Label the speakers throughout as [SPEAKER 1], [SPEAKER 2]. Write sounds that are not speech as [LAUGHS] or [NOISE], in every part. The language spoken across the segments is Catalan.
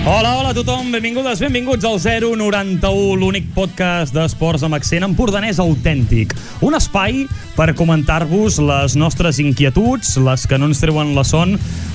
[SPEAKER 1] Hola a tothom, benvingudes, benvinguts al 091, l'únic podcast d'esports amb accent empordanès autèntic. Un espai per comentar-vos les nostres inquietuds, les que no ens treuen la son,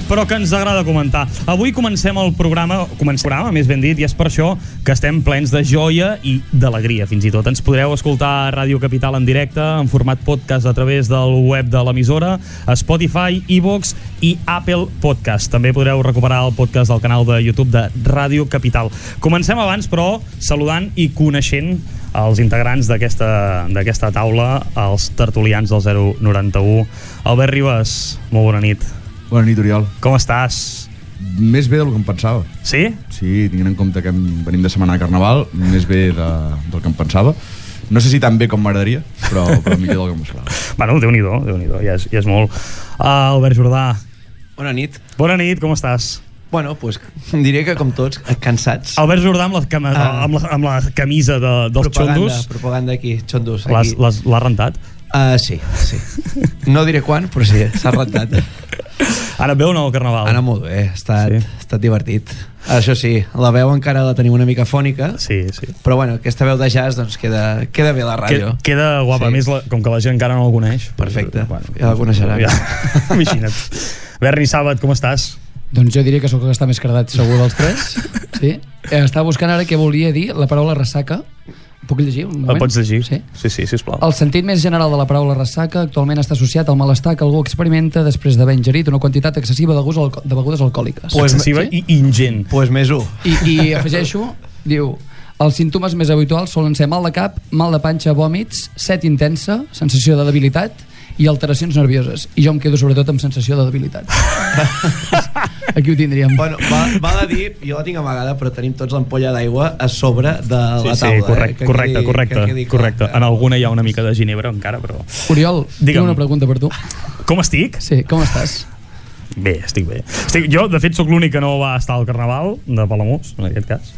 [SPEAKER 1] però que ens agrada comentar. Avui comencem el programa, comencem el programa, més ben dit, i és per això que estem plens de joia i d'alegria, fins i tot. Ens podreu escoltar a Ràdio Capital en directe, en format podcast a través del web de l'emissora, a Spotify, iVox i Apple Podcast. També podreu recuperar el podcast del canal de YouTube de Ràdio Capital. Comencem abans, però, saludant i coneixent els integrants d'aquesta d'aquesta taula, els tertulians del 091. Albert Ribas, molt bona nit.
[SPEAKER 2] Bona nit, Oriol.
[SPEAKER 1] Com estàs?
[SPEAKER 2] Més bé del que em pensava.
[SPEAKER 1] Sí?
[SPEAKER 2] Sí, tinguent en compte que hem- venim de setmana de Carnaval, més bé de, del que em pensava. No sé si tan bé com m'agradaria, però, però millor del que em pensava.
[SPEAKER 1] Bueno, Déu-n'hi-do, déu nhi déu ja, és, ja és molt. Uh, Albert Jordà,
[SPEAKER 3] Bona nit.
[SPEAKER 1] bona nit, com estàs?
[SPEAKER 3] Bueno, doncs diré que com tots, cansats.
[SPEAKER 1] Albert Jordà amb la, cama,
[SPEAKER 3] Ah.
[SPEAKER 1] amb la, amb la camisa de, dels
[SPEAKER 3] propaganda,
[SPEAKER 1] xondos,
[SPEAKER 3] Propaganda aquí, xondos.
[SPEAKER 1] l'has-
[SPEAKER 3] Aquí.
[SPEAKER 1] l'has l'ha rentat?
[SPEAKER 3] Ah, sí, sí. No diré quan, però sí,
[SPEAKER 1] [LAUGHS]
[SPEAKER 3] s'ha rentat.
[SPEAKER 1] Ara et veu o no el carnaval?
[SPEAKER 3] Ha anat molt bé, ha estat,
[SPEAKER 1] Sí.
[SPEAKER 3] sí. ha estat divertit. Això sí, la veu encara la tenim una mica fònica,
[SPEAKER 1] Sí, sí.
[SPEAKER 3] però bueno, aquesta veu de jazz doncs queda, queda bé a la
[SPEAKER 1] Que,
[SPEAKER 3] ràdio.
[SPEAKER 1] queda guapa, sí.
[SPEAKER 3] Sí.
[SPEAKER 1] més la, com que la gent encara no el coneix. eh,
[SPEAKER 3] Perfecte. Ja la coneixerà.
[SPEAKER 1] Ja. [LAUGHS] Imagina't. Berni Sàbat, com estàs?
[SPEAKER 4] Doncs jo diré que sóc el que està més cardat segur dels tres.
[SPEAKER 1] [LAUGHS]
[SPEAKER 4] Sí. Eh, Estava buscant ara què volia dir la paraula ressaca. Puc llegir un moment?
[SPEAKER 1] La pots llegir?
[SPEAKER 4] Sí.
[SPEAKER 1] sí, sí sisplau.
[SPEAKER 4] El sentit més general de la paraula ressaca actualment està associat al malestar que algú experimenta després d'haver ingerit una quantitat excessiva de, gust alco- de begudes alcohòliques.
[SPEAKER 1] Pues, excessiva sí? i ingent.
[SPEAKER 3] pues més un.
[SPEAKER 4] I, I afegeixo, diu, els símptomes més habituals solen ser mal de cap, mal de panxa, vòmits, set intensa, sensació de debilitat i alteracions nervioses. I jo em quedo sobretot amb sensació
[SPEAKER 1] [LAUGHS]
[SPEAKER 4] de debilitat. Aquí ho tindríem.
[SPEAKER 3] Bueno, val, val a dir, jo la tinc amagada, però tenim tots l'ampolla d'aigua a sobre de
[SPEAKER 1] Sí,
[SPEAKER 3] la taula.
[SPEAKER 1] sí, correcte,
[SPEAKER 3] eh?
[SPEAKER 1] correcte, correcte,
[SPEAKER 3] que quedi clar.
[SPEAKER 1] correcte. En alguna hi ha una mica de ginebra encara, però...
[SPEAKER 4] Oriol, tinc
[SPEAKER 1] Digue'm.
[SPEAKER 4] una pregunta per tu.
[SPEAKER 1] Com estic?
[SPEAKER 4] Sí, com estàs?
[SPEAKER 1] Bé, estic bé. Estic, jo, de fet, sóc l'únic que no va estar al Carnaval de Palamós, en aquest cas.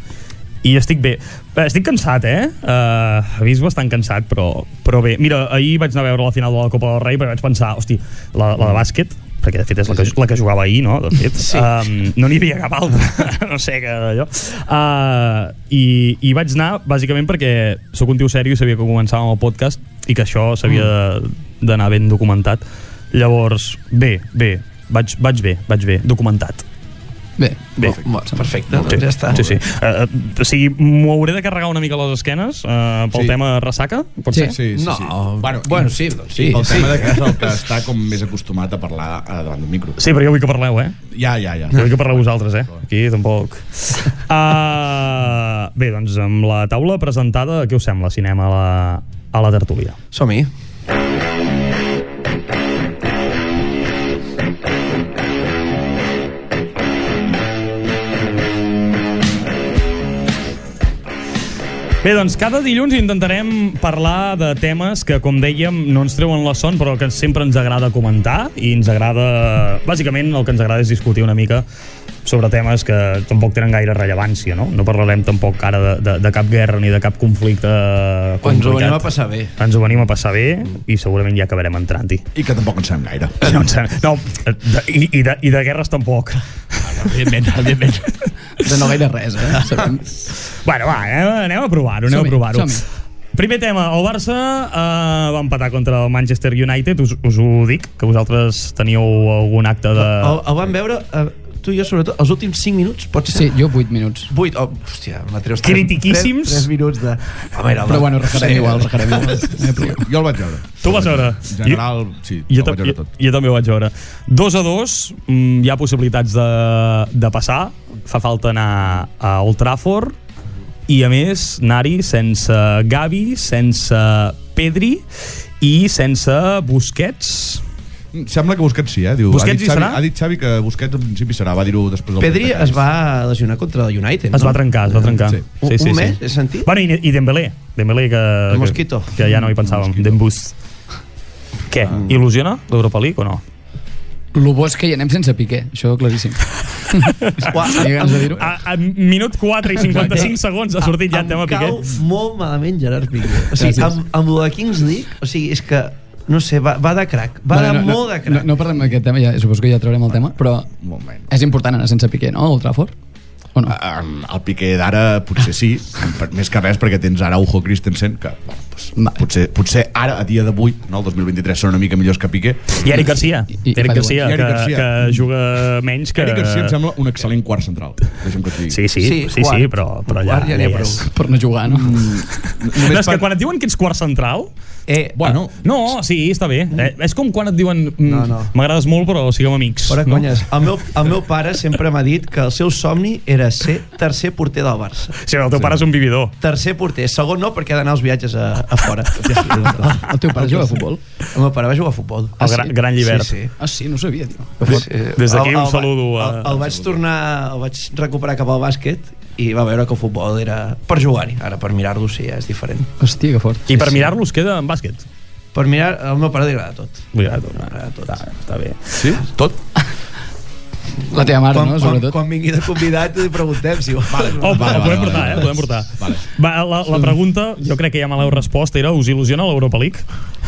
[SPEAKER 1] I estic bé. Eh, Estic cansat, eh? Uh, vist bastant cansat, però, però bé. Mira, ahir vaig anar a veure la final de la Copa del Rei perquè vaig pensar, hosti, la, la de bàsquet, perquè de fet és la que, la que jugava ahir, no? De fet, sí. um, no n'hi havia cap altra, [LAUGHS] no sé que d'allò. Uh, i, I vaig anar bàsicament perquè sóc un tio sèrio i sabia que començàvem el podcast i que això s'havia de- d'anar ben documentat. Llavors, bé, bé, vaig, vaig bé, vaig bé, documentat.
[SPEAKER 4] Bé.
[SPEAKER 1] Bé.
[SPEAKER 3] Mo- Perfecte, doncs ja està.
[SPEAKER 1] Sí, sí. Uh, o sigui, m'ho hauré de carregar una mica les esquenes uh, pel sí.
[SPEAKER 2] Sí.
[SPEAKER 1] tema ressaca, pot
[SPEAKER 4] Sí.
[SPEAKER 1] ser?
[SPEAKER 2] Sí, sí,
[SPEAKER 3] No,
[SPEAKER 2] sí.
[SPEAKER 3] bueno, bueno, sí, doncs sí,
[SPEAKER 2] El
[SPEAKER 3] sí.
[SPEAKER 2] tema de que és el que està com més acostumat a parlar eh, davant d'un micro.
[SPEAKER 1] Sí, però jo vull que parleu, eh?
[SPEAKER 2] Ja, ja, ja.
[SPEAKER 1] Jo vull que parleu vosaltres, eh? Aquí
[SPEAKER 3] [LAUGHS]
[SPEAKER 1] tampoc. Uh, bé, doncs amb la taula presentada, què us sembla, cinema a la, a la tertúlia?
[SPEAKER 3] Som-hi.
[SPEAKER 1] Bé, doncs cada dilluns intentarem parlar de temes que, com dèiem, no ens treuen la son, però que sempre ens agrada comentar i ens agrada... Bàsicament, el que ens agrada és discutir una mica sobre temes que tampoc tenen gaire rellevància, no? No parlarem tampoc ara de, de, de cap guerra ni de cap conflicte complicat.
[SPEAKER 3] Ens ho venim a passar bé.
[SPEAKER 1] Ens ho venim a passar bé i segurament ja acabarem entrant-hi.
[SPEAKER 2] I que tampoc en sabem gaire.
[SPEAKER 1] No, em sembla- no eh, de, i, i, de, i de guerres tampoc.
[SPEAKER 3] Ah, Evidentment, evidentment.
[SPEAKER 4] De no gaire res, eh? Sabem.
[SPEAKER 1] Bueno, va, anem, anem a provar-ho, anem a
[SPEAKER 4] Som-hi,
[SPEAKER 1] provar-ho.
[SPEAKER 4] som-hi.
[SPEAKER 1] Primer tema, el Barça eh, va empatar contra el Manchester United, us, us ho dic, que vosaltres teníeu algun acte de...
[SPEAKER 2] Oh,
[SPEAKER 3] El, el vam veure, eh, tu i jo sobretot, els últims 5 minuts, pot ser?
[SPEAKER 4] Sí, jo 8 minuts.
[SPEAKER 3] 8, oh, hòstia, me treus
[SPEAKER 1] Critiquíssims.
[SPEAKER 3] 3, minuts de... Home, era,
[SPEAKER 4] Però bueno, rajarem igual, rajarem igual. Eh, però-
[SPEAKER 2] Jo el vaig veure.
[SPEAKER 1] Tu vas veure?
[SPEAKER 2] En general, sí,
[SPEAKER 1] Jo,
[SPEAKER 2] el
[SPEAKER 1] ta-
[SPEAKER 2] vaig
[SPEAKER 1] jo,
[SPEAKER 2] veure tot.
[SPEAKER 1] jo també ho vaig veure. 2 a 2, mm, hi ha possibilitats de, de passar, fa falta anar a Old Trafford, i a més anar-hi sense Gavi, sense Pedri i sense Busquets.
[SPEAKER 2] Sembla que Busquets sí, eh? Diu,
[SPEAKER 1] Busquets
[SPEAKER 2] ha dit
[SPEAKER 1] hi
[SPEAKER 2] Xavi,
[SPEAKER 1] serà?
[SPEAKER 2] Ha dit Xavi que Busquets en principi serà, va dir-ho després del...
[SPEAKER 3] Pedri
[SPEAKER 2] Mundial.
[SPEAKER 3] es va lesionar contra el United,
[SPEAKER 1] Es
[SPEAKER 3] no?
[SPEAKER 1] va trencar, es va trencar.
[SPEAKER 2] Sí.
[SPEAKER 3] Un- un mes, he sentit?
[SPEAKER 1] Bueno, i, i Dembélé. Dembélé que, que-
[SPEAKER 3] Mosquito.
[SPEAKER 1] que ja no hi pensàvem. Dembús. Què? Il·lusiona l'Europa League o no?
[SPEAKER 4] Lo bo és que hi anem sense Piqué, això claríssim.
[SPEAKER 3] Ua,
[SPEAKER 4] Tinc ganes de dir-ho.
[SPEAKER 1] A, a minut 4 i 55 segons ha sortit ja el tema Piqué.
[SPEAKER 3] Em cau molt malament Gerard Piqué. O sigui,
[SPEAKER 4] Gràcies.
[SPEAKER 3] amb, amb lo de Kings League, o sigui, és que, no sé, va, va de crac. Va
[SPEAKER 4] Bueno,
[SPEAKER 3] de
[SPEAKER 4] no,
[SPEAKER 3] molt de
[SPEAKER 4] no,
[SPEAKER 3] crac.
[SPEAKER 4] no parlem d'aquest tema, ja, suposo que ja traurem el tema, però
[SPEAKER 2] Un moment.
[SPEAKER 4] és important anar sense Piqué, no, al Trafford? O no?
[SPEAKER 2] Um, el Piqué d'ara potser sí, per, més que res perquè tens ara Ujo Christensen, que bueno, pues, potser, potser ara, a dia d'avui, no, el 2023, són una mica millors que Piqué.
[SPEAKER 1] I Eric Garcia, I,
[SPEAKER 4] i- i
[SPEAKER 1] Eric
[SPEAKER 4] fa
[SPEAKER 1] Garcia,
[SPEAKER 2] igual. I
[SPEAKER 1] que,
[SPEAKER 2] Eric Garcia.
[SPEAKER 1] que juga menys que...
[SPEAKER 2] Que... Eric Garcia em sembla un excel·lent quart central, deixa'm que et digui.
[SPEAKER 1] Sí, sí, sí,
[SPEAKER 3] Sí,
[SPEAKER 1] sí,
[SPEAKER 3] quart.
[SPEAKER 1] sí però, però allà,
[SPEAKER 3] Quart
[SPEAKER 1] allà
[SPEAKER 3] ja n'hi ha
[SPEAKER 1] hi és.
[SPEAKER 3] prou.
[SPEAKER 4] Per no jugar, no?
[SPEAKER 2] Només
[SPEAKER 1] No, és que
[SPEAKER 2] per- Ah,
[SPEAKER 1] quan et diuen que ets quart Ah, central,
[SPEAKER 3] Eh,
[SPEAKER 2] Bueno,
[SPEAKER 1] No, sí, està bé. Eh, és com quan et diuen
[SPEAKER 3] No,
[SPEAKER 1] "Mm,
[SPEAKER 3] no.
[SPEAKER 1] m'agrades no, no. molt, però siguem amics.
[SPEAKER 3] Fora
[SPEAKER 1] no?
[SPEAKER 3] conyes. El meu, el meu pare sempre m'ha dit que el seu somni era ser tercer porter del Barça.
[SPEAKER 1] Sí, el teu sí. pare és un vividor.
[SPEAKER 3] Tercer porter. Segon no, perquè ha d'anar als viatges a,
[SPEAKER 1] [LAUGHS]
[SPEAKER 3] a fora.
[SPEAKER 4] El teu pare juga a futbol?
[SPEAKER 3] El meu pare va jugar a futbol.
[SPEAKER 1] El gran, gran llibert.
[SPEAKER 3] Sí, sí.
[SPEAKER 4] Ah, sí, no ho sabia, tio.
[SPEAKER 1] Des d'aquí
[SPEAKER 3] El-
[SPEAKER 1] un
[SPEAKER 3] el va-
[SPEAKER 1] saludo a-
[SPEAKER 3] El, el vaig tornar, el vaig recuperar cap al bàsquet i va veure que el futbol era per jugar-hi. Ara, per mirar-lo sí, ja és diferent.
[SPEAKER 4] Hòstia, que fort.
[SPEAKER 1] I per mirar-los queda en bàsquet.
[SPEAKER 3] Per mirar, al meu pare li agrada tot.
[SPEAKER 1] Vull dir, tot. Ah.
[SPEAKER 3] Agrada tot.
[SPEAKER 1] Està, està bé.
[SPEAKER 2] Sí? Tot?
[SPEAKER 4] La teva mare,
[SPEAKER 3] Quan,
[SPEAKER 4] no?
[SPEAKER 3] quan,
[SPEAKER 4] Sobretot.
[SPEAKER 3] quan vingui de convidat li preguntem si vols. Vale,
[SPEAKER 1] Oh, vale,
[SPEAKER 2] vale,
[SPEAKER 1] podem
[SPEAKER 2] vale,
[SPEAKER 1] portar,
[SPEAKER 2] vale.
[SPEAKER 1] eh? Podem portar.
[SPEAKER 2] Vale.
[SPEAKER 1] Va, la, la pregunta, jo crec que ja me l'heu respost, era us il·lusiona l'Europa League?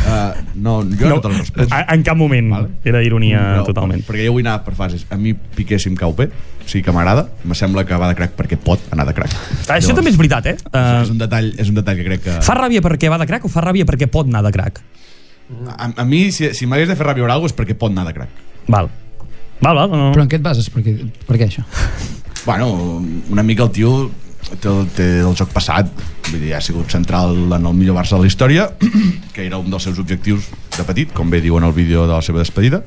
[SPEAKER 2] Uh, no, jo no, no te'l respondo.
[SPEAKER 1] a- en cap moment. Vale. Era ironia
[SPEAKER 2] Doncs- No,
[SPEAKER 1] no, Ah, totalment.
[SPEAKER 2] Perquè jo vull anar per fases. A mi Piqué si em cau bé, sí que m'agrada, me sembla que va de crac perquè pot anar de crac.
[SPEAKER 1] Això també és veritat, eh?
[SPEAKER 2] Uh, és
[SPEAKER 1] Uh,
[SPEAKER 2] un detall, és un detall que crec que...
[SPEAKER 1] fa ràbia perquè va de crac o fa ràbia perquè pot anar de crac?
[SPEAKER 2] A, a mi, si, si m'hagués de fer ràbia per alguna cosa, és perquè pot anar de crac.
[SPEAKER 1] Val. Val, val, no,
[SPEAKER 4] Però
[SPEAKER 1] no.
[SPEAKER 4] en què et bases? Per què, per què això?
[SPEAKER 2] Bueno, una mica el tio té, el- té el joc passat, vull dir, ha sigut central en el millor Barça de la història, [CLEARS THROAT] que era un dels seus objectius de petit, com bé diu en el vídeo de la seva despedida.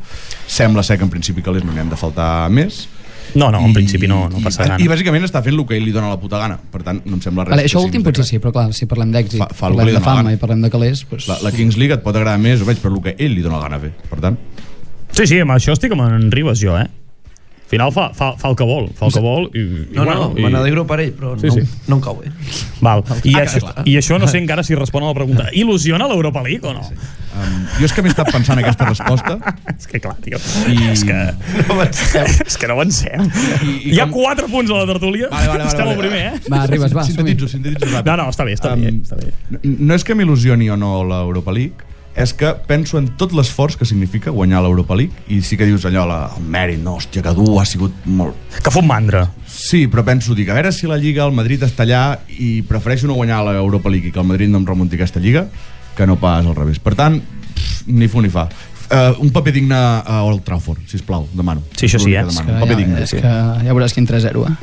[SPEAKER 2] Sembla ser que en principi que a les no n'hi han de faltar més.
[SPEAKER 1] No, no, en principi no, no passa
[SPEAKER 2] I,
[SPEAKER 1] gran.
[SPEAKER 2] I bàsicament està fent el que ell li dona la puta gana. Per tant, no em sembla res.
[SPEAKER 4] Vale, això
[SPEAKER 2] que sigui
[SPEAKER 4] últim
[SPEAKER 2] més de
[SPEAKER 4] potser
[SPEAKER 2] crac.
[SPEAKER 4] sí, però clar, si parlem d'èxit,
[SPEAKER 2] Fa- fa el que
[SPEAKER 4] parlem
[SPEAKER 2] li
[SPEAKER 4] de
[SPEAKER 2] demana.
[SPEAKER 4] fama i parlem de calés, doncs...
[SPEAKER 2] La, la Kings League et pot agradar més o menys per el que ell li dona la gana de fer. Per tant,
[SPEAKER 1] Sí, sí, amb això estic amb en Ribas jo, eh? Al final fa, fa, fa el que vol, fa el que vol i, i
[SPEAKER 3] No, no,
[SPEAKER 1] i...
[SPEAKER 3] me n'alegro per ell, però
[SPEAKER 1] Sí,
[SPEAKER 3] no,
[SPEAKER 1] sí.
[SPEAKER 3] no em cau bé.
[SPEAKER 1] Val. I,
[SPEAKER 2] Ah,
[SPEAKER 1] això,
[SPEAKER 2] clar.
[SPEAKER 1] I això no sé encara si respon a la pregunta. Il·lusiona l'Europa League o no?
[SPEAKER 2] um, jo és que m'he estat pensant aquesta resposta
[SPEAKER 1] [LAUGHS] És que clar, tio.
[SPEAKER 2] I-
[SPEAKER 1] [LAUGHS] És que... [LAUGHS] és que no avancem.
[SPEAKER 2] [LAUGHS] I- i
[SPEAKER 1] Hi ha
[SPEAKER 2] com-
[SPEAKER 1] quatre punts a la tertúlia.
[SPEAKER 2] Vale, vale, vale,
[SPEAKER 1] Estem
[SPEAKER 2] vale.
[SPEAKER 1] al primer, eh?
[SPEAKER 4] Va, arribes, va, som-hi.
[SPEAKER 2] sintetitzo, sintetitzo ràpid.
[SPEAKER 1] No, no, està bé, està bé,
[SPEAKER 2] Em,
[SPEAKER 1] està bé.
[SPEAKER 2] n- No és que m'il·lusioni o no l'Europa League, és que penso en tot l'esforç que significa guanyar l'Europa League i sí que dius allò, la, el mèrit, no, hòstia, que dur, ha sigut molt...
[SPEAKER 1] Que fot mandra.
[SPEAKER 2] Sí, però penso, dic, a veure si la Lliga, el Madrid està allà i prefereixo no guanyar l'Europa League i que el Madrid no em remunti aquesta Lliga que no pas al revés. Per tant, pff, ni fu ni fa. Uh, un paper digne a Old Trafford, sisplau, demano.
[SPEAKER 1] Sí, això sí, eh?
[SPEAKER 2] És l'únic que demano. Un paper digne.
[SPEAKER 4] és que ja veuràs quin 3-0, eh?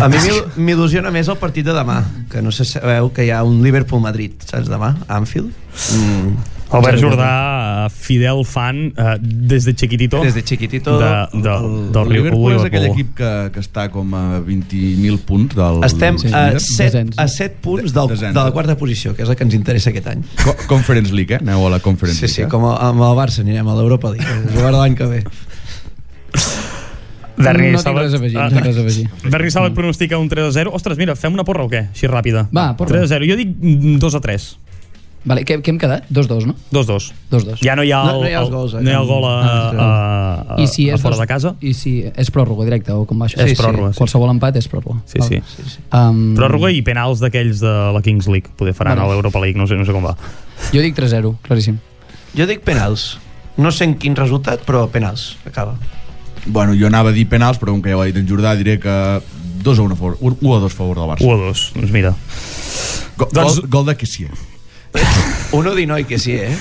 [SPEAKER 3] A mi m'il- m'il·lusiona més el partit de demà, que no sé si sabeu que hi ha un Liverpool-Madrid, saps, demà, a Anfield. Mm,
[SPEAKER 1] Albert Jordà, eh, fidel fan eh, des de chiquitito.
[SPEAKER 3] des de chiquitito.
[SPEAKER 1] de, de,
[SPEAKER 3] Mm.
[SPEAKER 1] del
[SPEAKER 2] El Liverpool és aquell
[SPEAKER 1] Liverpool.
[SPEAKER 2] equip que, que està com a 20.000 punts del...
[SPEAKER 3] Estem
[SPEAKER 4] Sí.
[SPEAKER 3] a
[SPEAKER 4] Descens.
[SPEAKER 3] 7, a 7 punts del,
[SPEAKER 2] Descens.
[SPEAKER 3] de la quarta posició, que és la que ens interessa aquest any.
[SPEAKER 2] Co Conference League, eh? Aneu a la Conference
[SPEAKER 3] Sí, sí,
[SPEAKER 2] League. eh?
[SPEAKER 3] com a- amb el Barça anirem a l'Europa League, a jugar l'any que ve.
[SPEAKER 1] Berni
[SPEAKER 4] no tinc
[SPEAKER 1] Sabat-
[SPEAKER 4] res a afegir,
[SPEAKER 1] Ah,
[SPEAKER 4] no tinc res a afegir.
[SPEAKER 1] Berni Sabat pronostica un 3 a 0. Ostres, mira, fem una porra o què? Així ràpida.
[SPEAKER 4] Va, porra.
[SPEAKER 1] 3 a 0. Jo dic mm, 2 a 3.
[SPEAKER 4] Vale, què, què hem quedat? 2-2, no?
[SPEAKER 1] 2 a 2.
[SPEAKER 4] 2-2.
[SPEAKER 1] Ja no hi ha el,
[SPEAKER 3] No- no hi ha els gols, eh?
[SPEAKER 1] no hi ha el gol a, a, a,
[SPEAKER 4] Ah, I si
[SPEAKER 1] a
[SPEAKER 4] és
[SPEAKER 1] fora
[SPEAKER 4] dos-
[SPEAKER 1] de casa.
[SPEAKER 4] I si és pròrroga directa o com va això?
[SPEAKER 1] És pròrroga, sí.
[SPEAKER 4] Qualsevol empat és pròrroga.
[SPEAKER 1] Sí, sí. sí, sí.
[SPEAKER 4] Um,
[SPEAKER 1] Pròrroga i penals d'aquells de la Kings League. Poder faran
[SPEAKER 4] Vale.
[SPEAKER 1] a l'Europa League, no sé, no sé com va.
[SPEAKER 4] Jo dic 3-0, claríssim.
[SPEAKER 3] Jo dic penals. No sé en quin resultat, però penals. Acaba.
[SPEAKER 2] Bueno, jo anava a dir penals, però com que ja ho ha dit en Jordà, diré que 2 a 1 a favor, 1 a 2 a favor del
[SPEAKER 1] 1
[SPEAKER 2] Barça.
[SPEAKER 1] a 2, doncs mira.
[SPEAKER 2] Go
[SPEAKER 1] Doncs-
[SPEAKER 2] gol, gol de Kessie.
[SPEAKER 3] Un Odinoi que sí,
[SPEAKER 4] [LAUGHS]
[SPEAKER 3] eh?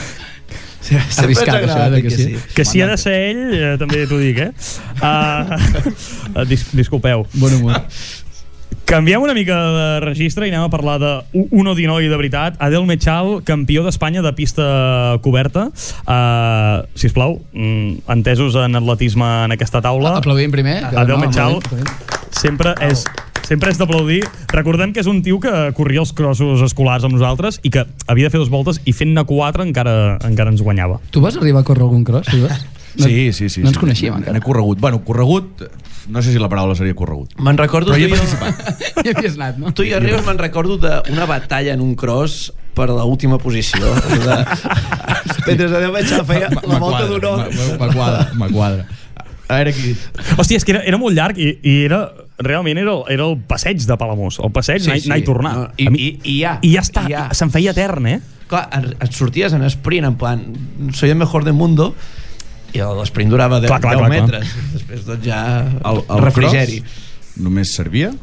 [SPEAKER 3] Sempre
[SPEAKER 4] Arriscat,
[SPEAKER 3] ens ha agradat
[SPEAKER 4] això, eh,
[SPEAKER 3] dir
[SPEAKER 4] que sí.
[SPEAKER 1] Que si ha de ser ell, eh, també t'ho dic, eh? Uh, [LAUGHS] dis disculpeu.
[SPEAKER 4] Bon humor.
[SPEAKER 1] Canviem una mica de registre i anem a parlar de u- un odinoi de veritat. Adel Mechal, campió d'Espanya de pista coberta. Uh, si us plau, mm, entesos en atletisme en aquesta taula.
[SPEAKER 4] Aplaudim Ah, primer. que-
[SPEAKER 1] Adeu,
[SPEAKER 4] no,
[SPEAKER 1] Mechal.
[SPEAKER 4] aplaudim, aplaudim.
[SPEAKER 1] Sempre és, sempre és d'aplaudir. Recordem que és un tio que corria els crossos escolars amb nosaltres i que havia de fer dues voltes i fent-ne quatre encara, encara ens guanyava.
[SPEAKER 4] Tu vas arribar a córrer algun cross, Ribas? No-
[SPEAKER 2] Sí, sí, sí.
[SPEAKER 4] No ens
[SPEAKER 2] sí.
[SPEAKER 4] coneixíem
[SPEAKER 2] N'he
[SPEAKER 4] encara.
[SPEAKER 2] corregut. Bueno, corregut, no sé si la paraula seria corregut.
[SPEAKER 3] Me'n recordo...
[SPEAKER 2] Però hi he
[SPEAKER 3] tu i jo-
[SPEAKER 2] participat.
[SPEAKER 4] [LAUGHS] Ja havies anat, no?
[SPEAKER 3] Tu i jo, Rius, me'n recordo d'una batalla en un cross per a l'última [LAUGHS] posició. De... Mentre Adeu Batxà feia la volta d'honor.
[SPEAKER 2] M'aquadra, m'aquadra. A veure qui...
[SPEAKER 1] Hòstia, és que era, era molt llarg i, i era, realment era el, era el passeig de Palamós. El passeig, sí, anar, anar i tornar.
[SPEAKER 3] No,
[SPEAKER 1] A
[SPEAKER 3] i,
[SPEAKER 1] mi-
[SPEAKER 3] i, I ja.
[SPEAKER 1] I ja està,
[SPEAKER 3] ja.
[SPEAKER 1] se'n feia etern, eh?
[SPEAKER 3] Clar, en- et sorties en sprint, en plan, soy el mejor del mundo, i l'esprint durava 10,
[SPEAKER 1] Clar, clar, clar, clar.
[SPEAKER 3] metres. Després, doncs, ja...
[SPEAKER 2] El, el
[SPEAKER 3] refrigeri.
[SPEAKER 2] Cross, només servia,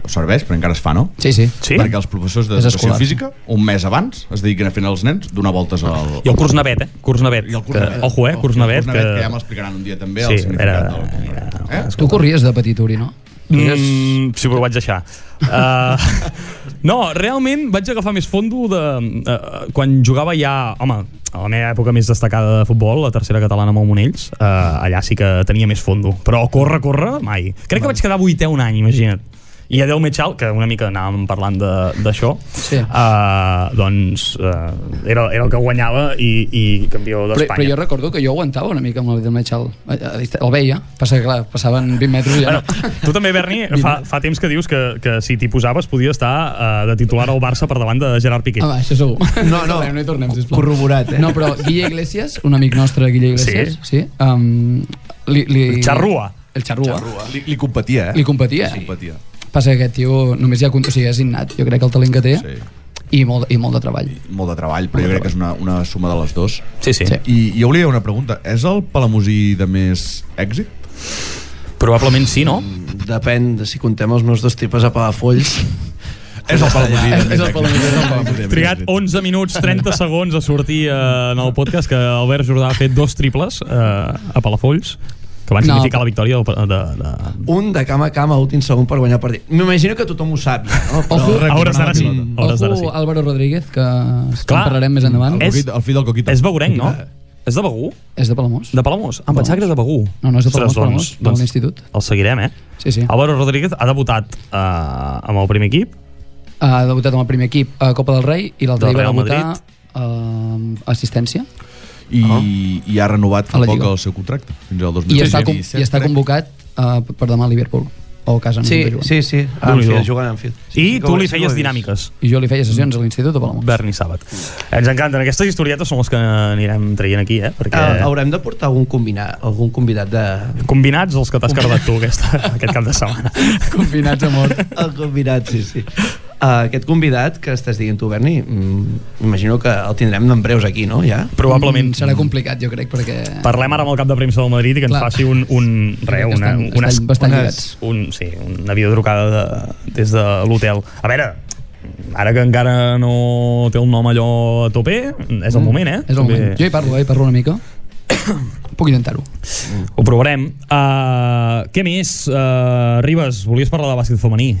[SPEAKER 2] o serveix, però encara es fa, no?
[SPEAKER 4] Sí, sí.
[SPEAKER 1] Sí?
[SPEAKER 2] Perquè els professors
[SPEAKER 4] És
[SPEAKER 2] d'educació
[SPEAKER 4] escolar.
[SPEAKER 2] física, un mes abans, es dediquen a fer als nens donar voltes al...
[SPEAKER 1] I el curs navet, eh? Curs navet.
[SPEAKER 2] I Ah. el curs
[SPEAKER 1] que,
[SPEAKER 2] navet.
[SPEAKER 1] Ojo, eh? Curs navet.
[SPEAKER 2] que... que ja m'explicaran un dia també sí,
[SPEAKER 1] Sí,
[SPEAKER 2] el significat
[SPEAKER 1] era-
[SPEAKER 2] del curs navet. Eh?
[SPEAKER 4] Tu corries de petit, Uri, no?
[SPEAKER 1] Mm, sí, però ho vaig
[SPEAKER 4] [LAUGHS]
[SPEAKER 1] deixar. Uh, no, realment vaig agafar més fondo de, uh, quan jugava ja... Home, a la meva època més destacada de futbol, la tercera catalana amb el Monells, uh, allà sí que tenia més fondo. Però córrer, córrer, mai. Crec que vaig quedar vuitè un any, imagina't. I a Déu Metxal, que una mica anàvem parlant de- d'això,
[SPEAKER 4] Sí.
[SPEAKER 1] uh, doncs uh, era, era el que guanyava i, i campió
[SPEAKER 4] Però, però jo
[SPEAKER 1] d'Espanya.
[SPEAKER 4] recordo que jo aguantava una mica amb el del Metxal. El veia, passa que clar, passaven 20 metres i ja
[SPEAKER 1] Bueno,
[SPEAKER 4] no.
[SPEAKER 1] tu també, Berni, fa, fa temps que dius que, que si t'hi posaves podia estar uh, de titular al Barça per davant de Gerard Piqué.
[SPEAKER 4] Home, Ah, això segur.
[SPEAKER 1] [LAUGHS]
[SPEAKER 3] No, no.
[SPEAKER 4] no hi tornem, sisplau.
[SPEAKER 3] Corroborat, eh?
[SPEAKER 4] No, però Guille Iglesias, un amic nostre, Guille Iglesias, sí, sí um, li, li...
[SPEAKER 1] El Charrua.
[SPEAKER 4] El Charrua.
[SPEAKER 2] Li, li competia, eh?
[SPEAKER 4] Li competia. Eh?
[SPEAKER 2] Li
[SPEAKER 4] Sí.
[SPEAKER 2] competia.
[SPEAKER 4] Passa que aquest tio només hi ha... con- O sigui, és innat, jo crec que el talent que té,
[SPEAKER 2] Sí.
[SPEAKER 4] i, molt, i molt de treball.
[SPEAKER 2] Molt de treball, però jo crec que és una, una suma de les dues.
[SPEAKER 1] Sí, sí,
[SPEAKER 4] Sí.
[SPEAKER 1] sí.
[SPEAKER 2] I jo volia una pregunta. És el Palamusí de més èxit?
[SPEAKER 1] Probablement sí, no?
[SPEAKER 3] Mm, Depèn de si contem els meus dos tipes a Palafolls.
[SPEAKER 2] És el Palamusí de
[SPEAKER 4] És
[SPEAKER 2] més
[SPEAKER 4] el Palamusí, és el
[SPEAKER 2] èxit.
[SPEAKER 1] Trigat 11 minuts
[SPEAKER 3] [LAUGHS]
[SPEAKER 1] 30 segons a sortir eh, en el podcast que Albert Jordà ha fet dos triples eh, a Palafolls que van
[SPEAKER 4] No,
[SPEAKER 1] significar
[SPEAKER 4] però-
[SPEAKER 1] la victòria del, de, de...
[SPEAKER 3] Un de cama a cama, últim segon per guanyar el partit. M'imagino que tothom ho sap, ja, no?
[SPEAKER 4] Ojo.
[SPEAKER 1] A hores d'ara sí.
[SPEAKER 2] Mm.
[SPEAKER 1] A hores d'ara
[SPEAKER 4] Ojo,
[SPEAKER 1] sí.
[SPEAKER 4] Álvaro Rodríguez, que
[SPEAKER 1] Clar. Eh.
[SPEAKER 4] Clar, en parlarem més endavant.
[SPEAKER 1] És-
[SPEAKER 2] És... El fill del Coquito.
[SPEAKER 1] És beurenc, no?
[SPEAKER 3] Eh.
[SPEAKER 1] És de Begú?
[SPEAKER 4] És de Palamós.
[SPEAKER 1] De Palamós? Em pensava que era de Begú.
[SPEAKER 4] No, no, és de Palamós,
[SPEAKER 1] Ostres, doncs,
[SPEAKER 4] Palamós, de l'institut.
[SPEAKER 1] El seguirem, eh?
[SPEAKER 4] Sí, sí.
[SPEAKER 1] Álvaro Rodríguez ha debutat eh, amb el primer equip.
[SPEAKER 4] Ha debutat amb el primer equip a Copa del Rei i l'altre
[SPEAKER 1] Del
[SPEAKER 4] dia va
[SPEAKER 1] Real
[SPEAKER 4] debutar
[SPEAKER 1] Madrid.
[SPEAKER 4] eh, assistència
[SPEAKER 2] I, i ha renovat
[SPEAKER 4] A
[SPEAKER 2] fa
[SPEAKER 4] la
[SPEAKER 2] poc
[SPEAKER 4] Lliga.
[SPEAKER 2] el seu contracte fins al
[SPEAKER 1] Doncs
[SPEAKER 2] 2017.
[SPEAKER 4] i, està, com, i està convocat eh, per demà a Liverpool o a casa no
[SPEAKER 3] Sí,
[SPEAKER 4] sé on.
[SPEAKER 3] sí, sí. A
[SPEAKER 1] Déu-n'hi-do.
[SPEAKER 3] Anfield, jugant a Anfield. Sí,
[SPEAKER 1] I
[SPEAKER 3] sí que
[SPEAKER 1] tu
[SPEAKER 3] ho-
[SPEAKER 1] li
[SPEAKER 3] sí que ho he
[SPEAKER 1] feies
[SPEAKER 3] vist.
[SPEAKER 1] dinàmiques.
[SPEAKER 4] i jo li feia sessions a l'Institut de Palamós
[SPEAKER 1] Berni Sàbat. Eh, Ens encanten. Aquestes historietes són les que anirem traient aquí, eh? Perquè...
[SPEAKER 3] Ah, haurem de portar algun, combinat, algun convidat de...
[SPEAKER 1] Combinats els que t'has cardat tu aquesta, aquest [LAUGHS] cap de setmana.
[SPEAKER 4] [LAUGHS] combinats a mort
[SPEAKER 3] El convidat, sí, sí. Uh, aquest convidat que estàs dient tu, Berni, mm, imagino que el tindrem en breus aquí, no? Ja?
[SPEAKER 1] Probablement.
[SPEAKER 4] Mm, serà complicat jo crec perquè
[SPEAKER 1] Parlem ara amb el cap de premsa del Madrid i que ens
[SPEAKER 4] Clar.
[SPEAKER 1] faci un... un re,
[SPEAKER 4] crec que
[SPEAKER 1] una,
[SPEAKER 4] estan-
[SPEAKER 1] una,
[SPEAKER 4] estan bastant
[SPEAKER 1] una,
[SPEAKER 4] lligats.
[SPEAKER 1] un, sí, una videotrucada de, des de l'hotel. A veure, ara que encara no té el nom allò a tope, és el moment, eh?
[SPEAKER 4] Mm, és el moment jo hi parlo, eh, hi parlo una mica [COUGHS] puc intentar-ho
[SPEAKER 1] Ho provarem. Uh, què més? Uh, Ribas, volies parlar de bàsquet femení?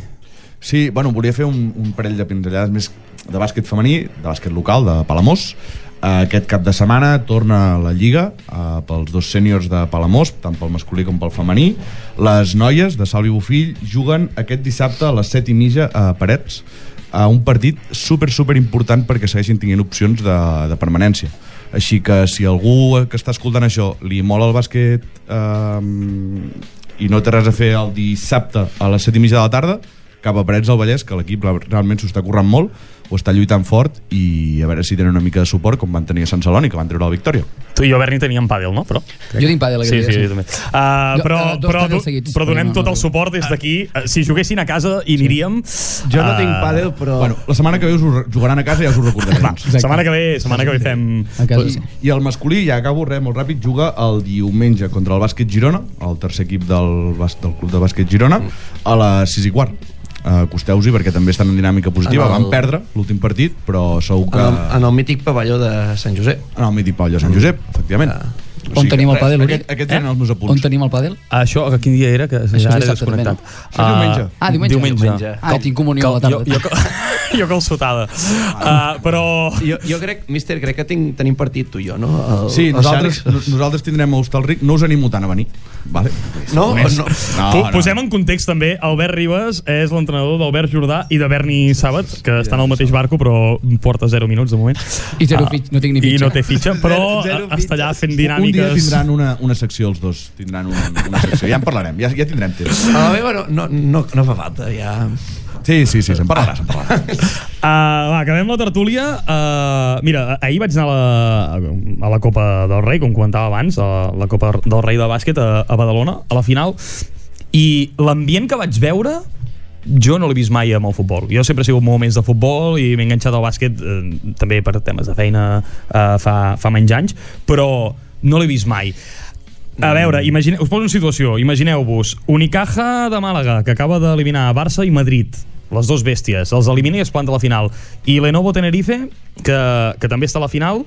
[SPEAKER 2] Sí, bueno, volia fer un, un parell de pinzellades més de bàsquet femení, de bàsquet local, de Palamós. Eh, Aquest cap de setmana torna a la Lliga eh, pels dos sèniors de Palamós, tant pel masculí com pel femení. Les noies de Salvi Bofill juguen aquest dissabte a les 7 i mitja a Parets a un partit super, super important perquè segueixin tinguent opcions de, de permanència. Així que si algú que està escoltant això li mola el bàsquet eh, i no té res a fer el dissabte a les 7 i mitja de la tarda cap a Parets del Vallès, que l'equip realment s'ho està currant molt, ho està lluitant fort i a veure si tenen una mica de suport com van tenir a Sant Celoni, que van treure la victòria.
[SPEAKER 1] Tu i jo, Berni, teníem pàdel, no? Però...
[SPEAKER 4] jo tinc pàdel eh,
[SPEAKER 1] Sí,
[SPEAKER 4] aquest
[SPEAKER 1] sí,
[SPEAKER 4] dia
[SPEAKER 1] jo també. Uh,
[SPEAKER 4] Jo,
[SPEAKER 1] però,
[SPEAKER 4] eh, dos
[SPEAKER 1] però,
[SPEAKER 4] pàdel
[SPEAKER 1] do-
[SPEAKER 4] seguits, Ah.
[SPEAKER 1] però donem
[SPEAKER 4] perquè no-
[SPEAKER 1] tot el suport des d'aquí. Eh, Si juguessin a casa, hi aniríem.
[SPEAKER 3] Jo no
[SPEAKER 1] Eh,
[SPEAKER 3] tinc pàdel, però...
[SPEAKER 2] Bueno, la setmana que ve us ho re- jugaran a casa i ja us ho recordarem.
[SPEAKER 1] Va,
[SPEAKER 2] doncs.
[SPEAKER 4] Exacte.
[SPEAKER 1] setmana que ve, setmana que ve fem...
[SPEAKER 4] A casa, sí.
[SPEAKER 2] I el masculí, ja acabo, res, molt ràpid, juga el diumenge contra el bàsquet Girona, el tercer equip del, bas- del club de bàsquet Girona, a les 6 i quart. Uh, Acosteu-s'hi perquè també estan en dinàmica positiva.
[SPEAKER 3] En el-
[SPEAKER 2] Van perdre l'últim partit, però segur
[SPEAKER 3] en,
[SPEAKER 2] que...
[SPEAKER 3] el, en el mític pavelló de Sant Josep.
[SPEAKER 2] En el mític Pau de Sant Josep, efectivament.
[SPEAKER 3] Ah.
[SPEAKER 2] O sigui
[SPEAKER 4] on
[SPEAKER 2] que
[SPEAKER 4] tenim el
[SPEAKER 2] res,
[SPEAKER 4] pàdel, Uri?
[SPEAKER 2] Aquest, aquests eren els meus apunts.
[SPEAKER 4] on tenim el pàdel?
[SPEAKER 1] Ah, Això, que quin dia era? Que
[SPEAKER 4] és
[SPEAKER 1] ara he
[SPEAKER 4] dissabte, també,
[SPEAKER 1] desconnectat.
[SPEAKER 4] no?
[SPEAKER 2] Això és diumenge.
[SPEAKER 4] ah, diumenge,
[SPEAKER 1] Diumenge.
[SPEAKER 4] ah, tinc comunió a
[SPEAKER 1] Jo,
[SPEAKER 4] la tarda
[SPEAKER 1] jo, [LAUGHS] jo, jo calçotada. Uh, però...
[SPEAKER 3] Jo, jo crec, míster, crec que tinc, tenim partit tu i jo, no? El,
[SPEAKER 2] Sí,
[SPEAKER 3] el
[SPEAKER 2] nosaltres,
[SPEAKER 3] Xàrec.
[SPEAKER 2] no- nosaltres tindrem a Hostalric, no us animo tant a venir. Vale?
[SPEAKER 3] No,
[SPEAKER 2] Només.
[SPEAKER 3] Oh, no.
[SPEAKER 1] No, no. Posem en context també, Albert Ribas és l'entrenador d'Albert Jordà i de Berni Sàbat, que estan al mateix barco però porta 0 minuts de moment. Ah,
[SPEAKER 4] I zero fitx- no tinc ni
[SPEAKER 1] I
[SPEAKER 4] fitxa.
[SPEAKER 1] no té fitxa, però
[SPEAKER 3] Zero- zero
[SPEAKER 1] està allà fent
[SPEAKER 2] Un dia
[SPEAKER 1] dinàmiques.
[SPEAKER 2] tindran una, una secció els dos, tindran un, una secció. Ja en parlarem, ja, ja tindrem temps.
[SPEAKER 3] A la meva no, no, no, no fa falta, ja...
[SPEAKER 2] Sí, sí, sí, se'n parlarà, se'n parlarà.
[SPEAKER 1] Uh, va, acabem la tertúlia. Uh, mira, ahir vaig anar a la, a la Copa del Rei, com comentava abans, a la Copa del Rei de bàsquet a, a Badalona, a la final, i l'ambient que vaig veure jo no l'he vist mai amb el futbol. Jo sempre he sigut molt més de futbol i m'he enganxat al bàsquet eh, també per temes de feina eh, fa, fa menys anys, però no l'he vist mai A veure, imagine... us poso en situació. Imagineu-vos, Unicaja de Màlaga, que acaba d'eliminar Barça i Madrid. Les dues bèsties. Els elimina i es planta a la final. I Lenovo Tenerife, que, que també està a la final.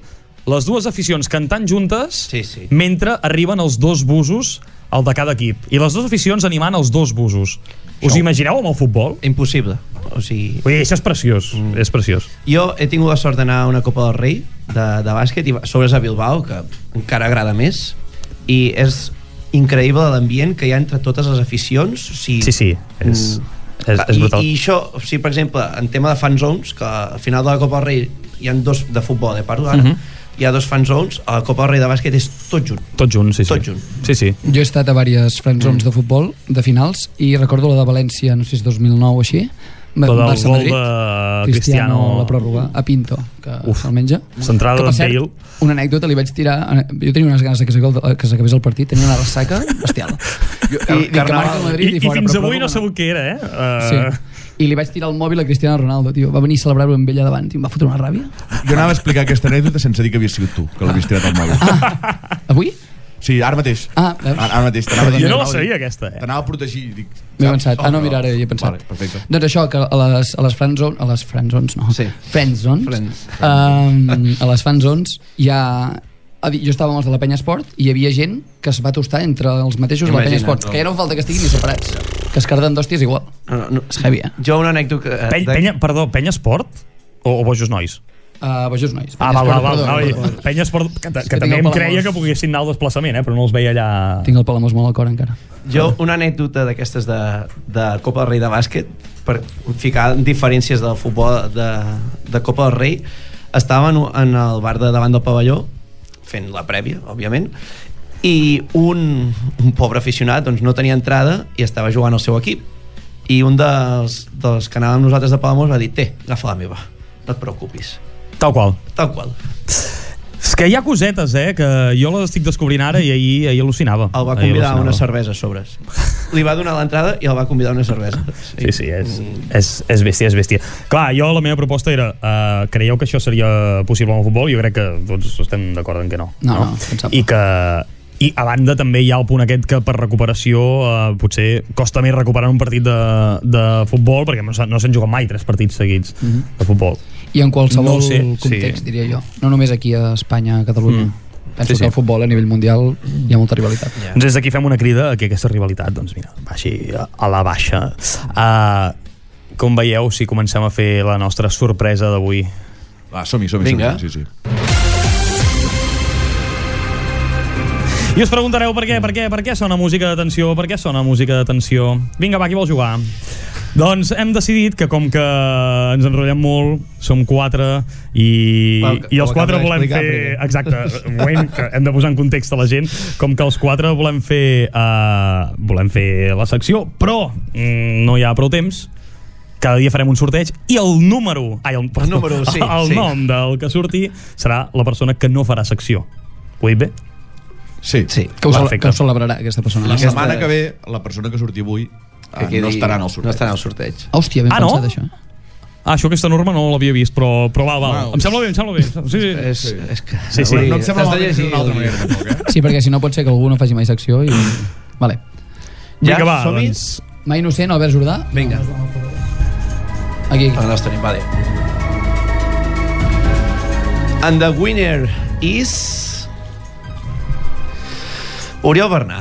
[SPEAKER 1] Les dues aficions cantant juntes
[SPEAKER 3] Sí, sí.
[SPEAKER 1] mentre arriben els dos busos el de cada equip. I les dues aficions animant els dos busos. Us imagineu amb el futbol?
[SPEAKER 3] Impossible. O sigui,
[SPEAKER 1] Vull dir, això és preciós. Mm. És preciós.
[SPEAKER 3] Jo he tingut la sort d'anar a una Copa del Rei de, de bàsquet i a sobre és a Bilbao, que encara agrada més, i és increïble l'ambient que hi ha entre totes les aficions. O sigui,
[SPEAKER 1] Sí, sí. És,
[SPEAKER 3] Mm.
[SPEAKER 1] és, és
[SPEAKER 3] I,
[SPEAKER 1] brutal.
[SPEAKER 3] I això, o sigui, per exemple, en tema de fan zones, que al final de la Copa del Rei hi ha dos, de futbol, eh, parlo
[SPEAKER 1] Mhm.
[SPEAKER 3] ara, hi ha dos fan zones, a la Copa del Rei de bàsquet és tot junt.
[SPEAKER 1] Tot junt, sí, sí.
[SPEAKER 3] Tot junt.
[SPEAKER 1] Sí, sí.
[SPEAKER 4] Jo he estat a diverses franzones mm. de futbol, de finals, i recordo la de València, no sé si és 2009 o així, Ba-
[SPEAKER 1] Tot el gol
[SPEAKER 4] Barça-Madrid,
[SPEAKER 1] de
[SPEAKER 4] Cristiano,
[SPEAKER 1] Cristiano-
[SPEAKER 4] la pròrroga, a Pinto, que
[SPEAKER 1] Uf.
[SPEAKER 4] se'l menja.
[SPEAKER 1] Centrada
[SPEAKER 4] que, per
[SPEAKER 1] de
[SPEAKER 4] cert,
[SPEAKER 1] Bale.
[SPEAKER 4] una anècdota, li vaig tirar... eh, Jo tenia unes ganes de que s'acabi- que s'acabés el partit, tenia una ressaca bestial. I, dic que
[SPEAKER 3] Carnaval.
[SPEAKER 4] marca el
[SPEAKER 1] I,
[SPEAKER 4] Madrid i,
[SPEAKER 1] i
[SPEAKER 4] fora.
[SPEAKER 1] fins
[SPEAKER 4] però
[SPEAKER 1] avui
[SPEAKER 4] pròrroga
[SPEAKER 1] no sabut què era, eh?
[SPEAKER 4] Sí.
[SPEAKER 1] Uh,
[SPEAKER 4] I li vaig tirar el mòbil a Cristiano Ronaldo, tio. Va venir a celebrar-ho amb ella davant i em va fotre una ràbia.
[SPEAKER 2] Jo anava a explicar aquesta anècdota sense dir que havies sigut tu, que l'havies tirat al mòbil.
[SPEAKER 4] Avui?
[SPEAKER 2] Sí, ara mateix.
[SPEAKER 4] Ah, veus?
[SPEAKER 2] Ara, ara mateix, t'anava a dir.
[SPEAKER 1] Jo no la
[SPEAKER 2] t'anava a dir-
[SPEAKER 1] sabia, aquesta, eh?
[SPEAKER 2] T'anava a protegir. i Dic,
[SPEAKER 4] M'he
[SPEAKER 2] saps?
[SPEAKER 4] pensat. Ah, no, mira, ara hi he pensat.
[SPEAKER 2] Vale, perfecte.
[SPEAKER 4] Doncs això, que a les, a les friendzones... A les friendzones, no.
[SPEAKER 3] Sí.
[SPEAKER 4] Friendzones.
[SPEAKER 3] Friends.
[SPEAKER 4] Um, a les fanzones hi ha... a dir, Jo estava amb els de la Penya Esport i hi havia gent que es va tostar entre els mateixos de la Penya
[SPEAKER 3] Imagina't,
[SPEAKER 4] Esport.
[SPEAKER 3] no?
[SPEAKER 4] Que ja no fa falta que estiguin ni separats. Que es carden d'hòsties igual.
[SPEAKER 3] No, no, no.
[SPEAKER 4] És heavy, eh?
[SPEAKER 3] Jo una anècdota... eh,
[SPEAKER 1] peny,
[SPEAKER 3] de-
[SPEAKER 1] penya, perdó, penya esport? O, o bojos nois?
[SPEAKER 4] Uh, bojos nois.
[SPEAKER 1] Ah,
[SPEAKER 4] Penya
[SPEAKER 1] val, val,
[SPEAKER 4] Esport,
[SPEAKER 1] val.
[SPEAKER 4] perdó,
[SPEAKER 1] No, i-
[SPEAKER 4] perdó.
[SPEAKER 1] Penya esport, que, ta-
[SPEAKER 4] És
[SPEAKER 1] que,
[SPEAKER 4] que
[SPEAKER 1] també
[SPEAKER 4] tinc
[SPEAKER 1] em
[SPEAKER 4] el
[SPEAKER 1] creia
[SPEAKER 4] Palamós.
[SPEAKER 1] que poguessin anar al desplaçament, eh? Però no els veia allà...
[SPEAKER 4] Tinc el Palamós molt al cor encara.
[SPEAKER 3] Jo, una anècdota d'aquestes de, de Copa del Rei de bàsquet, per ficar diferències del futbol de, de Copa del Rei, estava en, en el bar de davant del pavelló, fent la prèvia, òbviament, i un, un pobre aficionat doncs, no tenia entrada i estava jugant al seu equip. I un dels, dels que anàvem nosaltres de Palamós va dir, té, agafa la meva, no et preocupis.
[SPEAKER 1] Tal qual.
[SPEAKER 3] Tal qual.
[SPEAKER 1] És que hi ha cosetes, eh? Que jo les estic descobrint ara i ahir, ahir al·lucinava.
[SPEAKER 3] El va
[SPEAKER 1] Ahir
[SPEAKER 3] convidar a
[SPEAKER 1] al·lucinava.
[SPEAKER 3] una cervesa a sobres. Li va donar l'entrada i el va convidar a una cervesa.
[SPEAKER 1] Sí, sí, és, és, és bèstia, és bèstia. Clar, jo la meva proposta era uh, creieu que això seria possible en el futbol? Jo crec que tots estem d'acord en que no.
[SPEAKER 4] No, no, em sap.
[SPEAKER 1] I que i a banda també hi ha el punt aquest que per recuperació eh, potser costa més recuperar un partit de, de futbol perquè no s'ha- no s'han jugat mai tres partits seguits mm
[SPEAKER 4] Mhm.
[SPEAKER 1] -hmm. de futbol.
[SPEAKER 4] I
[SPEAKER 1] No
[SPEAKER 4] en
[SPEAKER 1] ho
[SPEAKER 4] qualsevol
[SPEAKER 1] sé,
[SPEAKER 4] no context,
[SPEAKER 1] sí.
[SPEAKER 4] sí. diria jo. No només aquí a Espanya, a Catalunya.
[SPEAKER 1] Mm.
[SPEAKER 4] Mm.
[SPEAKER 1] Sí,
[SPEAKER 4] Penso sí,
[SPEAKER 1] sí.
[SPEAKER 4] sí. que el futbol a nivell mundial hi ha molta rivalitat. Yeah.
[SPEAKER 1] Doncs des d'aquí fem una crida a que aquesta rivalitat, doncs mira, vagi a a la baixa. Uh, com veieu, si comencem a fer la nostra sorpresa d'avui,
[SPEAKER 2] Va, som-hi, som-hi.
[SPEAKER 3] Vinga.
[SPEAKER 2] som-hi, Sí, sí.
[SPEAKER 1] I us preguntareu per què, per què, per què sona música de tensió, per què sona música de tensió. Vinga, va, qui vol jugar? Doncs hem decidit que com que ens enrotllem molt, som quatre i,
[SPEAKER 3] Val, que-
[SPEAKER 1] i els
[SPEAKER 3] ho
[SPEAKER 1] quatre
[SPEAKER 3] acabes
[SPEAKER 1] volem fer...
[SPEAKER 3] d'explicar primer.
[SPEAKER 1] Exacte, un moment que hem de posar en context a la gent, com que els quatre volem fer, uh, volem fer la secció, però mm, no hi ha prou temps, cada dia farem un sorteig i el número, ai, el, perdó,
[SPEAKER 3] número, sí,
[SPEAKER 1] el
[SPEAKER 3] sí.
[SPEAKER 1] nom del que surti serà la persona que no farà secció. Ho he dit bé?
[SPEAKER 2] Sí.
[SPEAKER 3] Sí.
[SPEAKER 4] Que ho, cele
[SPEAKER 1] Perfecte.
[SPEAKER 4] que ho celebrarà aquesta persona.
[SPEAKER 2] La
[SPEAKER 4] Aquesta...
[SPEAKER 2] setmana que ve, la persona que surti avui eh, no estarà en el sorteig.
[SPEAKER 3] No estarà en el sorteig.
[SPEAKER 4] Hòstia, ben
[SPEAKER 1] Ah,
[SPEAKER 4] ah,
[SPEAKER 1] no?
[SPEAKER 4] pensat, això.
[SPEAKER 1] Ah, això aquesta norma no l'havia vist, però, però val, val.
[SPEAKER 2] Uau.
[SPEAKER 1] Em sembla bé, em sembla bé. Sí, sí.
[SPEAKER 3] És, és que...
[SPEAKER 1] Sí, sí.
[SPEAKER 3] avui
[SPEAKER 2] No em sembla
[SPEAKER 3] t'has
[SPEAKER 2] malament
[SPEAKER 3] de llegir
[SPEAKER 2] d'una altra
[SPEAKER 3] el-
[SPEAKER 2] manera, tampoc, eh?
[SPEAKER 4] Sí, perquè si no pot ser que algú no faci mai secció i... Vale.
[SPEAKER 3] Ja,
[SPEAKER 1] Vinga, va,
[SPEAKER 3] som-hi?
[SPEAKER 1] doncs.
[SPEAKER 4] Mà innocent, Albert Jordà.
[SPEAKER 3] Vinga.
[SPEAKER 4] Aquí,
[SPEAKER 3] El
[SPEAKER 4] aquí.
[SPEAKER 3] nostre tenim, vale. And the winner is... Oriol Bernà.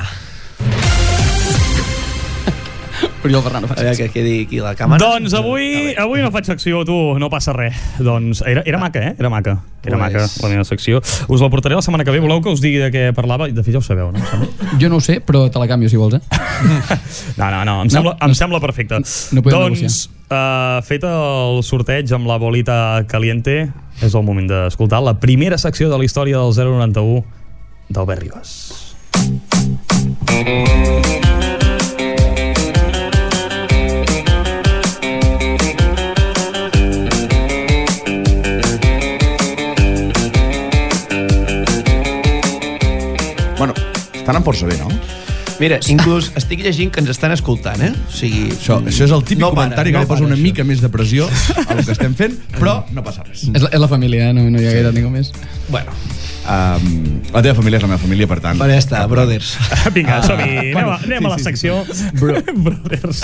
[SPEAKER 4] Oriol Ferran, no
[SPEAKER 3] A
[SPEAKER 4] facis.
[SPEAKER 3] veure que quedi aquí la càmera.
[SPEAKER 1] Doncs avui, avui no faig secció, tu, no passa res. Doncs era, era maca, eh? Era maca. Era
[SPEAKER 3] Ah. Pues-
[SPEAKER 1] maca, la meva secció. Us la portaré la setmana que ve. Voleu que us digui de què parlava? De fet, ja ho sabeu, no? Em sembla.
[SPEAKER 4] Jo no ho sé, però te la canvio si vols, eh?
[SPEAKER 1] No, no, no, em sembla, em
[SPEAKER 4] no.
[SPEAKER 1] sembla perfecte.
[SPEAKER 4] No podem
[SPEAKER 1] doncs, uh, fet el sorteig amb la bolita caliente, és el moment d'escoltar la primera secció de la història del 091 d'Albert Ribas.
[SPEAKER 2] Bueno, estan en eh? força bé, no?
[SPEAKER 3] Mira, inclús estic llegint que ens estan escoltant, eh? O sigui,
[SPEAKER 2] Això, això és el típic
[SPEAKER 3] No
[SPEAKER 2] no
[SPEAKER 3] para,
[SPEAKER 2] comentari que
[SPEAKER 3] no
[SPEAKER 2] no posa
[SPEAKER 3] para,
[SPEAKER 2] una
[SPEAKER 3] això.
[SPEAKER 2] mica més de pressió a lo que estem fent, però no passa res.
[SPEAKER 4] És la, és la família, eh? no, no hi ha gaire ningú més.
[SPEAKER 3] Bueno,
[SPEAKER 2] Um, la teva família és la meva família, per tant...
[SPEAKER 3] però ja està, brothers.
[SPEAKER 1] [LAUGHS] Vinga, som-hi. Anem, a, anem a la secció. Bro. Brothers.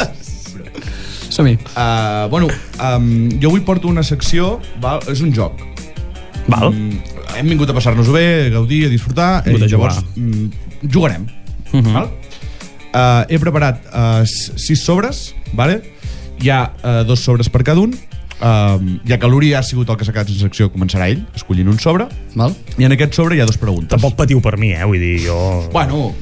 [SPEAKER 4] Som-hi.
[SPEAKER 2] Uh, bueno, um, jo avui porto una secció, val? és un joc.
[SPEAKER 1] Val.
[SPEAKER 2] Mm, hem vingut a passar-nos-ho bé, a gaudir, a disfrutar,
[SPEAKER 1] Hem vingut a
[SPEAKER 2] i llavors
[SPEAKER 1] jugar.
[SPEAKER 2] mm, jugarem.
[SPEAKER 1] Uh -huh.
[SPEAKER 2] Val? Uh, he preparat uh, sis sobres, vale? hi ha uh, dos sobres per cada un, uh, ja que l'Uri ha sigut el que s'ha quedat sense secció, començarà ell, escollint un sobre,
[SPEAKER 4] Val?
[SPEAKER 2] i en aquest sobre hi ha dues preguntes.
[SPEAKER 1] Tampoc patiu per mi, eh? Vull dir, jo...
[SPEAKER 2] Bueno,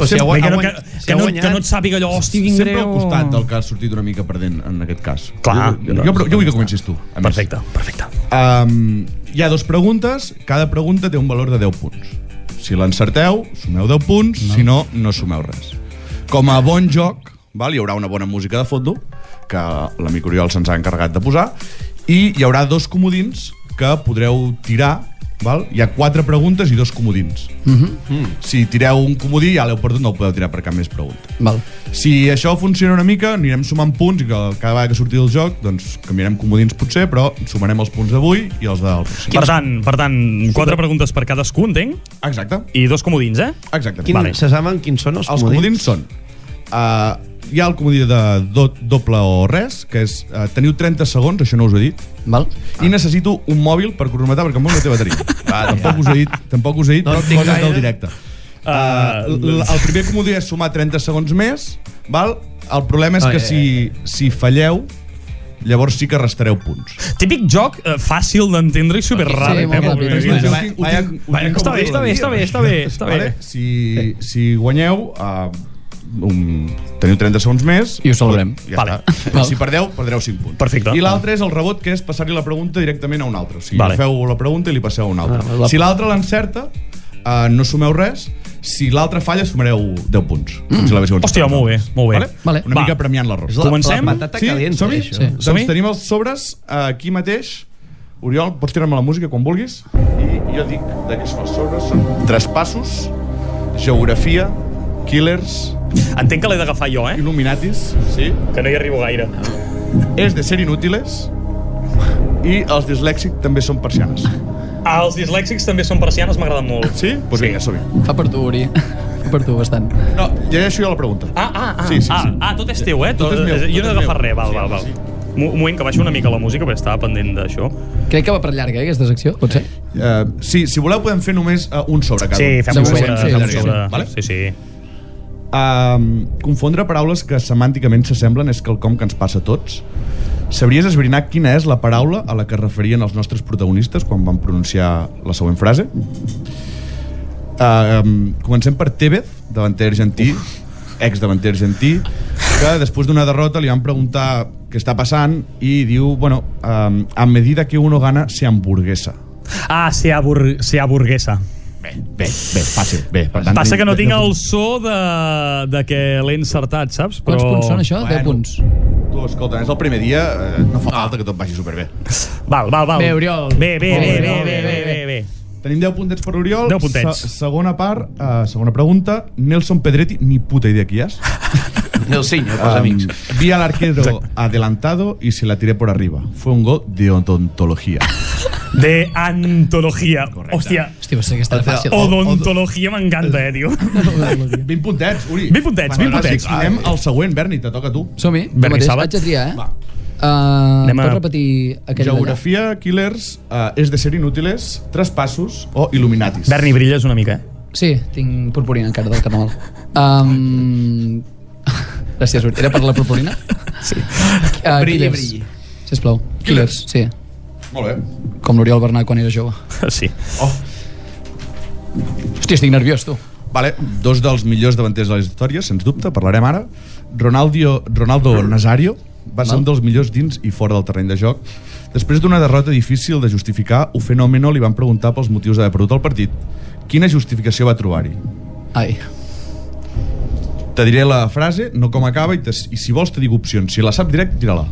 [SPEAKER 3] O sigui,
[SPEAKER 1] Bé, que, no, que,
[SPEAKER 3] guanyat- si
[SPEAKER 1] que,
[SPEAKER 3] ha
[SPEAKER 1] no,
[SPEAKER 3] guanyat-
[SPEAKER 1] que no et sàpiga allò, hosti, quin
[SPEAKER 2] sempre
[SPEAKER 1] greu...
[SPEAKER 2] al costat del que ha sortit una mica perdent en aquest cas.
[SPEAKER 1] Clar.
[SPEAKER 2] Jo, jo, jo, jo vull que comencis tu. a més.
[SPEAKER 1] Perfecte, perfecte.
[SPEAKER 2] Um, hi ha dues preguntes, cada pregunta té un valor de 10 punts. Si l'encerteu, sumeu 10 punts, no. si no, no sumeu res. Com a bon joc, val, hi haurà una bona música de fondo, que l'amic Oriol se'ns ha encarregat de posar, i hi haurà dos comodins que podreu tirar Val? Hi ha quatre preguntes i dos comodins. Uh -huh. mm. Si tireu un comodí ja l'heu perdut, no el podeu tirar per cap més pregunta.
[SPEAKER 4] Val.
[SPEAKER 2] Si això funciona una mica, anirem sumant punts i que cada vegada que surti del joc, doncs canviarem comodins potser, però sumarem els punts d'avui i els del pròxim.
[SPEAKER 1] Per tant, per tant, quatre preguntes per cadascú, entenc,
[SPEAKER 2] Exacte,
[SPEAKER 1] i dos comodins, eh?
[SPEAKER 2] exacte.
[SPEAKER 3] Quin,
[SPEAKER 1] Vale.
[SPEAKER 3] vale. Se saben quins són els,
[SPEAKER 2] Els comodins són... Uh, hi ha el comodí de do, doble o res, que és... Uh, teniu 30 segons, això no us ho he dit,
[SPEAKER 4] Val?
[SPEAKER 2] ah. i necessito un mòbil per cronometrar, perquè el meu no té
[SPEAKER 3] [LAUGHS]
[SPEAKER 2] bateria. Va, tampoc us ho he dit, tampoc us ho he dit,
[SPEAKER 3] No
[SPEAKER 2] no
[SPEAKER 3] en tinc
[SPEAKER 2] però coses
[SPEAKER 3] gaire. Ah,
[SPEAKER 2] del directe. Uh, l- el primer comodí és sumar 30 segons més, val? El problema és
[SPEAKER 3] Ai,
[SPEAKER 2] que
[SPEAKER 3] ai,
[SPEAKER 2] si, si falleu, llavors sí que restareu punts.
[SPEAKER 1] Típic joc eh, fàcil d'entendre i superràpid.
[SPEAKER 4] Sí, molt
[SPEAKER 1] eh? Molt
[SPEAKER 4] ràpid, molt
[SPEAKER 1] bé.
[SPEAKER 4] ràpid.
[SPEAKER 2] Ho tinc- ho tinc
[SPEAKER 1] Està bé, està bé, està bé, està bé, està bé.
[SPEAKER 2] Vale? Si, si guanyeu, uh, un, teniu 30 segons més.
[SPEAKER 4] I ho celebrem.
[SPEAKER 2] Ja
[SPEAKER 1] Vale.
[SPEAKER 2] està.
[SPEAKER 4] Val.
[SPEAKER 2] Si perdeu, perdreu 5 punts.
[SPEAKER 1] Perfecte.
[SPEAKER 2] I l'altre és el rebot, que és passar-li la pregunta directament a un altre. O sigui,
[SPEAKER 1] Vale.
[SPEAKER 2] vale. feu la pregunta i li passeu a un altre.
[SPEAKER 3] Ah,
[SPEAKER 2] Ah,
[SPEAKER 3] la-
[SPEAKER 2] la... Si l'altre l'encerta, uh, no sumeu res. Si l'altre falla, sumareu 10 punts. Mm. Si l'haguéssiu encertat.
[SPEAKER 1] Hòstia, molt bé, molt bé.
[SPEAKER 2] Vale?
[SPEAKER 4] Vale.
[SPEAKER 2] Una
[SPEAKER 1] Va.
[SPEAKER 2] mica premiant l'error.
[SPEAKER 3] És la,
[SPEAKER 1] Comencem?
[SPEAKER 3] la patata
[SPEAKER 2] Sí,
[SPEAKER 3] calenta,
[SPEAKER 2] som-hi?
[SPEAKER 3] això.
[SPEAKER 4] Sí.
[SPEAKER 3] Sí.
[SPEAKER 2] Doncs
[SPEAKER 1] eh, Som-hi?
[SPEAKER 2] tenim els sobres eh, aquí mateix. Oriol, pots tirar-me la música quan vulguis. I jo dic de què són els sobres. Són traspassos, geografia, killers,
[SPEAKER 1] Entenc que l'he d'agafar jo, eh?
[SPEAKER 2] illuminatis, sí?
[SPEAKER 1] Que no hi arribo gaire.
[SPEAKER 2] és de ser inútiles i els dislèxics també són persianes.
[SPEAKER 1] Ah, els dislèxics també són persianes, m'agraden molt.
[SPEAKER 2] Sí? Doncs pues vinga, som -hi.
[SPEAKER 4] Fa per tu, Uri. Fa per tu, bastant.
[SPEAKER 2] No, llegeixo jo la pregunta.
[SPEAKER 1] Ah, ah, ah,
[SPEAKER 2] Sí, sí,
[SPEAKER 1] ah,
[SPEAKER 2] sí.
[SPEAKER 1] ah, tot és teu, eh?
[SPEAKER 2] Tot és meu,
[SPEAKER 1] jo no he
[SPEAKER 2] tot és
[SPEAKER 1] d'agafar
[SPEAKER 2] meu.
[SPEAKER 1] res, val,
[SPEAKER 2] Sí,
[SPEAKER 1] val,
[SPEAKER 2] home,
[SPEAKER 1] val.
[SPEAKER 2] sí.
[SPEAKER 1] Mo- Un moment, que baixo una mica la música, perquè estava pendent d'això.
[SPEAKER 4] Crec que va per llarga, eh, aquesta secció, potser?
[SPEAKER 2] Eh, sí, si voleu podem fer només eh, un sobre cada
[SPEAKER 1] Sí,
[SPEAKER 2] un.
[SPEAKER 1] fem un
[SPEAKER 4] Sí,
[SPEAKER 1] sobre,
[SPEAKER 4] sí,
[SPEAKER 1] fem un
[SPEAKER 4] sí,
[SPEAKER 1] sobre.
[SPEAKER 2] Vale?
[SPEAKER 1] Sí, sí.
[SPEAKER 2] Um, confondre paraules que semànticament s'assemblen és quelcom que ens passa a tots. Sabries esbrinar quina és la paraula a la que es referien els nostres protagonistes quan van pronunciar la següent frase? Um, comencem per Tevez, davanter argentí, ex-davanter argentí, que després d'una derrota li van preguntar què està passant i diu, bueno, um, a medida que uno gana se hamburguesa.
[SPEAKER 1] Ah, se abur- se aburguesa.
[SPEAKER 2] Bé, bé, bé, fàcil, bé. Per tant,
[SPEAKER 1] Passa que no tinc
[SPEAKER 2] tenim-
[SPEAKER 1] el so de, de que l'he encertat, saps?
[SPEAKER 4] Quants
[SPEAKER 1] Però...
[SPEAKER 4] punts són, això? 10
[SPEAKER 2] Bueno.
[SPEAKER 4] punts.
[SPEAKER 2] Tu, escolta, és el primer dia, eh, no fa falta que tot vagi superbé.
[SPEAKER 1] Val, val, val.
[SPEAKER 4] Bé, Oriol.
[SPEAKER 1] Bé, bé,
[SPEAKER 4] Molt
[SPEAKER 1] bé,
[SPEAKER 4] bé,
[SPEAKER 1] bé,
[SPEAKER 4] Oriol,
[SPEAKER 1] bé, bé,
[SPEAKER 4] bé,
[SPEAKER 1] bé,
[SPEAKER 4] bé.
[SPEAKER 1] bé.
[SPEAKER 2] Tenim 10 puntets per Oriol.
[SPEAKER 1] 10 puntets.
[SPEAKER 2] Se segona part, eh, segona pregunta. Nelson Pedretti, ni puta idea qui [LAUGHS] és.
[SPEAKER 3] El senyor, pels amics.
[SPEAKER 2] Um, vi al arquero adelantado y se la tiré por arriba. Fue un gol de [LAUGHS] odontología.
[SPEAKER 1] De antologia. Correcte. Hòstia, oh,
[SPEAKER 4] Hosti, va ser aquesta era fàcil.
[SPEAKER 1] odontologia m'encanta, eh, tio.
[SPEAKER 2] 20 puntets, Uri.
[SPEAKER 1] 20 puntets, 20 puntets.
[SPEAKER 2] gràcies. Anem al següent, Berni, te toca a tu.
[SPEAKER 4] Som-hi, tu
[SPEAKER 1] Berni
[SPEAKER 4] mateix.
[SPEAKER 1] Sàbat.
[SPEAKER 4] Haig de triar, eh?
[SPEAKER 2] Va.
[SPEAKER 4] Uh,
[SPEAKER 1] Anem a-
[SPEAKER 4] Pots repetir aquell d'allà?
[SPEAKER 2] Geografia, killers, eh, és de ser inútiles, traspassos o il·luminatis.
[SPEAKER 1] Berni, brilles una mica, eh?
[SPEAKER 4] Sí, tinc purpurina encara del carnaval. Um... [LAUGHS] Gràcies, Uri. Era per la purpurina? Sí. Uh,
[SPEAKER 3] Brilli,
[SPEAKER 4] killers.
[SPEAKER 3] brilli.
[SPEAKER 4] Sisplau. Killers, sí.
[SPEAKER 2] Molt bé.
[SPEAKER 4] Com l'Oriol Bernat quan era jove.
[SPEAKER 1] Sí.
[SPEAKER 2] Oh,
[SPEAKER 4] Hòstia, estic nerviós, tu.
[SPEAKER 2] Vale, dos dels millors davanters de la història, sens dubte, parlarem ara. Ronaldo, Ronaldo Nazario va ser
[SPEAKER 4] Val.
[SPEAKER 2] un dels millors dins i fora del terreny de joc. Després d'una derrota difícil de justificar, un fenòmeno li van preguntar pels motius d'haver perdut el partit. Quina justificació va trobar-hi?
[SPEAKER 4] Ai.
[SPEAKER 2] Te diré la frase, no com acaba, i, te, i si vols te dic opcions. Si la sap directe, tira-la.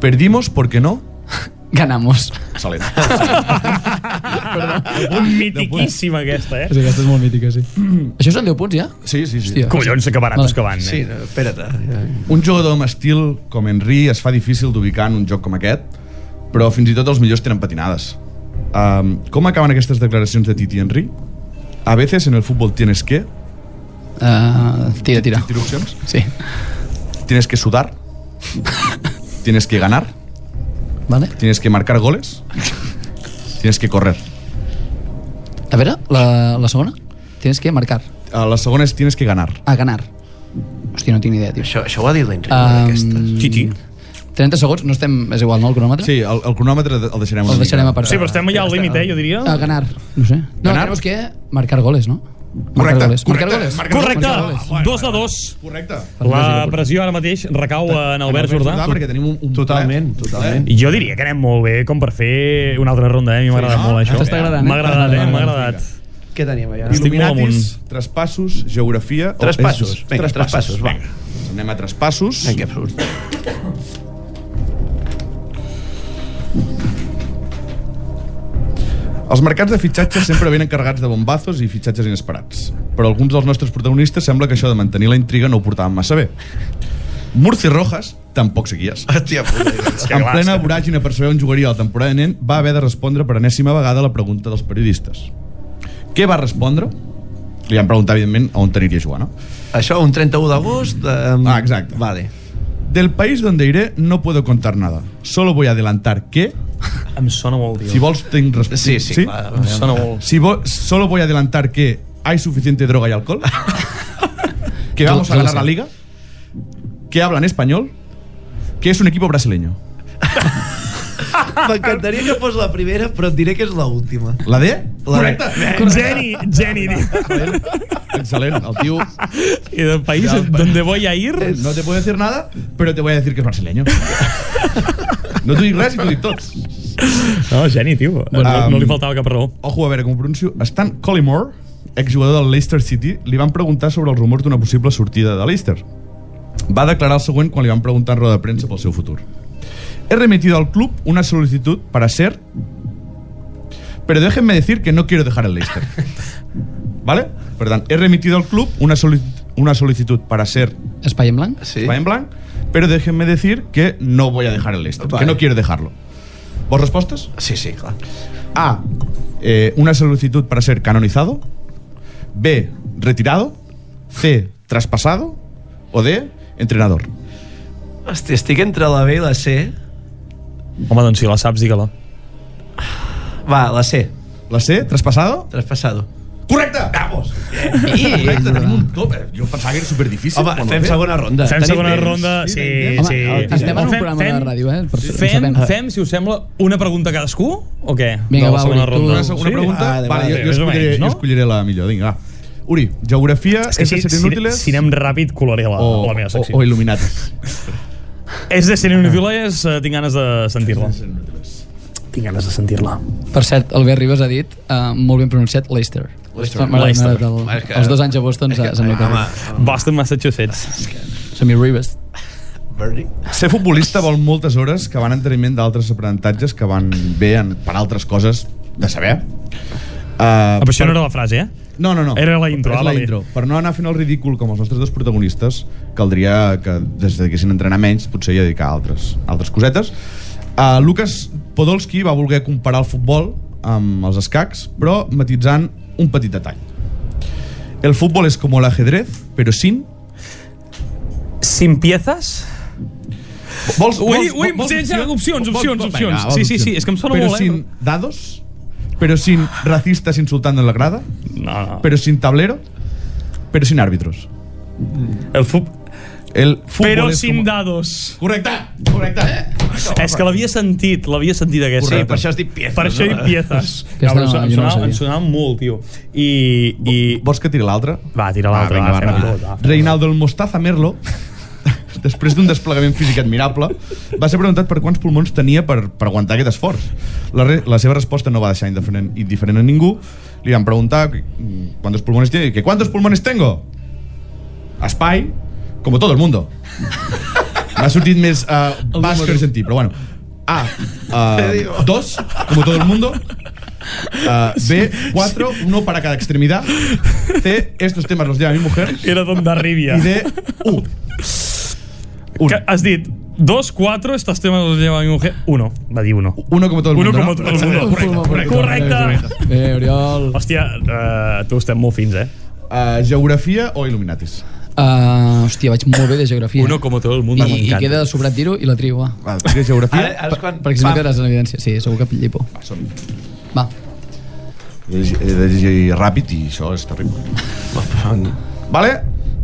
[SPEAKER 2] Perdimos porque no,
[SPEAKER 4] Ganamos. [LAUGHS]
[SPEAKER 2] Excel·lent.
[SPEAKER 1] Mitiquíssima aquesta, eh?
[SPEAKER 4] Sí, aquesta és molt mítica, sí. Això són 10 punts, ja?
[SPEAKER 2] Sí, sí, sí.
[SPEAKER 4] Hòstia.
[SPEAKER 1] Collons, que baratos
[SPEAKER 4] Vale.
[SPEAKER 1] que van, eh?
[SPEAKER 3] Sí, no, espera't. eh?
[SPEAKER 2] Un jugador amb estil com Henry es fa difícil d'ubicar en un joc com aquest, però fins i tot els millors tenen patinades. Um, com acaben aquestes declaracions de Titi Henry? A veces en el fútbol tienes que...
[SPEAKER 4] Uh, tira, tira.
[SPEAKER 2] Tiro opcions.
[SPEAKER 4] Sí.
[SPEAKER 2] Tienes que sudar. tienes que ganar.
[SPEAKER 4] Vale.
[SPEAKER 2] Tienes que marcar goles. tienes que correr.
[SPEAKER 4] A veure, la, la segona? Tienes que marcar.
[SPEAKER 2] Uh, la segona és tienes que ganar.
[SPEAKER 4] A ganar. Hòstia, no tinc ni idea, tio.
[SPEAKER 3] Això, això ho ha dit l'Enric, um...
[SPEAKER 4] Um,
[SPEAKER 3] aquestes.
[SPEAKER 1] Titi.
[SPEAKER 4] 30 segons, no estem... És igual, no, el cronòmetre?
[SPEAKER 2] Mm. Sí, el, el cronòmetre de- el deixarem una
[SPEAKER 4] El deixarem
[SPEAKER 2] mica.
[SPEAKER 4] a part.
[SPEAKER 1] Sí, però estem ja al límit, eh, jo diria.
[SPEAKER 4] A ganar. No sé. No,
[SPEAKER 2] Ganar?
[SPEAKER 4] tenemos que marcar goles, no? Marcar
[SPEAKER 2] Correcte,
[SPEAKER 4] goles. Marcar
[SPEAKER 2] correcte,
[SPEAKER 4] goles.
[SPEAKER 2] marcar
[SPEAKER 1] Correcte,
[SPEAKER 4] Marcar goles.
[SPEAKER 1] dos de dos.
[SPEAKER 2] Correcte.
[SPEAKER 1] La pressió ara mateix recau en Albert Jordà.
[SPEAKER 2] Perquè tenim un, un
[SPEAKER 3] Totalment, totalment.
[SPEAKER 1] Jo diria que anem molt bé com per fer una altra ronda, eh? A mi m'ha agradat
[SPEAKER 2] no?
[SPEAKER 1] molt, això.
[SPEAKER 4] T'està agradant, eh?
[SPEAKER 1] M'ha agradat, eh? M'ha agradat.
[SPEAKER 3] Què tenim allà?
[SPEAKER 1] Estic molt
[SPEAKER 2] Illuminatis, traspassos, geografia... oh, o-
[SPEAKER 3] Traspassos,
[SPEAKER 2] és-
[SPEAKER 3] vinga, traspassos, va.
[SPEAKER 2] Vinga. Anem a traspassos.
[SPEAKER 3] En què surt?
[SPEAKER 2] Els mercats de fitxatges sempre venen carregats de bombazos i fitxatges inesperats. Però alguns dels nostres protagonistes sembla que això de mantenir la intriga no ho portaven massa bé. Murci Rojas tampoc seguies.
[SPEAKER 3] Hòstia puta.
[SPEAKER 1] que
[SPEAKER 2] en
[SPEAKER 1] clar,
[SPEAKER 2] plena
[SPEAKER 1] és que-
[SPEAKER 2] voràgina per saber on jugaria la temporada nen, va haver de respondre per enèsima vegada a la pregunta dels periodistes. Què va respondre? Li van preguntar, evidentment, on aniria a jugar, no?
[SPEAKER 3] Això, un 31 d'agost... Um...
[SPEAKER 2] Ah, exacte.
[SPEAKER 3] Vale.
[SPEAKER 2] Del país donde iré no puedo contar nada. Solo voy a adelantar que...
[SPEAKER 1] Em sona molt,
[SPEAKER 2] Si
[SPEAKER 1] tio.
[SPEAKER 2] vols, tinc resposta.
[SPEAKER 3] Sí, sí, clar.
[SPEAKER 1] Em sona molt.
[SPEAKER 2] Si vo- solo voy a adelantar que hay suficiente droga y alcohol, que
[SPEAKER 4] Yo-
[SPEAKER 2] vamos a
[SPEAKER 4] yo lo
[SPEAKER 2] ganar
[SPEAKER 4] sé.
[SPEAKER 2] la liga, que hablan español, que es un equipo brasileño.
[SPEAKER 3] M'encantaria que fos la primera, però et diré que és l'última.
[SPEAKER 2] La D?
[SPEAKER 3] La D.
[SPEAKER 1] Geni, geni, tio.
[SPEAKER 2] Excelente, el tío
[SPEAKER 1] I del país donde voy a ir...
[SPEAKER 2] no te puedo decir nada, pero te voy a decir que es brasileño. No t'ho dic res i t'ho dic tot.
[SPEAKER 1] No, geni, tio. Eh, No,
[SPEAKER 4] um,
[SPEAKER 1] no li faltava cap raó.
[SPEAKER 2] Ojo, a veure com ho pronuncio. Stan Collymore, exjugador del Leicester City, li van preguntar sobre els rumors d'una possible sortida de Leicester. Va declarar el següent quan li van preguntar en roda de premsa pel seu futur. He remitido al club una solicitud para ser... Pero déjenme decir que no quiero dejar el
[SPEAKER 3] [LAUGHS]
[SPEAKER 2] Leicester. ¿Vale? Perdón. He remitido al club una, solici- una solicitud para ser
[SPEAKER 4] Espai en blanc?
[SPEAKER 3] Sí.
[SPEAKER 2] va en blanc, pero déjenme decir que no voy a dejar el Leicester,
[SPEAKER 3] Vale.
[SPEAKER 2] que no quiero dejarlo. ¿Vos respuestas?
[SPEAKER 3] Sí, sí, clar.
[SPEAKER 2] A. eh, una solicitud para ser canonizado. B. Retirado. C. Traspasado. O D. Entrenador.
[SPEAKER 3] Hòstia, estic entre la B i la C.
[SPEAKER 1] Home, doncs si la saps, digue-la.
[SPEAKER 4] Eh,
[SPEAKER 3] Va, la C.
[SPEAKER 2] La C. Traspasado.
[SPEAKER 3] Traspassado.
[SPEAKER 2] ¡Correcte! ¡Vamos! Correcte, tenim un top. Eh, Jo pensava que era superdifícil.
[SPEAKER 3] Home,
[SPEAKER 2] quan ho
[SPEAKER 3] fem
[SPEAKER 2] he fet.
[SPEAKER 3] segona ronda.
[SPEAKER 1] Fem
[SPEAKER 3] Tenim
[SPEAKER 1] segona
[SPEAKER 3] temps.
[SPEAKER 1] ronda, sí,
[SPEAKER 3] tenim
[SPEAKER 4] Home,
[SPEAKER 1] sí.
[SPEAKER 4] estem en
[SPEAKER 1] O
[SPEAKER 4] un
[SPEAKER 1] fem-
[SPEAKER 4] programa de
[SPEAKER 1] fem-
[SPEAKER 4] ràdio, eh? Per, ho
[SPEAKER 1] Fem,
[SPEAKER 4] sabem.
[SPEAKER 1] fem, si us sembla, una pregunta a cadascú, o què? De
[SPEAKER 4] Vinga,
[SPEAKER 1] la
[SPEAKER 4] va,
[SPEAKER 1] segona
[SPEAKER 4] Uri, tu-
[SPEAKER 1] ronda.
[SPEAKER 2] Una, segona
[SPEAKER 1] Sí? Ah,
[SPEAKER 2] pregunta.
[SPEAKER 3] Vale,
[SPEAKER 2] Vale,
[SPEAKER 3] vale.
[SPEAKER 2] jo, jo,
[SPEAKER 1] Més o
[SPEAKER 2] escolliré,
[SPEAKER 1] menys, no?
[SPEAKER 2] jo escolliré la millor. Vinga, va. Uri, geografia,
[SPEAKER 1] És que
[SPEAKER 2] és
[SPEAKER 1] si,
[SPEAKER 2] de ser
[SPEAKER 1] si,
[SPEAKER 2] inútiles
[SPEAKER 1] si anem ràpid, colaré la,
[SPEAKER 4] Oh,
[SPEAKER 2] o,
[SPEAKER 1] la meva
[SPEAKER 2] o,
[SPEAKER 1] secció.
[SPEAKER 2] o il·luminat.
[SPEAKER 1] És de ser inútiles, eh, tinc ganes de sentir-la. Tinc ganes de sentir-la.
[SPEAKER 4] Per cert, Albert Ribas ha dit, uh, molt ben pronunciat, Leicester.
[SPEAKER 3] Leicester.
[SPEAKER 4] M'agrada,
[SPEAKER 1] Leicester.
[SPEAKER 4] m'agrada El,
[SPEAKER 3] Home, és que-
[SPEAKER 4] els dos anys a Boston
[SPEAKER 3] És que-
[SPEAKER 4] s'ha s'ha notat.
[SPEAKER 3] Home,
[SPEAKER 1] Boston, Massachusetts.
[SPEAKER 4] Som i Ribas.
[SPEAKER 3] Birdie.
[SPEAKER 2] Ser futbolista vol moltes hores que van enteniment d'altres aprenentatges que van bé en, per altres coses de saber. Uh,
[SPEAKER 1] Ah, però això no era la frase, eh?
[SPEAKER 2] no, no, no.
[SPEAKER 1] era la intro,
[SPEAKER 2] És
[SPEAKER 1] ah,
[SPEAKER 2] la
[SPEAKER 1] vale.
[SPEAKER 2] intro. Per no anar fent el ridícul com els nostres dos protagonistes, caldria que es dediquessin a entrenar menys, potser i a dedicar a altres, altres cosetes. Uh, Lucas Podolski va voler comparar el futbol amb els escacs, però matitzant un petit detall. El futbol és com l'ajedrez, però sin...
[SPEAKER 1] Sin piezas?
[SPEAKER 2] Vols,
[SPEAKER 1] Ui, ui, sí, sí, opcions, opcions, opcions. Sí, sí, sí, és que em sona
[SPEAKER 2] però
[SPEAKER 1] molt, eh?
[SPEAKER 2] sin dados, pero sin racistas insultando en la grada,
[SPEAKER 1] No, no.
[SPEAKER 2] pero sin tablero, pero sin árbitros.
[SPEAKER 1] El fut...
[SPEAKER 2] El fútbol
[SPEAKER 1] Però
[SPEAKER 2] es
[SPEAKER 1] sin
[SPEAKER 2] como-
[SPEAKER 1] dados.
[SPEAKER 2] Correcte, correcte.
[SPEAKER 1] És que l'havia sentit, l'havia sentit aquesta.
[SPEAKER 3] Sí, per això has dit piezas.
[SPEAKER 1] Per això hi piezas.
[SPEAKER 4] Que
[SPEAKER 1] Cabrón,
[SPEAKER 4] estava-
[SPEAKER 1] em,
[SPEAKER 4] jo no la
[SPEAKER 1] sonava, em
[SPEAKER 4] sabia.
[SPEAKER 1] sonava molt, tio. I... i...
[SPEAKER 2] Vols que tiri l'altre?
[SPEAKER 1] Va, tira l'altre,
[SPEAKER 2] Ah, vinga,
[SPEAKER 1] va, tota. fem
[SPEAKER 2] ràpid.
[SPEAKER 1] pilota, va, fem
[SPEAKER 2] Reinaldo el Mostaza Merlo, [LAUGHS] després d'un desplegament físic admirable, va ser preguntat per quants pulmons tenia per, per aguantar aquest esforç. La, re, la seva resposta no va deixar indiferent, indiferent a ningú. Li van preguntar mm, quantos pulmones tiene, que quantos pulmones tengo? Espai, eh, com todo el mundo. M'ha sortit més uh, basc que argentí, però bueno. A. ah, dos, como todo el mundo. Ah, B. Cuatro, uno para cada extremidad. C. Estos temas los lleva mi mujer.
[SPEAKER 1] Era d'Ondarribia.
[SPEAKER 2] Y D. U.
[SPEAKER 1] Que Has dit, dos, cuatro, estos temas los lleva mi mujer. Uno, va dir uno.
[SPEAKER 2] Uno como todo el
[SPEAKER 1] Uno
[SPEAKER 2] mundo.
[SPEAKER 1] como
[SPEAKER 2] ¿no?
[SPEAKER 1] todo el mundo.
[SPEAKER 2] correcte,
[SPEAKER 1] correcte.
[SPEAKER 4] Bé, Eh, Oriol.
[SPEAKER 1] Hòstia, uh, tu estem molt fins, eh?
[SPEAKER 2] Ah, geografia o Illuminatis.
[SPEAKER 4] Uh, hòstia, vaig molt bé de geografia.
[SPEAKER 1] Uno como todo el
[SPEAKER 4] I,
[SPEAKER 1] mundo.
[SPEAKER 4] i
[SPEAKER 1] m'encanta.
[SPEAKER 4] queda sobrat dir-ho i la trio, va.
[SPEAKER 2] Ah, ¿qué es geografía?
[SPEAKER 3] Ara, ara és quan...
[SPEAKER 4] Perquè si no
[SPEAKER 3] pam.
[SPEAKER 4] quedaràs en evidència. Sí, segur que pillipo.
[SPEAKER 2] Són-
[SPEAKER 4] Va.
[SPEAKER 5] He de llegir ràpid i això és terrible.
[SPEAKER 2] Vale?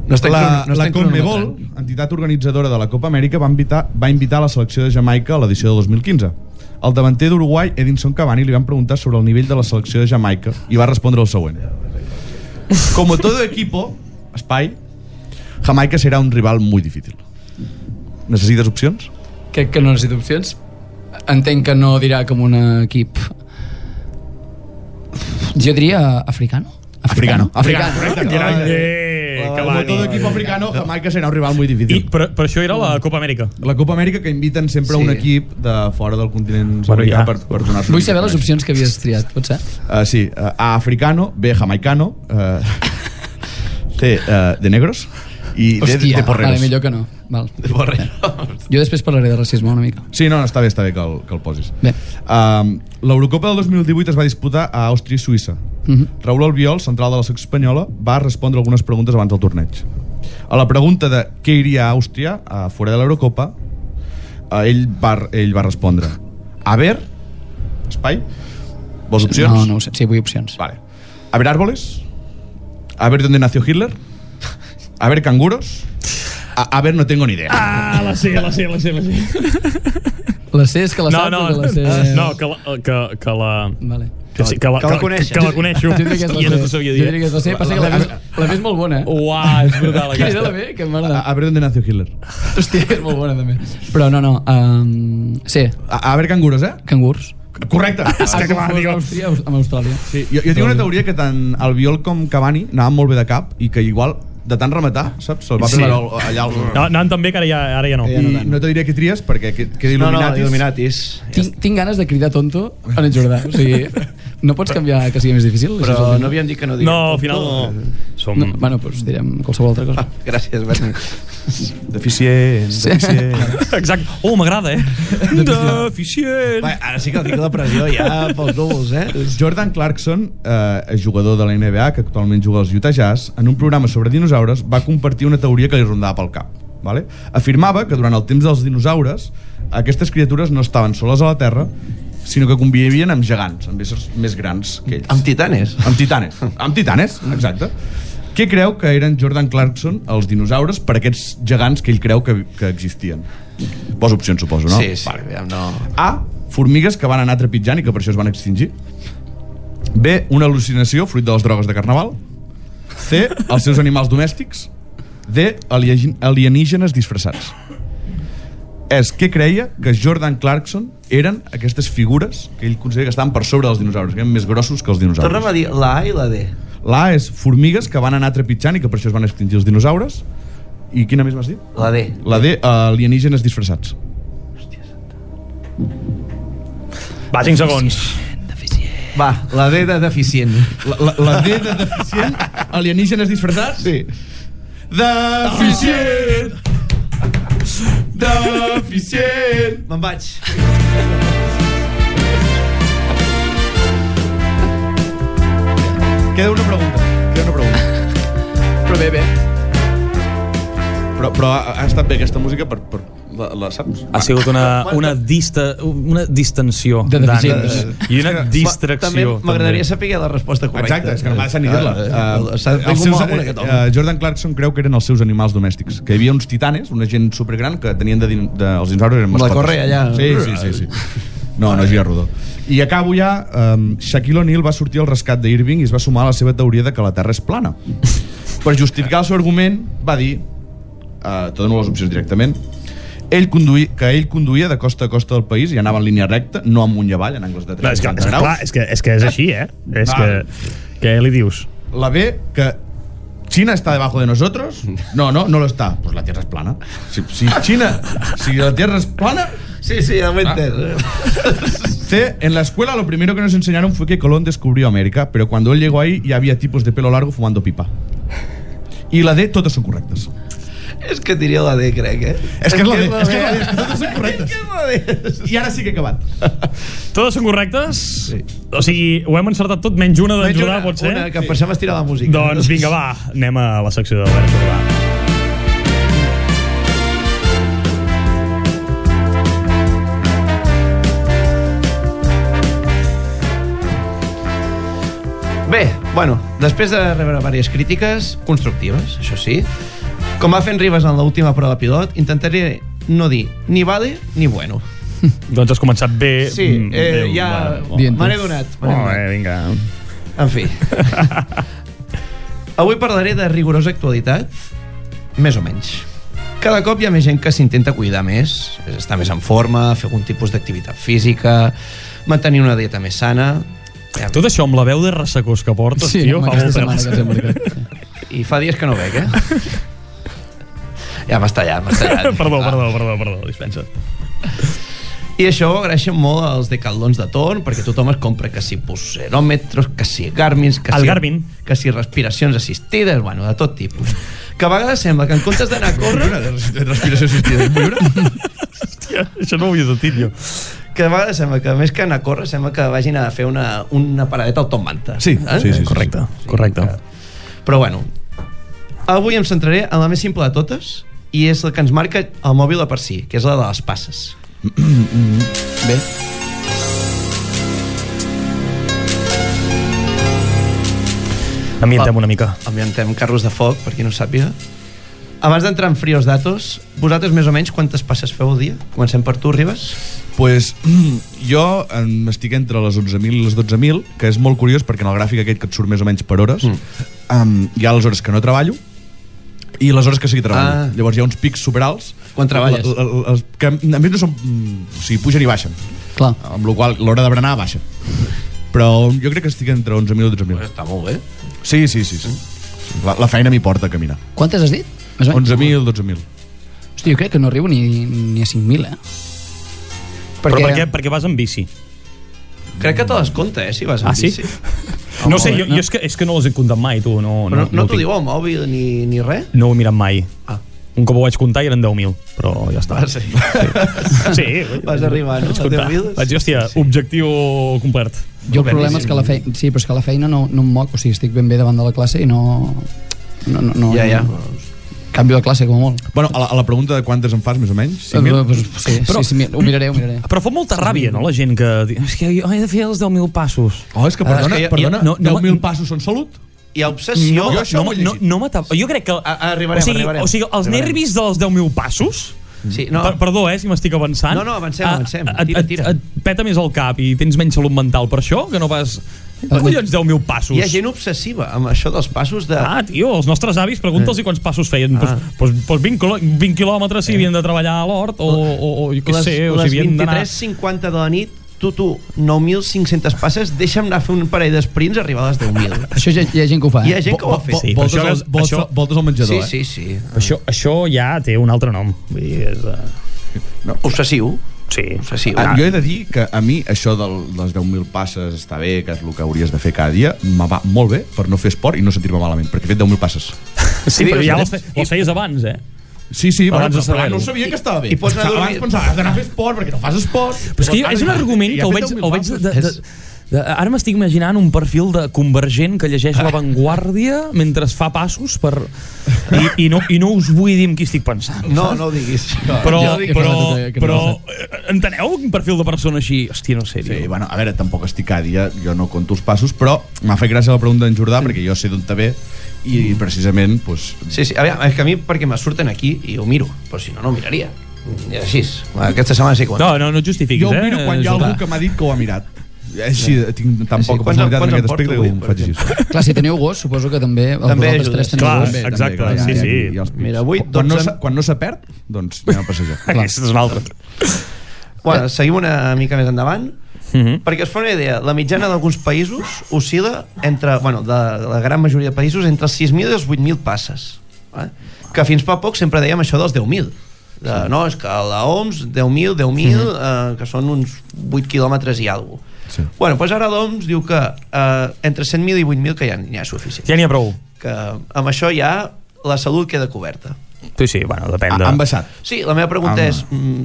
[SPEAKER 3] No estem
[SPEAKER 2] la,
[SPEAKER 3] crono- no
[SPEAKER 2] la
[SPEAKER 3] estem
[SPEAKER 2] Conmebol,
[SPEAKER 3] cronometrant.
[SPEAKER 2] entitat organitzadora de la Copa Amèrica, va invitar, va invitar la selecció de Jamaica a l'edició de 2015. El davanter d'Uruguai, Edinson Cavani, li van preguntar sobre el nivell de la selecció de Jamaica i va respondre el següent. Como todo equipo, espai, Jamaica será un rival muy difícil. Necessites opcions?
[SPEAKER 4] Crec que no necessito opcions. Entenc que no dirà com un equip... Jo diria africano.
[SPEAKER 2] Africano.
[SPEAKER 4] Africano.
[SPEAKER 2] Correcte,
[SPEAKER 1] Gran
[SPEAKER 2] correcte.
[SPEAKER 1] eh,
[SPEAKER 2] Como todo
[SPEAKER 1] Cavani.
[SPEAKER 2] equipo africano, Jamaica será un rival muy
[SPEAKER 1] I,
[SPEAKER 2] difícil.
[SPEAKER 1] però, però això era la Copa Amèrica.
[SPEAKER 2] La Copa Amèrica que inviten sempre
[SPEAKER 4] Sí.
[SPEAKER 2] un equip de fora del continent
[SPEAKER 1] Bueno,
[SPEAKER 2] americà
[SPEAKER 1] ja.
[SPEAKER 2] per, per donar-se
[SPEAKER 4] eh? Vull saber les opcions que havies triat, pot ser?
[SPEAKER 2] Uh, sí, uh, A africano, B jamaicano, uh, [LAUGHS] C uh, de negros i D de,
[SPEAKER 4] Hòstia,
[SPEAKER 2] de porreros.
[SPEAKER 4] vale, millor que no. Val.
[SPEAKER 3] Borre.
[SPEAKER 4] Jo després parlaré de racisme una mica.
[SPEAKER 2] Sí, no, no, està bé, està bé que el, que el posis.
[SPEAKER 4] Bé.
[SPEAKER 2] Um, L'Eurocopa del 2018 es va disputar a Àustria i Suïssa.
[SPEAKER 4] Mhm.
[SPEAKER 2] Raúl Albiol, central de la secció espanyola, va respondre algunes preguntes abans del torneig. A la pregunta de què iria a Àustria, a fora de l'Eurocopa, eh, ell, va, ell va respondre A ver, espai, vols opcions?
[SPEAKER 4] No, no ho sé. Sí, vull opcions.
[SPEAKER 2] Vale. A ver árboles. A ver dónde nació Hitler. A ver canguros. A, a ver, no tengo ni idea.
[SPEAKER 1] Ah, la sé, la sé, la sé, la sé.
[SPEAKER 4] La C és que la
[SPEAKER 1] No,
[SPEAKER 4] saps
[SPEAKER 1] no,
[SPEAKER 4] o que la C...
[SPEAKER 1] no, que la... Que, que la...
[SPEAKER 4] Vale.
[SPEAKER 1] Que, sí, que, la,
[SPEAKER 3] Que la coneixes.
[SPEAKER 1] Que, la coneixo.
[SPEAKER 4] Jo diria que és la C.
[SPEAKER 1] I no t'ho sabia
[SPEAKER 4] Jo
[SPEAKER 1] dir. eh? Oh,
[SPEAKER 4] diria que és la C, passa que la B, és- la B és molt bona, eh?
[SPEAKER 1] Uah, és brutal
[SPEAKER 4] Quina era la
[SPEAKER 1] aquesta.
[SPEAKER 4] B? [LAUGHS] Que merda.
[SPEAKER 2] A, a ver dónde nació Hitler.
[SPEAKER 4] Hòstia, és molt bona també. Però no, no. Um, sí,
[SPEAKER 2] A, a ver canguros, eh?
[SPEAKER 4] cangurs.
[SPEAKER 2] Correcte.
[SPEAKER 1] És que clar,
[SPEAKER 4] Confós
[SPEAKER 1] digo...
[SPEAKER 4] Àustria amb Austràlia.
[SPEAKER 2] Sí, jo, jo tinc
[SPEAKER 1] Doncs-
[SPEAKER 2] una teoria que tant el Viol com Cavani anaven molt bé de cap i que igual de tant rematar, saps? Se'l va
[SPEAKER 1] Sí.
[SPEAKER 2] sí. allà al...
[SPEAKER 1] No, anant tan bé que ara ja, ara ja no.
[SPEAKER 2] I no te diria qui tries perquè que, que
[SPEAKER 3] No, no,
[SPEAKER 2] d'Il·luminatis...
[SPEAKER 3] Illuminatis.
[SPEAKER 4] Tinc, tinc ganes de cridar tonto en el Jordà. O sigui, no pots canviar que sigui més difícil? Això és
[SPEAKER 3] Però
[SPEAKER 4] el
[SPEAKER 3] no havíem dit que no diguem.
[SPEAKER 1] No, al final... Som...
[SPEAKER 4] No, bueno, doncs direm qualsevol altra cosa.
[SPEAKER 3] [LAUGHS] Gràcies, Berni.
[SPEAKER 5] Deficient,
[SPEAKER 4] Sí.
[SPEAKER 5] deficient.
[SPEAKER 1] [LAUGHS] Exacte. Oh, m'agrada,
[SPEAKER 4] [LAUGHS]
[SPEAKER 1] eh? Deficient.
[SPEAKER 3] Va, ara sí que el tinc la pressió
[SPEAKER 1] [LAUGHS]
[SPEAKER 3] ja pels núvols, eh?
[SPEAKER 2] Jordan Clarkson, eh, jugador de la NBA que actualment juga als Utah Jazz, en un programa sobre dinosaures va compartir una teoria que li rondava pel cap. Vale? Afirmava que durant el temps dels dinosaures aquestes criatures no estaven soles a la Terra, sinó que convivien amb gegants, amb éssers més grans que ells.
[SPEAKER 3] Amb titanes.
[SPEAKER 2] Amb titanes. Amb titanes, exacte. Què creu que eren Jordan Clarkson, els dinosaures, per aquests gegants que ell creu que, que existien? Pos opcions, suposo, no? Doncs-
[SPEAKER 3] Sí, sí, aviam, no...
[SPEAKER 2] A. Formigues que van anar trepitjant i que per això es van extingir. B. Una al·lucinació fruit de les drogues de carnaval. C. Els seus animals domèstics. D. aliegi- Alienígenes disfressats. És què creia que Jordan Clarkson eren aquestes figures que ell considera que estaven per sobre dels dinosaures, que eren més grossos que els
[SPEAKER 3] Torna'm a
[SPEAKER 2] dinosaures.
[SPEAKER 3] dir la A i la D.
[SPEAKER 2] La A és formigues que van anar trepitjant i que per això es van extingir els dinosaures. I quina més m'has dit?
[SPEAKER 3] La D.
[SPEAKER 2] La D, alienígenes disfressats.
[SPEAKER 1] Va, 5 segons.
[SPEAKER 3] Va, la D de deficient.
[SPEAKER 2] La, la, la D de deficient, alienígenes disfressats? Sí. Deficient! Deficient!
[SPEAKER 3] Me'n vaig.
[SPEAKER 2] Queda una pregunta, queda una pregunta.
[SPEAKER 4] Però bé, bé.
[SPEAKER 2] Però, però ha, ha estat bé aquesta música per... per la, la saps?
[SPEAKER 1] Ha sigut una, una, dista, una distensió
[SPEAKER 4] De deficients.
[SPEAKER 1] d'ànims. I una
[SPEAKER 3] També
[SPEAKER 1] distracció.
[SPEAKER 3] m'agradaria saber la resposta correcta.
[SPEAKER 2] Exacte, és que no m'ha deixat ni
[SPEAKER 3] Ah,
[SPEAKER 2] dir-la.
[SPEAKER 3] eh, S'ha de
[SPEAKER 2] seus,
[SPEAKER 3] una que
[SPEAKER 2] eh, eh, Jordan Clarkson creu que eren els seus animals domèstics, que hi havia uns titanes, una gent supergran que tenien de, din- de els dinosaures eren
[SPEAKER 3] Amb la
[SPEAKER 2] mascotes.
[SPEAKER 3] correa, allà.
[SPEAKER 2] Sí, sí, sí, sí. No, no gira rodó. I acabo ja, um, Shaquille O'Neal va sortir al rescat d'Irving i es va sumar a la seva teoria de que la Terra és plana. Per justificar el seu argument, va dir, uh, te dono les opcions directament, ell conduï, que ell conduïa de costa a costa del país i anava en línia recta, no amunt i avall, en angles de
[SPEAKER 1] No, és, que, és,
[SPEAKER 2] 360
[SPEAKER 1] que,
[SPEAKER 2] graus.
[SPEAKER 1] clar, és, que, és que és així, eh? És
[SPEAKER 2] Va.
[SPEAKER 1] que... Què li dius?
[SPEAKER 2] La B, que China está debajo de nosotros. No, no, no lo está. Pues la Tierra es plana. Si, si China, si la Tierra es plana,
[SPEAKER 3] Sí, sí, ja ho he
[SPEAKER 2] ah.
[SPEAKER 3] entès. eh.
[SPEAKER 2] C. En la escuela lo primero que nos enseñaron fue que Colón descubrió América, pero cuando él llegó ahí ya había tipos de pelo largo fumando pipa. Y la D, totes són correctes.
[SPEAKER 3] És que diria la D, crec, eh?
[SPEAKER 2] És que és la D, és que és la D,
[SPEAKER 3] és
[SPEAKER 2] és que totes són correctes.
[SPEAKER 3] que és la D.
[SPEAKER 2] I ara sí que he acabat.
[SPEAKER 1] Totes són correctes? Sí. O sigui, ho hem encertat tot, menys una
[SPEAKER 3] Menys
[SPEAKER 1] d'ajudar,
[SPEAKER 3] una-
[SPEAKER 1] pot ser?
[SPEAKER 3] Una, que per això m'estirà la música.
[SPEAKER 1] Doncs vinga, va, anem a la secció de l'Albert Urbà.
[SPEAKER 3] Bé, bueno, després de rebre diverses crítiques, constructives, això sí, com va fent Ribas en l'última prova pilot, intentaré no dir ni vale ni bueno.
[SPEAKER 1] Doncs has començat bé.
[SPEAKER 3] Sí,
[SPEAKER 1] Mm, Oh,
[SPEAKER 3] eh,
[SPEAKER 1] Déu,
[SPEAKER 3] ja
[SPEAKER 1] mare, bo.
[SPEAKER 4] Dient-ho.
[SPEAKER 3] me n'he donat. Me n'he
[SPEAKER 1] Molt
[SPEAKER 3] donat.
[SPEAKER 1] bé, vinga.
[SPEAKER 3] En
[SPEAKER 1] [LAUGHS]
[SPEAKER 3] fi. Avui parlaré de rigorosa actualitat, més o menys. Cada cop hi ha més gent que s'intenta cuidar més, és estar més en forma, fer algun tipus d'activitat física, mantenir una dieta més sana...
[SPEAKER 1] Tot això amb la veu de ressecós que portes,
[SPEAKER 4] Sí,
[SPEAKER 1] tio,
[SPEAKER 4] amb
[SPEAKER 1] fa
[SPEAKER 4] aquesta
[SPEAKER 1] molt
[SPEAKER 4] setmana que
[SPEAKER 1] pèl.
[SPEAKER 4] ens hem marcat.
[SPEAKER 3] I fa dies que no bec, eh? Ja m'has tallat, m'has tallat.
[SPEAKER 1] [LAUGHS] [LAUGHS] Perdó,
[SPEAKER 3] Va.
[SPEAKER 1] perdó, perdó, perdó, dispensa.
[SPEAKER 3] Ah, I això ho agraeixen molt als decathlons de torn, perquè tothom es compra que si pulseròmetres, que si Garmins, que
[SPEAKER 1] El
[SPEAKER 3] si,
[SPEAKER 1] Garmin.
[SPEAKER 3] que si respiracions assistides, bueno, de tot tipus. Que a vegades sembla que en comptes d'anar a córrer,
[SPEAKER 2] Respiració assistida.
[SPEAKER 1] Hòstia, això no ho havia sentit, jo.
[SPEAKER 3] que a vegades sembla que més que anar a córrer, sembla que vagin a fer una, una paradeta al Tom Manta.
[SPEAKER 2] Sí, sí, sí, sí.
[SPEAKER 1] Correcte, correcte.
[SPEAKER 3] Però bueno, avui em centraré en la més simple de totes, i és la que ens marca el mòbil de per si, que és la de les passes.
[SPEAKER 4] Bé,
[SPEAKER 1] Ambientem una mica.
[SPEAKER 3] ambientem carros de foc, per qui no ho sàpiga. Abans d'entrar en frios datos, vosaltres més o menys quantes passes feu al dia? Comencem per tu, Ribas.
[SPEAKER 2] pues, [CLEARS THROAT] jo em estic entre les 11.000 i les 12.000, que és molt curiós perquè en el gràfic aquest que et surt més o menys per hores, mm. um, hi ha les hores que no treballo i les hores que sí que treballo.
[SPEAKER 3] Ah.
[SPEAKER 2] Ah. Llavors hi ha uns pics superalts.
[SPEAKER 3] Quan treballes?
[SPEAKER 2] La- la- la- Els que a més no són... mm, O sigui, pugen i baixen.
[SPEAKER 4] clar.
[SPEAKER 2] Amb la qual cosa, l'hora de berenar baixa. Però jo crec que estic entre 11.000 i 12.000.
[SPEAKER 3] Està molt bé.
[SPEAKER 2] Sí, sí, sí. sí. La, la feina m'hi porta a caminar.
[SPEAKER 4] Quantes has dit? Més o menys?
[SPEAKER 2] 11.000, 12.000.
[SPEAKER 4] Hòstia, jo crec que no arribo ni, ni a 5.000, eh?
[SPEAKER 1] Però per què, per què vas en bici?
[SPEAKER 3] Crec que te les compta, eh, si vas amb
[SPEAKER 1] Ah, sí?
[SPEAKER 3] bici.
[SPEAKER 1] No sé, jo, jo és, que, és que no els he comptat mai, tu. No,
[SPEAKER 3] Però no, no
[SPEAKER 1] ho
[SPEAKER 3] t'ho
[SPEAKER 1] tinc.
[SPEAKER 3] diu al mòbil ni, ni res?
[SPEAKER 1] No ho he mirat mai.
[SPEAKER 3] Ah.
[SPEAKER 1] Un cop ho vaig comptar i eren 10.000, però ja està.
[SPEAKER 3] Vas, Ah, sí.
[SPEAKER 1] [LAUGHS] Sí,
[SPEAKER 3] Vas arribar, no?
[SPEAKER 1] vaig
[SPEAKER 3] A
[SPEAKER 1] comptar.
[SPEAKER 3] 10.000?
[SPEAKER 1] Vaig dir, hòstia, objectiu complert.
[SPEAKER 4] Jo el problema és que la feina... Sí, però és que la feina no, no em moc, o sigui, estic ben bé davant de la classe i no... No, no, no,
[SPEAKER 3] Ja, ja.
[SPEAKER 4] Canvio de classe, com a molt.
[SPEAKER 2] Bueno, a la, a la pregunta de quantes en fas, més o menys?
[SPEAKER 4] Sí,
[SPEAKER 2] 5.000?
[SPEAKER 4] pues, sí,
[SPEAKER 1] Però-
[SPEAKER 4] però... sí, sí, mira, ho miraré, ho miraré.
[SPEAKER 1] Però fa molta ràbia, no?, la gent que... diu, És que jo he de fer els 10.000 passos.
[SPEAKER 2] Oh, és que
[SPEAKER 3] Ah, és
[SPEAKER 2] perdona,
[SPEAKER 3] que jo-
[SPEAKER 2] perdona,
[SPEAKER 1] jo- no- no-
[SPEAKER 2] 10.000 passos són salut?
[SPEAKER 3] Hi ha obsessió...
[SPEAKER 2] No, jo
[SPEAKER 3] No,
[SPEAKER 2] això
[SPEAKER 1] no,
[SPEAKER 2] ho he
[SPEAKER 1] no,
[SPEAKER 2] llegit.
[SPEAKER 1] no m'atapa. Jo crec que...
[SPEAKER 3] A- arribarem,
[SPEAKER 1] o sigui, O
[SPEAKER 3] arribarem.
[SPEAKER 1] sigui, els
[SPEAKER 3] Arribarem.
[SPEAKER 1] nervis dels 10.000 passos...
[SPEAKER 3] sí,
[SPEAKER 1] No.
[SPEAKER 3] no.
[SPEAKER 1] Per, perdó, eh, si m'estic avançant.
[SPEAKER 3] No, no, avancem,
[SPEAKER 1] Ah,
[SPEAKER 3] avancem.
[SPEAKER 1] et-
[SPEAKER 3] Tira,
[SPEAKER 1] et-
[SPEAKER 3] tira.
[SPEAKER 1] Et, peta més el cap i tens menys salut mental per això, que no pas... Què collons 10.000 passos?
[SPEAKER 3] Hi ha gent obsessiva amb això dels passos de...
[SPEAKER 1] Ah, tio, els nostres avis, pregunta'ls quants passos feien. Ah.
[SPEAKER 3] Ah.
[SPEAKER 1] Pues, pues, pues 20, quilò- 20 quilòmetres si havien de treballar a l'hort o, o, o jo què
[SPEAKER 3] les,
[SPEAKER 1] sé, o
[SPEAKER 3] les
[SPEAKER 1] si havien d'anar...
[SPEAKER 3] 23.50 de la nit, tu, tu, 9.500 passes, deixa'm anar a fer un parell d'esprints arribar a les 10.000.
[SPEAKER 4] Això hi ha, hi ha gent que ho fa,
[SPEAKER 3] Hi ha
[SPEAKER 4] eh?
[SPEAKER 3] gent que ho ha fet.
[SPEAKER 1] Sí, però
[SPEAKER 2] voltes,
[SPEAKER 1] això
[SPEAKER 2] al,
[SPEAKER 1] és-
[SPEAKER 2] voltes,
[SPEAKER 1] això-
[SPEAKER 2] voltes al
[SPEAKER 3] Sí,
[SPEAKER 2] menjador, eh?
[SPEAKER 3] sí, sí.
[SPEAKER 1] Això, això ja té un altre nom. Vull dir, és... Uh...
[SPEAKER 3] Obsessiu.
[SPEAKER 1] Sí.
[SPEAKER 3] Obsessiu.
[SPEAKER 2] Ah, jo he de dir que a mi això de les 10.000 passes està bé, que és el que hauries de fer cada dia, me va molt bé per no fer esport i no sentir-me malament, perquè he fet 10.000 passes.
[SPEAKER 1] Sí, però
[SPEAKER 3] digues,
[SPEAKER 1] ja les,
[SPEAKER 3] digues.
[SPEAKER 1] fe, les feies abans, eh?
[SPEAKER 2] Sí, sí,
[SPEAKER 1] Abans de
[SPEAKER 2] però, però,
[SPEAKER 1] saber-ho.
[SPEAKER 2] no sabia que estava bé.
[SPEAKER 3] I pots anar a
[SPEAKER 2] Abans
[SPEAKER 3] dormir.
[SPEAKER 2] pensava, has d'anar a fer esport perquè no fas esport. ah,
[SPEAKER 1] Però és que jo,
[SPEAKER 2] Ara
[SPEAKER 1] és un
[SPEAKER 2] ja-
[SPEAKER 1] argument
[SPEAKER 2] ja
[SPEAKER 1] que ho
[SPEAKER 2] he
[SPEAKER 1] veig...
[SPEAKER 2] fet
[SPEAKER 1] Ho
[SPEAKER 2] 10.000
[SPEAKER 1] veig de,
[SPEAKER 2] passes.
[SPEAKER 1] de, de, ara m'estic imaginant un perfil de convergent que llegeix La Vanguardia mentre es fa passos per... I, i, no, i no us vull dir amb qui estic pensant.
[SPEAKER 3] No, no ho diguis.
[SPEAKER 1] Però,
[SPEAKER 4] Jo dic que
[SPEAKER 1] però,
[SPEAKER 4] no, que no.
[SPEAKER 1] però, eh, enteneu un perfil de persona així? Hòstia, no sé,
[SPEAKER 2] Sí,
[SPEAKER 1] tio.
[SPEAKER 2] bueno, a veure, tampoc estic cada dia, jo no conto els passos, però m'ha fet gràcia la pregunta d'en Jordà, perquè jo sé d'on te ve, i precisament, doncs,
[SPEAKER 3] Sí, sí, a veure, és que a mi perquè me surten aquí i ho miro, però si no, no ho miraria. I així, és. aquesta setmana sí que ho
[SPEAKER 1] No, no, no et justifiquis,
[SPEAKER 2] jo ho
[SPEAKER 1] eh?
[SPEAKER 2] miro quan hi ha algú
[SPEAKER 1] Jordà.
[SPEAKER 2] que m'ha dit que ho ha mirat. Eh, Així, tinc tan
[SPEAKER 3] Sí,
[SPEAKER 2] poca
[SPEAKER 3] quants en-
[SPEAKER 2] personalitat en
[SPEAKER 3] quants en
[SPEAKER 2] aquest
[SPEAKER 3] porto
[SPEAKER 2] aspecte
[SPEAKER 3] avui,
[SPEAKER 2] que ho
[SPEAKER 3] per
[SPEAKER 2] faig així.
[SPEAKER 4] Clar, si teniu gos, suposo que també, els
[SPEAKER 3] També
[SPEAKER 4] vosaltres
[SPEAKER 3] ajudes.
[SPEAKER 4] tres teniu
[SPEAKER 1] Clar,
[SPEAKER 4] gos.
[SPEAKER 1] Bé, exacte,
[SPEAKER 2] clar,
[SPEAKER 1] sí, sí.
[SPEAKER 2] i els pics.
[SPEAKER 3] Mira, avui,
[SPEAKER 2] quan, no
[SPEAKER 3] 12.
[SPEAKER 2] se, quan no se perd, doncs anem a
[SPEAKER 1] [LAUGHS]
[SPEAKER 2] passejar.
[SPEAKER 1] Aquesta és una altra.
[SPEAKER 3] Bueno, seguim una mica més endavant.
[SPEAKER 1] Mhm.
[SPEAKER 3] Perquè es fa una idea, la mitjana d'alguns països oscil·la entre, bueno, de la gran majoria de països, entre els 6.000 i els 8.000 passes. Eh? Que fins fa poc sempre dèiem això dels 10.000. De, sí. No, és que la OMS, 10.000, 10.000, mm -hmm. eh, que són uns 8 quilòmetres i alguna cosa.
[SPEAKER 6] Sí.
[SPEAKER 3] Bueno, doncs ara l'OMS diu que eh, entre 100.000 i 8.000 que ja n'hi ha suficient.
[SPEAKER 1] Ja n'hi ha prou.
[SPEAKER 3] Que amb això ja la salut queda coberta.
[SPEAKER 1] Sí, sí, bueno,
[SPEAKER 2] Ah,
[SPEAKER 1] depèn de...
[SPEAKER 6] Ha, han baixat.
[SPEAKER 3] Sí, la meva pregunta
[SPEAKER 6] Home.
[SPEAKER 3] és... Mm,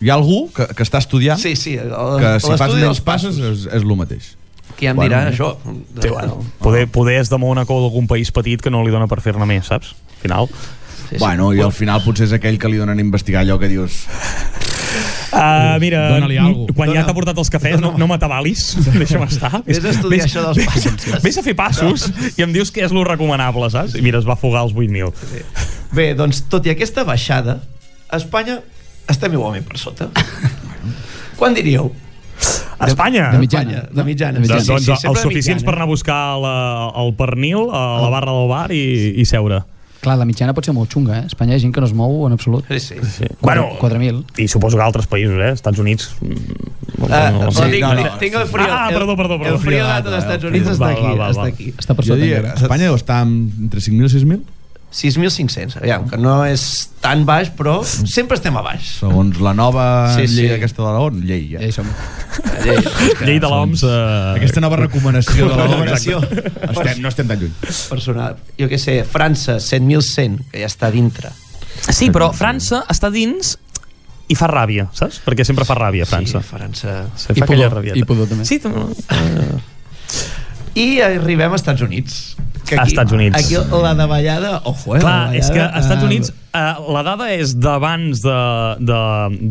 [SPEAKER 6] Hi ha algú que, que està estudiant
[SPEAKER 3] sí, sí, el-
[SPEAKER 6] Ah. que si fas
[SPEAKER 3] l'estudi
[SPEAKER 6] menys
[SPEAKER 3] dels
[SPEAKER 6] passes és,
[SPEAKER 3] passos,
[SPEAKER 6] és el mateix.
[SPEAKER 3] que ja em
[SPEAKER 6] Bueno,
[SPEAKER 3] diran
[SPEAKER 6] mira.
[SPEAKER 3] això.
[SPEAKER 1] Sí, bueno, poder, poder es demou una cou d'algun país petit que no li dona per fer-ne més, saps? Al final.
[SPEAKER 3] Sí, sí.
[SPEAKER 2] Bueno, i al final potser és aquell que li donen a investigar allò que dius...
[SPEAKER 1] Uh, mira,
[SPEAKER 6] Dóna-li algo.
[SPEAKER 1] quan ja
[SPEAKER 3] Dóna-
[SPEAKER 1] t'ha portat els cafès, no, no
[SPEAKER 3] [LAUGHS]
[SPEAKER 1] m'atabalis, deixa'm estar.
[SPEAKER 3] Vés a estudiar això dels passos.
[SPEAKER 1] Vés a fer passos i em dius que és lo recomanable, saps? I mira, es va fugar als 8.000.
[SPEAKER 3] Bé, doncs tot i aquesta baixada, a Espanya estem igualment per sota. Quan diríeu?
[SPEAKER 1] A Espanya!
[SPEAKER 4] de mitjana.
[SPEAKER 3] Espanya, de mitjana.
[SPEAKER 4] De-
[SPEAKER 1] Doncs,
[SPEAKER 3] Sí, sí, sí,
[SPEAKER 1] doncs
[SPEAKER 3] sempre
[SPEAKER 1] els
[SPEAKER 3] de
[SPEAKER 1] suficients per
[SPEAKER 3] mitjana. eh? Ah.
[SPEAKER 1] anar a buscar la, el pernil a la barra del bar i, i seure.
[SPEAKER 4] Clar, la mitjana pot ser molt xunga, eh? A Espanya hi ha gent que no es mou en absolut.
[SPEAKER 3] Sí, sí. sí.
[SPEAKER 1] Bueno,
[SPEAKER 4] 4.000.
[SPEAKER 1] I suposo que altres països, eh? Estats Units... mm,
[SPEAKER 3] Ah,
[SPEAKER 1] no, no,
[SPEAKER 3] però
[SPEAKER 1] no.
[SPEAKER 3] tinc,
[SPEAKER 2] no, no.
[SPEAKER 3] tinc el frío.
[SPEAKER 1] Ah,
[SPEAKER 3] el-
[SPEAKER 1] perdó, perdó, perdó.
[SPEAKER 3] El frío dato dels Estats Units
[SPEAKER 1] frío.
[SPEAKER 3] està
[SPEAKER 1] Va,
[SPEAKER 3] aquí,
[SPEAKER 1] va, va,
[SPEAKER 3] està
[SPEAKER 1] va.
[SPEAKER 3] aquí.
[SPEAKER 4] Està per
[SPEAKER 6] Jo
[SPEAKER 4] sota.
[SPEAKER 6] diria,
[SPEAKER 4] encara.
[SPEAKER 6] Espanya deu estar amb- entre 5.000 i 6.000,
[SPEAKER 3] 6.500, aviam, que no és tan baix, però sempre estem a baix.
[SPEAKER 2] Segons la nova
[SPEAKER 3] Sí,
[SPEAKER 2] sí,
[SPEAKER 3] sí.
[SPEAKER 2] sí. llei aquesta de l'ONU, llei,
[SPEAKER 4] Ja
[SPEAKER 2] ja.
[SPEAKER 4] hi som.
[SPEAKER 1] Llei de l'OMS... Eh...
[SPEAKER 6] aquesta nova recomanació de la
[SPEAKER 3] Recomanació.
[SPEAKER 6] Estem, no estem tan lluny.
[SPEAKER 3] Personal. Jo què sé, França, 7.100, que ja està dintre.
[SPEAKER 1] Sí, però França està dins i fa ràbia, saps? Perquè sempre fa ràbia, França.
[SPEAKER 3] Sí, França.
[SPEAKER 1] Sí,
[SPEAKER 4] I
[SPEAKER 1] fa aquella
[SPEAKER 4] pudor,
[SPEAKER 1] rabieta. Ah.
[SPEAKER 4] i pudor també.
[SPEAKER 1] Sí, també.
[SPEAKER 3] I arribem a Estats Units. Que
[SPEAKER 1] A Estats Units.
[SPEAKER 3] Aquí la davallada, ojo, eh? la
[SPEAKER 1] Clar,
[SPEAKER 3] davallada,
[SPEAKER 1] és que als Estats
[SPEAKER 3] eh,
[SPEAKER 1] Units eh, la dada és d'abans de, de,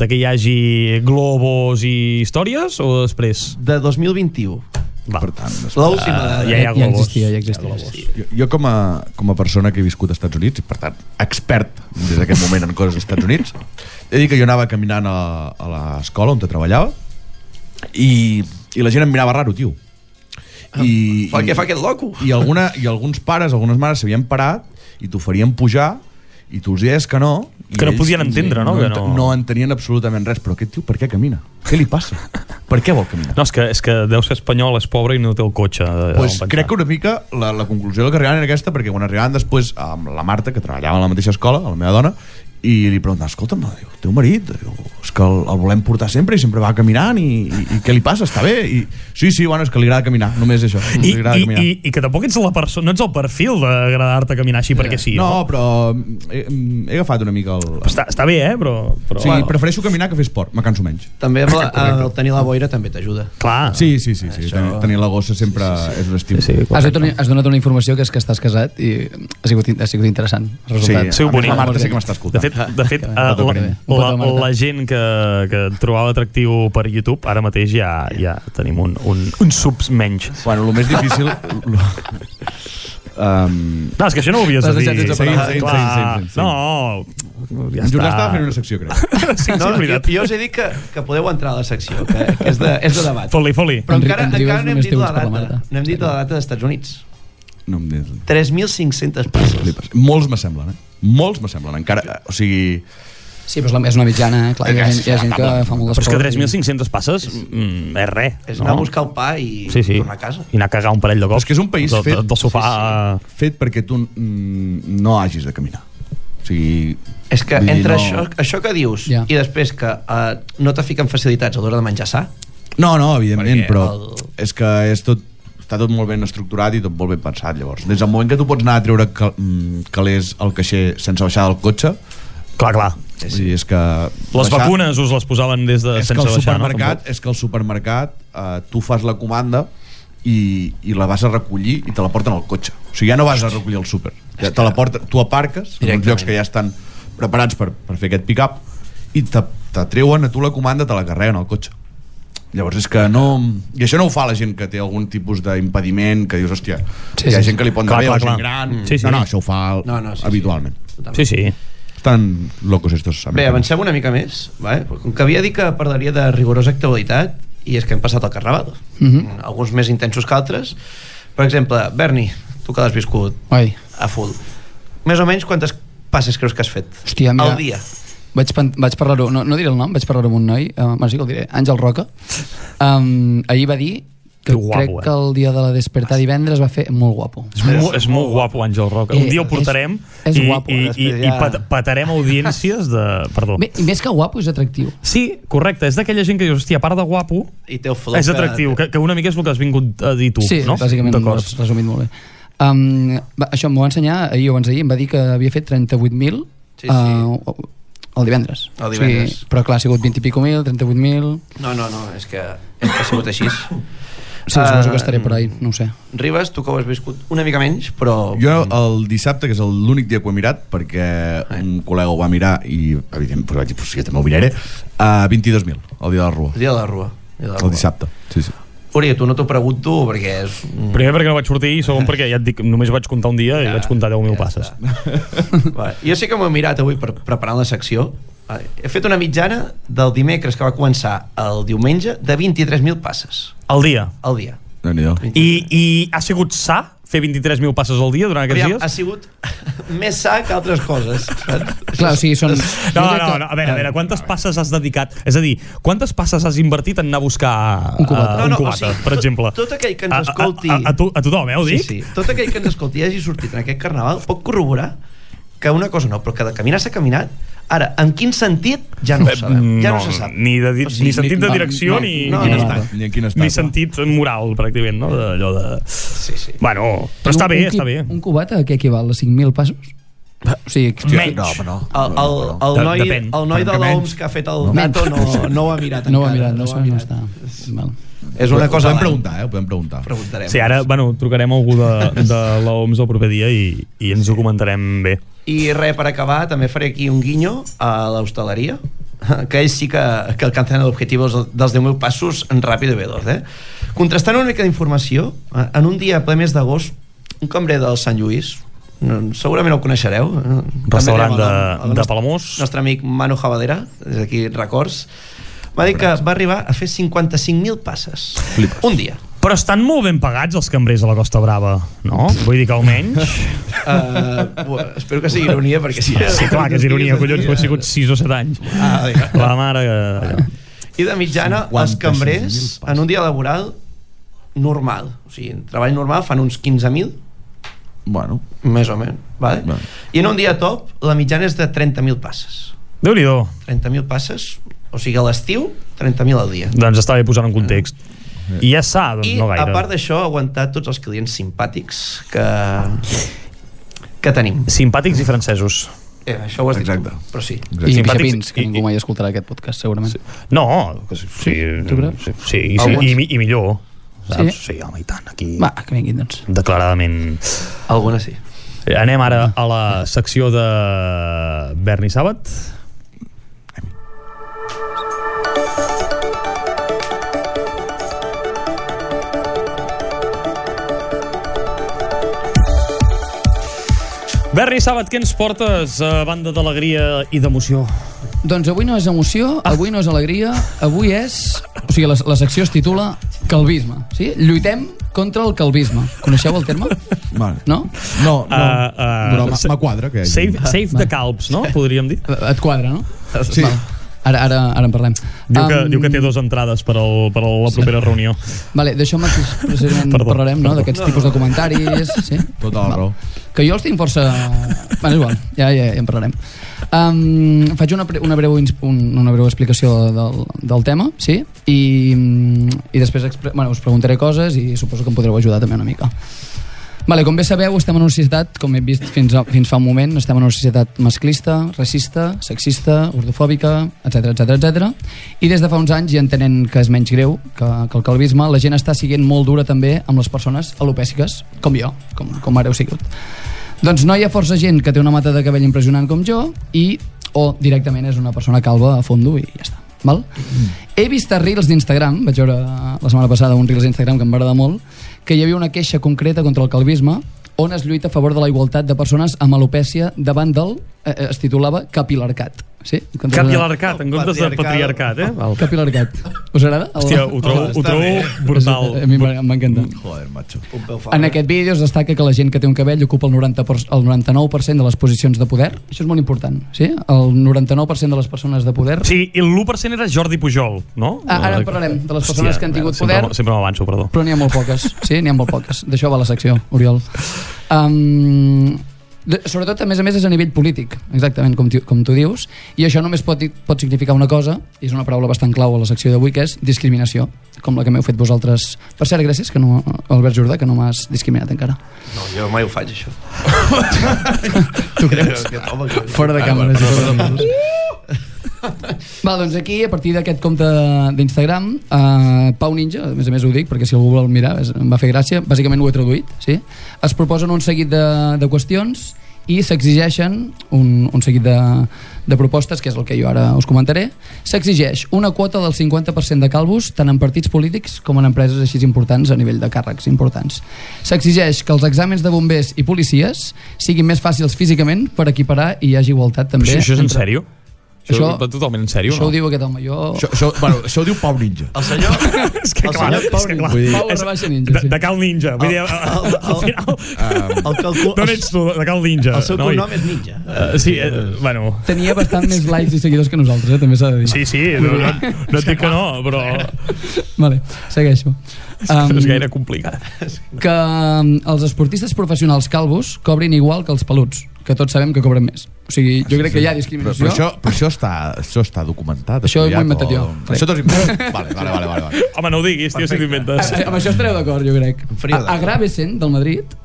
[SPEAKER 1] de que hi hagi globos i històries o després?
[SPEAKER 3] De 2021.
[SPEAKER 1] Va.
[SPEAKER 2] Per tant, després-
[SPEAKER 3] L'última
[SPEAKER 1] Eh,
[SPEAKER 3] dada.
[SPEAKER 1] ja hi ha
[SPEAKER 4] Ja
[SPEAKER 1] globos.
[SPEAKER 4] existia, ja existia.
[SPEAKER 1] Hi ha globos.
[SPEAKER 2] Jo, jo com, a, com a persona que he viscut als Estats Units, i per tant, expert des d'aquest moment en coses als Estats Units, he dit que jo anava caminant a, a l'escola on treballava i, i la gent em mirava raro, tio. I,
[SPEAKER 3] Fa
[SPEAKER 2] i-
[SPEAKER 3] què fa aquest loco?
[SPEAKER 2] i, alguna, i alguns pares, algunes mares s'havien parat i t'ho farien pujar i tu els deies que no i
[SPEAKER 1] Que no
[SPEAKER 2] ells
[SPEAKER 1] podien entendre, no?
[SPEAKER 2] no,
[SPEAKER 1] Que
[SPEAKER 2] ent-
[SPEAKER 1] no-
[SPEAKER 2] no entenien absolutament res però aquest tio per què camina? què li passa? per què vol caminar?
[SPEAKER 1] No, és que, és que deu ser espanyol, és pobre i no té el cotxe. eh,
[SPEAKER 2] pues
[SPEAKER 1] on pensar.
[SPEAKER 2] Doncs crec que una mica la, la conclusió a la que arribaven era aquesta, perquè quan arribaven després amb la Marta, que treballava a la mateixa escola, la meva dona, i li preguntava, escolta'm, diu, el teu marit, diu, és que el, el volem portar sempre i sempre va caminant i, i, i què li passa? Està bé? I, sí, sí, bueno, és que li agrada caminar, només això.
[SPEAKER 1] I,
[SPEAKER 2] I, li agrada
[SPEAKER 1] i,
[SPEAKER 2] caminar.
[SPEAKER 1] i, i que tampoc ets la persona, no ets el perfil d'agradar-te a caminar així perquè sí.
[SPEAKER 2] no, però mm, he, mm, he agafat una mica el...
[SPEAKER 1] Està, està bé, eh? Però, però...
[SPEAKER 2] Sí, prefereixo caminar que fer esport, me canso menys.
[SPEAKER 3] També amb la, el tenir la boira també t'ajuda.
[SPEAKER 1] Clar.
[SPEAKER 2] Sí, sí, sí, sí. Tenir, tenir la gossa sempre sí, sí, sí. és un estímul. Sí,
[SPEAKER 4] Has, donat, has donat una informació que és que estàs casat i ha sigut, in- ha sigut interessant. el Resultat.
[SPEAKER 1] Sí,
[SPEAKER 2] a més,
[SPEAKER 1] bonic.
[SPEAKER 2] La Marta sé Ah, que m'està
[SPEAKER 1] De
[SPEAKER 2] escoltant.
[SPEAKER 1] fet, de fet eh,
[SPEAKER 4] Un petó,
[SPEAKER 1] la,
[SPEAKER 4] carinyo. Un
[SPEAKER 1] la,
[SPEAKER 4] petó, Marta.
[SPEAKER 1] la gent que, que et trobava atractiu per YouTube, ara mateix ja ja tenim un, un, un subs menys.
[SPEAKER 2] Bueno, el més
[SPEAKER 1] [LAUGHS]
[SPEAKER 2] difícil... um,
[SPEAKER 1] No, és que això no ho havies de
[SPEAKER 4] L'has
[SPEAKER 1] dir.
[SPEAKER 4] deixat sense
[SPEAKER 2] paraules.
[SPEAKER 1] Clar,
[SPEAKER 2] Seguim, seguim, seguim,
[SPEAKER 1] No, ja
[SPEAKER 2] en Jordà
[SPEAKER 1] està.
[SPEAKER 2] estava fent una secció, crec.
[SPEAKER 1] [LAUGHS] Sí, sí,
[SPEAKER 3] No,
[SPEAKER 1] és
[SPEAKER 3] jo,
[SPEAKER 1] veritat.
[SPEAKER 3] jo us he dit que, que podeu entrar a la secció, que, que és, de, és de debat.
[SPEAKER 1] Foli, foli.
[SPEAKER 3] Però
[SPEAKER 4] Enric-
[SPEAKER 3] encara,
[SPEAKER 4] Enric
[SPEAKER 3] encara no hem
[SPEAKER 4] només
[SPEAKER 3] dit
[SPEAKER 4] té
[SPEAKER 3] la
[SPEAKER 4] uns per la
[SPEAKER 3] data.
[SPEAKER 4] Marta.
[SPEAKER 3] No hem dit la data dels Estats Units.
[SPEAKER 2] No em diguis.
[SPEAKER 3] 3.500 places.
[SPEAKER 2] Flipes. Molts me semblen, eh? Molts me semblen, encara... O sigui...
[SPEAKER 4] Sí, però és, la, és una mitjana, eh? clar, hi ha, gent, hi ha gent que fa molt
[SPEAKER 1] Però és que
[SPEAKER 4] d'esport.
[SPEAKER 1] 3.500 passes mm, és res.
[SPEAKER 3] És anar a buscar el pa i
[SPEAKER 1] sí, sí.
[SPEAKER 3] tornar a casa.
[SPEAKER 1] I anar a cagar un parell de cops.
[SPEAKER 2] és que és un país
[SPEAKER 1] del,
[SPEAKER 2] fet-
[SPEAKER 1] Del sofà...
[SPEAKER 2] Fet perquè tu mm, no hagis de caminar. O sigui...
[SPEAKER 3] És que
[SPEAKER 2] vull dir,
[SPEAKER 3] entre
[SPEAKER 2] no...
[SPEAKER 3] això, això que dius
[SPEAKER 4] Ja.
[SPEAKER 3] i després que eh, no te fiquen facilitats a l'hora de menjar sa,
[SPEAKER 2] No, no, evidentment,
[SPEAKER 3] Perquè
[SPEAKER 2] però
[SPEAKER 3] el-
[SPEAKER 2] és que és tot està tot molt ben estructurat i tot molt ben pensat, llavors. Des del moment que tu pots anar a treure cal- mm, calés al caixer sense baixar del cotxe,
[SPEAKER 1] Clar, clar.
[SPEAKER 2] sí, sí. és que...
[SPEAKER 1] Les
[SPEAKER 2] baixar-
[SPEAKER 1] vacunes us les posaven des de...
[SPEAKER 2] és que
[SPEAKER 1] Eh, sense
[SPEAKER 2] el
[SPEAKER 1] baixar, no?
[SPEAKER 2] supermercat, és que el supermercat eh, tu fas la comanda i, i la vas a recollir i te la porten al cotxe. O sigui, ja no vas a recollir al súper. Ja te la porta, tu aparques en uns
[SPEAKER 3] Directament.
[SPEAKER 2] llocs que ja estan preparats per, per fer aquest pick-up i te, te treuen a tu la comanda, te la carreguen al cotxe. Llavors és que no... I això no ho fa la gent que té algun tipus d'impediment, que dius, hòstia, sí,
[SPEAKER 4] Sí,
[SPEAKER 2] hi ha
[SPEAKER 4] sí,
[SPEAKER 2] gent que li pot
[SPEAKER 1] Clar,
[SPEAKER 2] anar bé,
[SPEAKER 1] clar,
[SPEAKER 2] o
[SPEAKER 1] clar.
[SPEAKER 2] gent gran...
[SPEAKER 1] Sí, sí.
[SPEAKER 2] No, no, això ho fa
[SPEAKER 3] No, no, sí, sí.
[SPEAKER 2] habitualment.
[SPEAKER 1] Sí, sí.
[SPEAKER 2] Estan locos estos
[SPEAKER 3] Bé,
[SPEAKER 2] americanos.
[SPEAKER 3] avancem una mica més. Vale? Com que havia dit que parlaria de rigorosa actualitat, i és que hem passat el Carnaval.
[SPEAKER 4] Mhm.
[SPEAKER 3] Alguns més intensos que altres. Per exemple, Berni, tu que l'has viscut
[SPEAKER 4] Oi,
[SPEAKER 3] a full, més o menys quantes passes creus que has fet?
[SPEAKER 4] Hòstia, mira.
[SPEAKER 3] Al dia.
[SPEAKER 4] vaig, pen- vaig parlar-ho, no, no diré el nom, vaig parlar-ho amb un noi, eh, bueno, sí que el diré, Àngel Roca. Um, ahir va dir
[SPEAKER 7] Que
[SPEAKER 4] que,
[SPEAKER 7] guapo,
[SPEAKER 4] crec
[SPEAKER 7] eh?
[SPEAKER 4] que el dia de la despertar divendres va fer molt guapo.
[SPEAKER 1] És, mo, és molt guapo, Àngel Roca.
[SPEAKER 4] Eh,
[SPEAKER 1] Un dia ho
[SPEAKER 4] és-
[SPEAKER 1] portarem
[SPEAKER 4] és
[SPEAKER 1] i,
[SPEAKER 4] guapo,
[SPEAKER 1] i, i,
[SPEAKER 3] després
[SPEAKER 1] i
[SPEAKER 3] ja-
[SPEAKER 1] pat, patarem audiències de... Perdó.
[SPEAKER 4] Bé, i més que guapo, és atractiu.
[SPEAKER 1] Sí, correcte, és d'aquella gent que dius, hòstia, a part de guapo,
[SPEAKER 3] I té el flow
[SPEAKER 1] és atractiu, que, que una mica és el que has vingut a dir tu,
[SPEAKER 4] sí,
[SPEAKER 1] no?
[SPEAKER 4] bàsicament ho
[SPEAKER 1] D'acord.
[SPEAKER 4] has resumit molt bé. Um, va, això m'ho va ensenyar ahir o abans d'ahir, em va dir que havia fet 38.000
[SPEAKER 3] Sí, sí.
[SPEAKER 4] Uh, el divendres.
[SPEAKER 3] El divendres.
[SPEAKER 4] O sigui, però clar, ha sigut 20 i pico mil, 38.000...
[SPEAKER 3] No, no, no, és que ha sigut així.
[SPEAKER 4] Sí,
[SPEAKER 3] Ah,
[SPEAKER 4] suposo que estaré per ahí, no ho sé.
[SPEAKER 3] Ribes, tu que ho has viscut una mica menys, però...
[SPEAKER 2] Jo el dissabte, que és el- l'únic dia que ho he mirat, perquè un col·lega ho va mirar i, evidentment, doncs vaig dir, pues, jo també ho miraré, a 22.000, el dia de la Rua.
[SPEAKER 3] El dia de la Rua. dia de la
[SPEAKER 2] El
[SPEAKER 3] Rua.
[SPEAKER 2] dissabte. Sí, sí.
[SPEAKER 3] Uri, tu no t'ho pregunto perquè és...
[SPEAKER 1] Primer perquè no vaig sortir i segon perquè ja et dic, només vaig comptar un dia i vaig comptar 10.000
[SPEAKER 3] Mm. Ja
[SPEAKER 1] passes.
[SPEAKER 3] està. Vale. Jo sé que m'ho he mirat avui per preparar la secció. Vale. He fet una mitjana del dimecres que va començar el diumenge de 23.000 passes
[SPEAKER 1] Al dia.
[SPEAKER 3] al dia.
[SPEAKER 2] déu nhi
[SPEAKER 1] I, I ha sigut sa fer 23.000 passes al dia durant aquests
[SPEAKER 3] Aviam, ha
[SPEAKER 1] dies?
[SPEAKER 3] sigut [LAUGHS] més sa que altres coses. saps?
[SPEAKER 4] Clar, o sigui, són...
[SPEAKER 1] No,
[SPEAKER 4] jo crec
[SPEAKER 1] no,
[SPEAKER 4] que-
[SPEAKER 1] no, a veure, a veure, quantes passes has dedicat? És a dir, quantes passes has invertit en anar a buscar
[SPEAKER 4] Un cubata.
[SPEAKER 1] eh,
[SPEAKER 3] No,
[SPEAKER 1] un
[SPEAKER 3] no, o
[SPEAKER 1] cubata,
[SPEAKER 3] sigui,
[SPEAKER 1] per
[SPEAKER 3] tot-
[SPEAKER 1] exemple?
[SPEAKER 3] tot aquell que ens
[SPEAKER 1] A- a-
[SPEAKER 3] escolti-
[SPEAKER 1] A, a, a, tu, a tothom, eh, ho
[SPEAKER 3] Sí,
[SPEAKER 1] dic?
[SPEAKER 3] sí. Tot aquell que ens escolti i hagi sortit en aquest carnaval pot corroborar que una cosa no, però que de caminar s'ha caminat. Ara, en quin sentit, ja no ho sabem. Ja no, se sap.
[SPEAKER 1] Eh, Mm, Ni, de, di-
[SPEAKER 3] O sigui,
[SPEAKER 1] ni sentit de
[SPEAKER 4] no,
[SPEAKER 1] direcció
[SPEAKER 4] no,
[SPEAKER 1] ni,
[SPEAKER 3] no,
[SPEAKER 1] ni,
[SPEAKER 3] no,
[SPEAKER 4] no.
[SPEAKER 2] Ni en quin estat.
[SPEAKER 1] ni sentit moral, pràcticament, no? Allò de...
[SPEAKER 3] Sí, sí.
[SPEAKER 1] Bueno, però està
[SPEAKER 4] un-
[SPEAKER 1] bé,
[SPEAKER 4] un, qui-
[SPEAKER 1] està bé.
[SPEAKER 4] Un cubat a què equival? A 5.000 passos? O sigui,
[SPEAKER 1] Menys.
[SPEAKER 2] No, però no.
[SPEAKER 3] El, el, el,
[SPEAKER 1] De-
[SPEAKER 3] noi,
[SPEAKER 1] depèn.
[SPEAKER 3] el noi de
[SPEAKER 2] Francament.
[SPEAKER 3] l'OMS que ha fet el dato no, no ho ha mirat
[SPEAKER 4] no ho ha
[SPEAKER 3] encara, ho
[SPEAKER 4] mirat, no, no,
[SPEAKER 3] ha
[SPEAKER 4] sé, no
[SPEAKER 3] mirat.
[SPEAKER 4] està. Val.
[SPEAKER 3] És una
[SPEAKER 2] Ho
[SPEAKER 3] cosa...
[SPEAKER 2] podem
[SPEAKER 3] d'any.
[SPEAKER 2] preguntar, eh? Ho podem preguntar.
[SPEAKER 3] Preguntarem.
[SPEAKER 1] Sí, ara, bueno, trucarem a algú de, de l'OMS el proper dia i, i ens ho comentarem bé.
[SPEAKER 3] I res, per acabar, també faré aquí un guinyo a l'hostaleria, [LAUGHS] que ells sí que, que alcancen l'objectiu dels dels 10.000 passos en ràpid i veloz. Eh? Contrastant una mica d'informació, eh, en un dia ple mes d'agost, un cambrer del Sant Lluís, no, segurament el coneixereu. eh, també
[SPEAKER 1] Restaurant
[SPEAKER 3] direm el
[SPEAKER 1] de-
[SPEAKER 3] nom,
[SPEAKER 1] de
[SPEAKER 3] el nostre-
[SPEAKER 1] Palamós.
[SPEAKER 3] Nostre amic Manu Javadera, des d'aquí records, va dir que va arribar a fer 55.000 passes.
[SPEAKER 2] Flipes.
[SPEAKER 3] Un dia.
[SPEAKER 1] Però estan molt ben pagats els cambrers a la Costa Brava, no? Vull dir que almenys...
[SPEAKER 3] Uh, buah, espero que sigui ironia, perquè si...
[SPEAKER 1] Sí, clar, que és ironia, collons, ho he sigut 6 o 7 anys.
[SPEAKER 3] Ah, vinga.
[SPEAKER 1] La mare que...
[SPEAKER 3] I de mitjana, els
[SPEAKER 2] 56.000
[SPEAKER 3] cambrers,
[SPEAKER 2] passes.
[SPEAKER 3] en un dia laboral normal, o sigui, en treball normal fan uns 15.000,
[SPEAKER 2] Bueno,
[SPEAKER 3] més o menys, vale?
[SPEAKER 2] Vale.
[SPEAKER 3] i en un dia top la mitjana és de 30.000 passes.
[SPEAKER 1] Déu-n'hi-do.
[SPEAKER 3] 30.000 passes, o sigui, a l'estiu, 30.000 al dia.
[SPEAKER 1] Doncs està bé posar en context. I ja s'ha, doncs
[SPEAKER 3] I,
[SPEAKER 1] no gaire.
[SPEAKER 3] a part d'això, aguantar tots els clients simpàtics que, que tenim.
[SPEAKER 1] Simpàtics i francesos.
[SPEAKER 3] Eh, això ho has dit
[SPEAKER 2] Exacte.
[SPEAKER 3] tu, però sí.
[SPEAKER 4] I
[SPEAKER 2] exacte.
[SPEAKER 1] Simpàtics
[SPEAKER 4] Pixapins, que
[SPEAKER 1] i-
[SPEAKER 4] ningú
[SPEAKER 1] i-
[SPEAKER 4] mai escoltarà aquest podcast, segurament. Sí.
[SPEAKER 1] No, que sí, sí,
[SPEAKER 4] Tu creus?
[SPEAKER 1] sí, sí, i, sí
[SPEAKER 4] Alguns.
[SPEAKER 1] i, mi- i millor. Saps?
[SPEAKER 4] Sí?
[SPEAKER 1] Sí? sí, home, i tant, aquí...
[SPEAKER 4] Va, que vinguin, doncs.
[SPEAKER 1] Declaradament.
[SPEAKER 3] Alguna sí.
[SPEAKER 1] Anem ara a la secció de Berni Sàbat. Berni Sàbat, què ens portes a banda d'alegria i d'emoció?
[SPEAKER 4] Doncs avui no és emoció, avui no és alegria, avui és... O sigui, la, la secció es titula Calvisme, sí? Lluitem contra el calvisme. Coneixeu el terme?
[SPEAKER 2] Vale.
[SPEAKER 4] No?
[SPEAKER 2] No, no,
[SPEAKER 1] Ah, ah,
[SPEAKER 2] però
[SPEAKER 1] sa-
[SPEAKER 2] m'ha- m'ha quadra, que hi hagi.
[SPEAKER 1] Save, save the calps, no? Podríem dir.
[SPEAKER 4] Et quadra, no?
[SPEAKER 2] Sí.
[SPEAKER 4] Val. Ara, ara, ara en parlem.
[SPEAKER 1] Diu que,
[SPEAKER 4] Em,
[SPEAKER 1] diu que té dues entrades per, al, per a la propera reunió.
[SPEAKER 4] Vale, d'això mateix precisament
[SPEAKER 1] [LAUGHS] Perdó,
[SPEAKER 4] parlarem, no?
[SPEAKER 1] perdó.
[SPEAKER 4] D'aquests tipus de comentaris, sí?
[SPEAKER 2] Tota la raó.
[SPEAKER 4] Que jo els tinc força... Bueno, és igual, ja, ja, ja en parlarem. Um, faig una, pre- una, breu, ins- un, una breu explicació del, del tema, sí? I, mm, i després expre- bueno, us preguntaré coses i suposo que em podreu ajudar també una mica. Vale, com bé sabeu, estem en una societat, com hem vist fins, a, fins fa un moment, estem en una societat masclista, racista, sexista, ordofòbica, etc etc etc. I des de fa uns anys, i entenent que és menys greu que, que el calvisme, la gent està siguent molt dura també amb les persones alopèciques, com jo, com, com ara heu sigut. Doncs no hi ha força gent que té una mata de cabell impressionant com jo i o directament és una persona calva a fondo i ja està. Val? He vist a Reels d'Instagram, vaig veure eh, la setmana passada un Reels d'Instagram que em va agradar molt, que hi havia una queixa concreta contra el calvisme on es lluita a favor de la igualtat de persones amb alopècia davant del, eh, eh, es titulava, capilarcat. Sí?
[SPEAKER 1] Capilarcat, en comptes de patriarcat, eh? Val.
[SPEAKER 4] Capilarcat. Us agrada? El-
[SPEAKER 1] Hòstia,
[SPEAKER 4] [LAUGHS]
[SPEAKER 1] ho trobo, ho
[SPEAKER 3] Està bé.
[SPEAKER 1] trobo
[SPEAKER 4] A
[SPEAKER 1] brutal.
[SPEAKER 4] mi m'ha- m'encanta.
[SPEAKER 2] Joder, macho.
[SPEAKER 3] Pompeu Fabra.
[SPEAKER 4] En aquest vídeo es destaca que la gent que té un cabell ocupa el, 90 por- el 99% de les posicions de poder. Això és molt important, sí? El 99% de les persones de poder...
[SPEAKER 1] Sí, i l'1% era Jordi Pujol, no?
[SPEAKER 4] Ah, ara en parlarem, de les persones que han tingut
[SPEAKER 1] sempre,
[SPEAKER 4] poder.
[SPEAKER 1] Sempre m'avanço, perdó.
[SPEAKER 4] Però n'hi ha molt poques, sí, n'hi ha molt poques. D'això va la secció, Oriol. Um, de, sobretot, a més a més, és a nivell polític, exactament com, tu- com tu dius, i això només pot, dir- pot significar una cosa, i és una paraula bastant clau a la secció d'avui, que és discriminació, com la que m'heu fet vosaltres. Per cert, gràcies, que no, Albert Jordà, que no m'has discriminat encara.
[SPEAKER 3] No, jo mai ho faig, això.
[SPEAKER 4] Tu
[SPEAKER 3] creus? Que, home, que...
[SPEAKER 4] Fora de càmera.
[SPEAKER 2] bueno,
[SPEAKER 4] sí,
[SPEAKER 2] perdó,
[SPEAKER 4] fora de càmera. Va, doncs aquí, a partir d'aquest compte d'Instagram, eh, Pau Ninja, a més a més ho dic, perquè si algú vol mirar, és, em va fer gràcia, bàsicament ho he traduït, sí? es proposen un seguit de, de qüestions i s'exigeixen un, un seguit de, de propostes, que és el que jo ara us comentaré, s'exigeix una quota del 50% de calvos tant en partits polítics com en empreses així importants a nivell de càrrecs importants. S'exigeix que els exàmens de bombers i policies siguin més fàcils físicament per equiparar i hi hagi igualtat també.
[SPEAKER 8] Això, això és en
[SPEAKER 4] entre-
[SPEAKER 8] sèrio? Això,
[SPEAKER 4] Això-
[SPEAKER 8] això va totalment en sèrio,
[SPEAKER 4] Això
[SPEAKER 8] no?
[SPEAKER 4] ho diu aquest home. Jo...
[SPEAKER 2] Això, això, bueno, això ho diu Pau Ninja.
[SPEAKER 3] El senyor...
[SPEAKER 1] És que
[SPEAKER 3] El
[SPEAKER 1] clar,
[SPEAKER 3] senyor Ah.
[SPEAKER 1] és que clar.
[SPEAKER 2] Vull dir-
[SPEAKER 4] Pau
[SPEAKER 1] és-
[SPEAKER 4] rebaixa ninja,
[SPEAKER 1] De,
[SPEAKER 4] sí.
[SPEAKER 1] de Cal Ninja. Vull dir, eh,
[SPEAKER 3] [LAUGHS]
[SPEAKER 1] al, al final...
[SPEAKER 3] El, calcul...
[SPEAKER 1] D'on ets tu, de Cal Ninja?
[SPEAKER 3] el seu
[SPEAKER 1] noi?
[SPEAKER 3] cognom és Ninja.
[SPEAKER 1] Eh, sí, eh, bueno...
[SPEAKER 4] Tenia bastant més likes i seguidors que nosaltres, eh? també s'ha de dir.
[SPEAKER 1] Sí, sí, no, no, no et dic que no, però
[SPEAKER 4] Vale, segueixo.
[SPEAKER 8] És
[SPEAKER 4] Um,
[SPEAKER 8] gaire complicat.
[SPEAKER 4] que um, els esportistes professionals calvos cobrin igual que els peluts, que tots sabem que cobren més. O sigui, jo crec que hi ha
[SPEAKER 2] Però,
[SPEAKER 4] discriminació.
[SPEAKER 2] però, això, però això, està, això està documentat.
[SPEAKER 4] Això ho he
[SPEAKER 2] estudiat,
[SPEAKER 4] inventat
[SPEAKER 2] o-
[SPEAKER 4] jo, crec.
[SPEAKER 2] Això t'ho has inventat. Vale, vale, vale. vale, vale.
[SPEAKER 8] Home, no ho diguis, tio, si t'ho inventes.
[SPEAKER 4] Eh, eh, Amb això estareu d'acord, jo crec.
[SPEAKER 3] frío
[SPEAKER 4] A, a
[SPEAKER 3] d'acord.
[SPEAKER 4] Gravesen, del Madrid,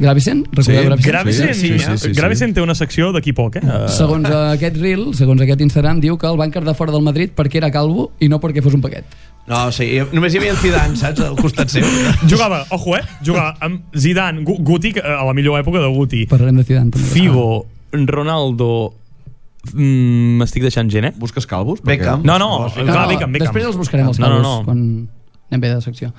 [SPEAKER 4] Gravesen, recordeu
[SPEAKER 2] Sí,
[SPEAKER 4] Gravesen?
[SPEAKER 1] Gravesen,
[SPEAKER 2] Sí, sí, sí, sí, sí.
[SPEAKER 1] Gravesen eh? té una secció d'aquí poc, eh?
[SPEAKER 4] Segons aquest reel, segons aquest Instagram, diu que el van quedar fora del Madrid perquè era calvo i no perquè fos un paquet.
[SPEAKER 3] No, o sigui, només hi havia en Zidane, saps? Al costat seu.
[SPEAKER 8] Jugava, ojo, eh? Jugava amb Zidane, Gu- Guti, que, eh, a la millor època de Guti.
[SPEAKER 4] Parlarem de Zidane. també.
[SPEAKER 8] Figo, Ronaldo... Mm, M'estic deixant gent, eh?
[SPEAKER 2] Busques calvos?
[SPEAKER 3] Beckham.
[SPEAKER 8] No, no, clar, Beckham, Beckham.
[SPEAKER 4] Ah, Després els buscarem els
[SPEAKER 8] No, no,
[SPEAKER 4] calvos
[SPEAKER 8] no.
[SPEAKER 4] quan anem bé de secció.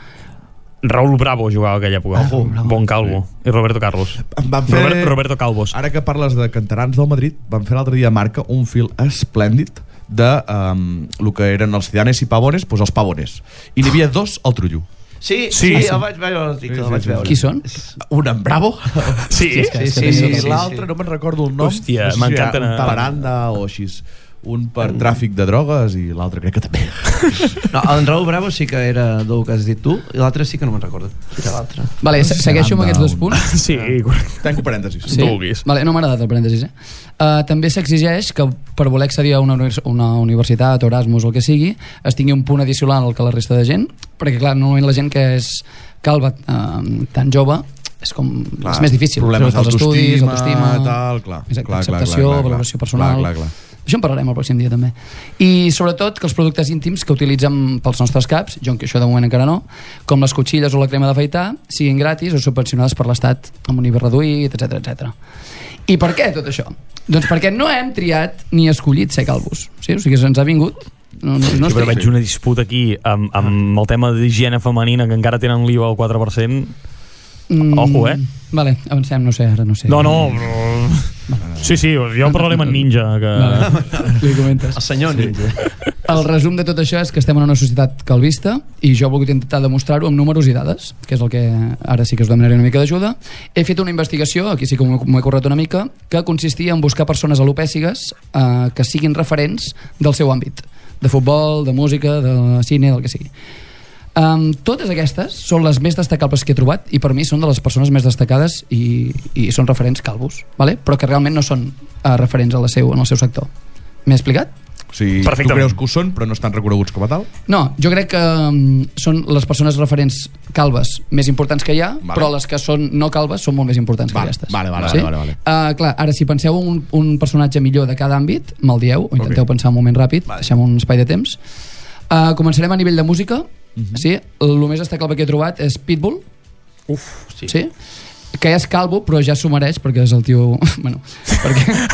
[SPEAKER 8] Raúl Bravo jugava aquella època.
[SPEAKER 3] Ojo, Bravo.
[SPEAKER 8] bon calvo. I Roberto Carlos.
[SPEAKER 2] Em van fer...
[SPEAKER 8] Robert, Roberto Calvos.
[SPEAKER 2] Ara que parles de canterans del Madrid, van fer l'altre dia a Marca un fil esplèndid de um, lo que eren els Zidanes i Pavones, doncs els Pavones. I n'hi havia dos al Trullo.
[SPEAKER 3] Sí,
[SPEAKER 8] Sí,
[SPEAKER 3] sí, sí,
[SPEAKER 8] sí.
[SPEAKER 3] el vaig veure, l'article,
[SPEAKER 2] Sí,
[SPEAKER 3] el
[SPEAKER 2] sí,
[SPEAKER 3] vaig
[SPEAKER 2] sí.
[SPEAKER 3] veure.
[SPEAKER 4] Qui són?
[SPEAKER 2] Un en Bravo
[SPEAKER 8] Sí?
[SPEAKER 4] és que-
[SPEAKER 3] Sí,
[SPEAKER 4] és que
[SPEAKER 3] sí,
[SPEAKER 2] i
[SPEAKER 4] teniu
[SPEAKER 3] sí,
[SPEAKER 4] tota la-
[SPEAKER 2] l'altre no me'n recordo el nom.
[SPEAKER 8] Hòstia,
[SPEAKER 2] no sé si
[SPEAKER 8] m'encanta
[SPEAKER 2] era Un
[SPEAKER 8] anar-
[SPEAKER 2] talaranda o així. Un per tràfic de drogues i l'altre crec que també.
[SPEAKER 3] No, el Raúl Bravo sí que era del que has dit tu, i l'altre sí que no me'n recordo. Qui era l'altre?
[SPEAKER 4] Vale, se- segueixo amb aquests dos punts.
[SPEAKER 8] Sí, correcte.
[SPEAKER 2] Tanco parèntesis.
[SPEAKER 8] vulguis.
[SPEAKER 4] Vale, no m'ha agradat el parèntesis, eh? Uh, també s'exigeix que per voler accedir a una, univers una universitat o Erasmus o el que sigui, es tingui un punt addicional al que la resta de gent, perquè clar, normalment la gent que és calva uh, tan jove és com clar, és més difícil
[SPEAKER 2] Problemes
[SPEAKER 4] sobretot els
[SPEAKER 2] d'autoestima,
[SPEAKER 4] autoestima,
[SPEAKER 2] tal, clar. clar,
[SPEAKER 4] exacte,
[SPEAKER 2] clar,
[SPEAKER 4] acceptació,
[SPEAKER 2] clar, clar, clar.
[SPEAKER 4] valoració personal
[SPEAKER 2] Clar, clar, clar.
[SPEAKER 4] Això en parlarem el pròxim dia també. I sobretot que els productes íntims que utilitzem pels nostres caps, jo que això de moment encara no, com les cotxilles o la crema d'afaitar, siguin gratis o subvencionades per l'Estat amb un IBI reduït, etc etc. I per què tot això? Doncs perquè no hem triat ni escollit ser calvos. Sí? O sigui, ens ha vingut... No, no, no
[SPEAKER 8] Jo però
[SPEAKER 4] estic-
[SPEAKER 8] veig una disputa aquí amb, amb el tema d'higiene femenina que encara tenen l'IVA al 4%.
[SPEAKER 4] Mm,
[SPEAKER 8] Ojo, eh?
[SPEAKER 4] Vale, avancem, no sé, ara no sé.
[SPEAKER 8] No, no, però... Sí, sí, jo parlaré amb en Ninja, que...
[SPEAKER 4] Vale, li comentes.
[SPEAKER 3] El senyor [LAUGHS] Ninja.
[SPEAKER 4] El resum de tot això és que estem en una societat calvista i jo he volgut intentar demostrar-ho amb números i dades, que és el que ara sí que us demanaré una mica d'ajuda. He fet una investigació, aquí sí que m'ho m'ho he corret una mica, que consistia en buscar persones alopècigues eh, que siguin referents del seu àmbit, de futbol, de música, de cine, del que sigui. Um, totes aquestes són les més destacables que he trobat i per mi són de les persones més destacades i, i són referents calvos, vale? però que realment no són uh, referents a la seu, en el seu sector. M'he explicat?
[SPEAKER 2] O sigui, tu
[SPEAKER 8] Perfectament.
[SPEAKER 2] creus que ho són, però no estan reconeguts com a tal?
[SPEAKER 4] No, jo crec que um, són les persones referents calves més importants que hi ha,
[SPEAKER 2] Vale.
[SPEAKER 4] vale. però les que són no calves són molt més importants
[SPEAKER 2] Vale,
[SPEAKER 4] que aquestes.
[SPEAKER 2] vale, vale, vale, vale,
[SPEAKER 4] Uh, clar, ara, si penseu un, un personatge millor de cada àmbit, me'l dieu, o intenteu okay. pensar un moment ràpid, vale. deixem un espai de temps. Uh, començarem a nivell de música. Mm
[SPEAKER 2] Mhm.
[SPEAKER 4] -hmm. sí, el més destacable que he trobat és Pitbull,
[SPEAKER 3] Uf,
[SPEAKER 4] [LAUGHS] sí. sí? que és calvo, però ja s'ho mereix, perquè [LAUGHS] és el tio... Bueno, perquè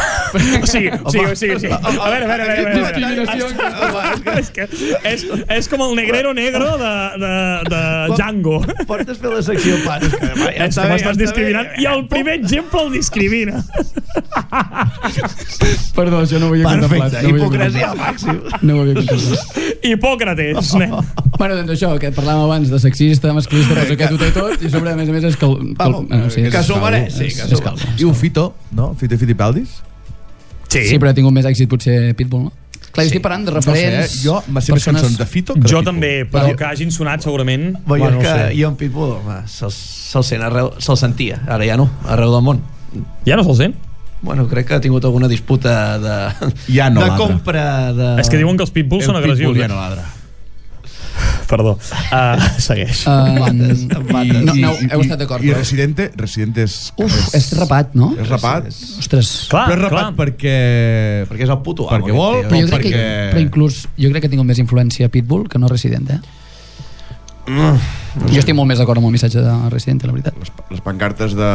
[SPEAKER 9] O sigui, o sigui, o sigui, o sigui. A veure, a veure, a veure. A veure.
[SPEAKER 4] Discriminació.
[SPEAKER 9] És, que és, és com el negrero negro de, de, de Django.
[SPEAKER 1] [LAUGHS]
[SPEAKER 3] Portes fer la secció, pares, que va, ja
[SPEAKER 9] és
[SPEAKER 3] està
[SPEAKER 9] que
[SPEAKER 3] bé, ja
[SPEAKER 9] m'estàs
[SPEAKER 3] està
[SPEAKER 9] discriminant
[SPEAKER 3] bé.
[SPEAKER 9] i el primer exemple el
[SPEAKER 3] [LAUGHS]
[SPEAKER 9] discrimina.
[SPEAKER 4] Perdó, jo no ho havia contemplat.
[SPEAKER 3] Perfecte,
[SPEAKER 4] No ho havia
[SPEAKER 3] hipocresia al
[SPEAKER 4] contemplat.
[SPEAKER 3] màxim.
[SPEAKER 4] No ho havia contemplat.
[SPEAKER 9] Hipòcrates, nen.
[SPEAKER 4] Bueno, doncs això, que parlàvem abans de sexista, masclista, però que tot i tot, i a sobre, a més a més, és que... el- que el-
[SPEAKER 3] Vamos,
[SPEAKER 4] no, Eh, sí, és-
[SPEAKER 3] que s'ho mereix, sí,
[SPEAKER 4] és-
[SPEAKER 3] que
[SPEAKER 4] és
[SPEAKER 3] s'ho
[SPEAKER 4] calvo.
[SPEAKER 2] Diu Fito, no? Fito i Fitipaldis?
[SPEAKER 4] Sí, però ha tingut més èxit potser Pitbull, no? Clar, jo estic parlant de
[SPEAKER 2] No sé,
[SPEAKER 4] referents...
[SPEAKER 2] eh? jo, les seves
[SPEAKER 4] persones-
[SPEAKER 2] cançons de Fito... que de
[SPEAKER 1] Jo
[SPEAKER 2] Pitbull.
[SPEAKER 1] també, però que hagin sonat segurament...
[SPEAKER 3] Bé, jo
[SPEAKER 1] no
[SPEAKER 3] és que
[SPEAKER 1] ho sé.
[SPEAKER 3] jo en Pitbull, home, se'l se sent arreu, se'l sentia, ara ja no, arreu del món.
[SPEAKER 1] Ja no se'l sent?
[SPEAKER 3] Bueno, crec que ha tingut alguna disputa de,
[SPEAKER 2] Ja no
[SPEAKER 3] de
[SPEAKER 2] ladra.
[SPEAKER 3] compra de...
[SPEAKER 1] És que diuen que els pitbulls
[SPEAKER 2] El
[SPEAKER 1] són agressius.
[SPEAKER 2] Pitbull ja
[SPEAKER 1] eh?
[SPEAKER 2] no ladra.
[SPEAKER 1] Perdó. Uh, [LAUGHS] segueix.
[SPEAKER 2] [LAUGHS]
[SPEAKER 4] Eh, no, no, heu estat d'acord,
[SPEAKER 2] I, i
[SPEAKER 4] però-
[SPEAKER 2] Residente, Residente és...
[SPEAKER 4] Uf, és rapat, no?
[SPEAKER 2] És rapat,
[SPEAKER 4] Ostres.
[SPEAKER 1] Clar,
[SPEAKER 2] però és
[SPEAKER 1] Ah, clar.
[SPEAKER 2] rapat perquè...
[SPEAKER 3] Perquè és el puto amo.
[SPEAKER 2] Perquè vol,
[SPEAKER 3] aquest
[SPEAKER 4] Però
[SPEAKER 3] tio.
[SPEAKER 4] jo crec que,
[SPEAKER 2] perquè-
[SPEAKER 4] però inclús, jo crec que tinc més influència a Pitbull que no a Resident, eh?
[SPEAKER 2] Mm.
[SPEAKER 4] Jo estic molt més d'acord amb el missatge de Resident, la veritat.
[SPEAKER 2] Les, les pancartes de,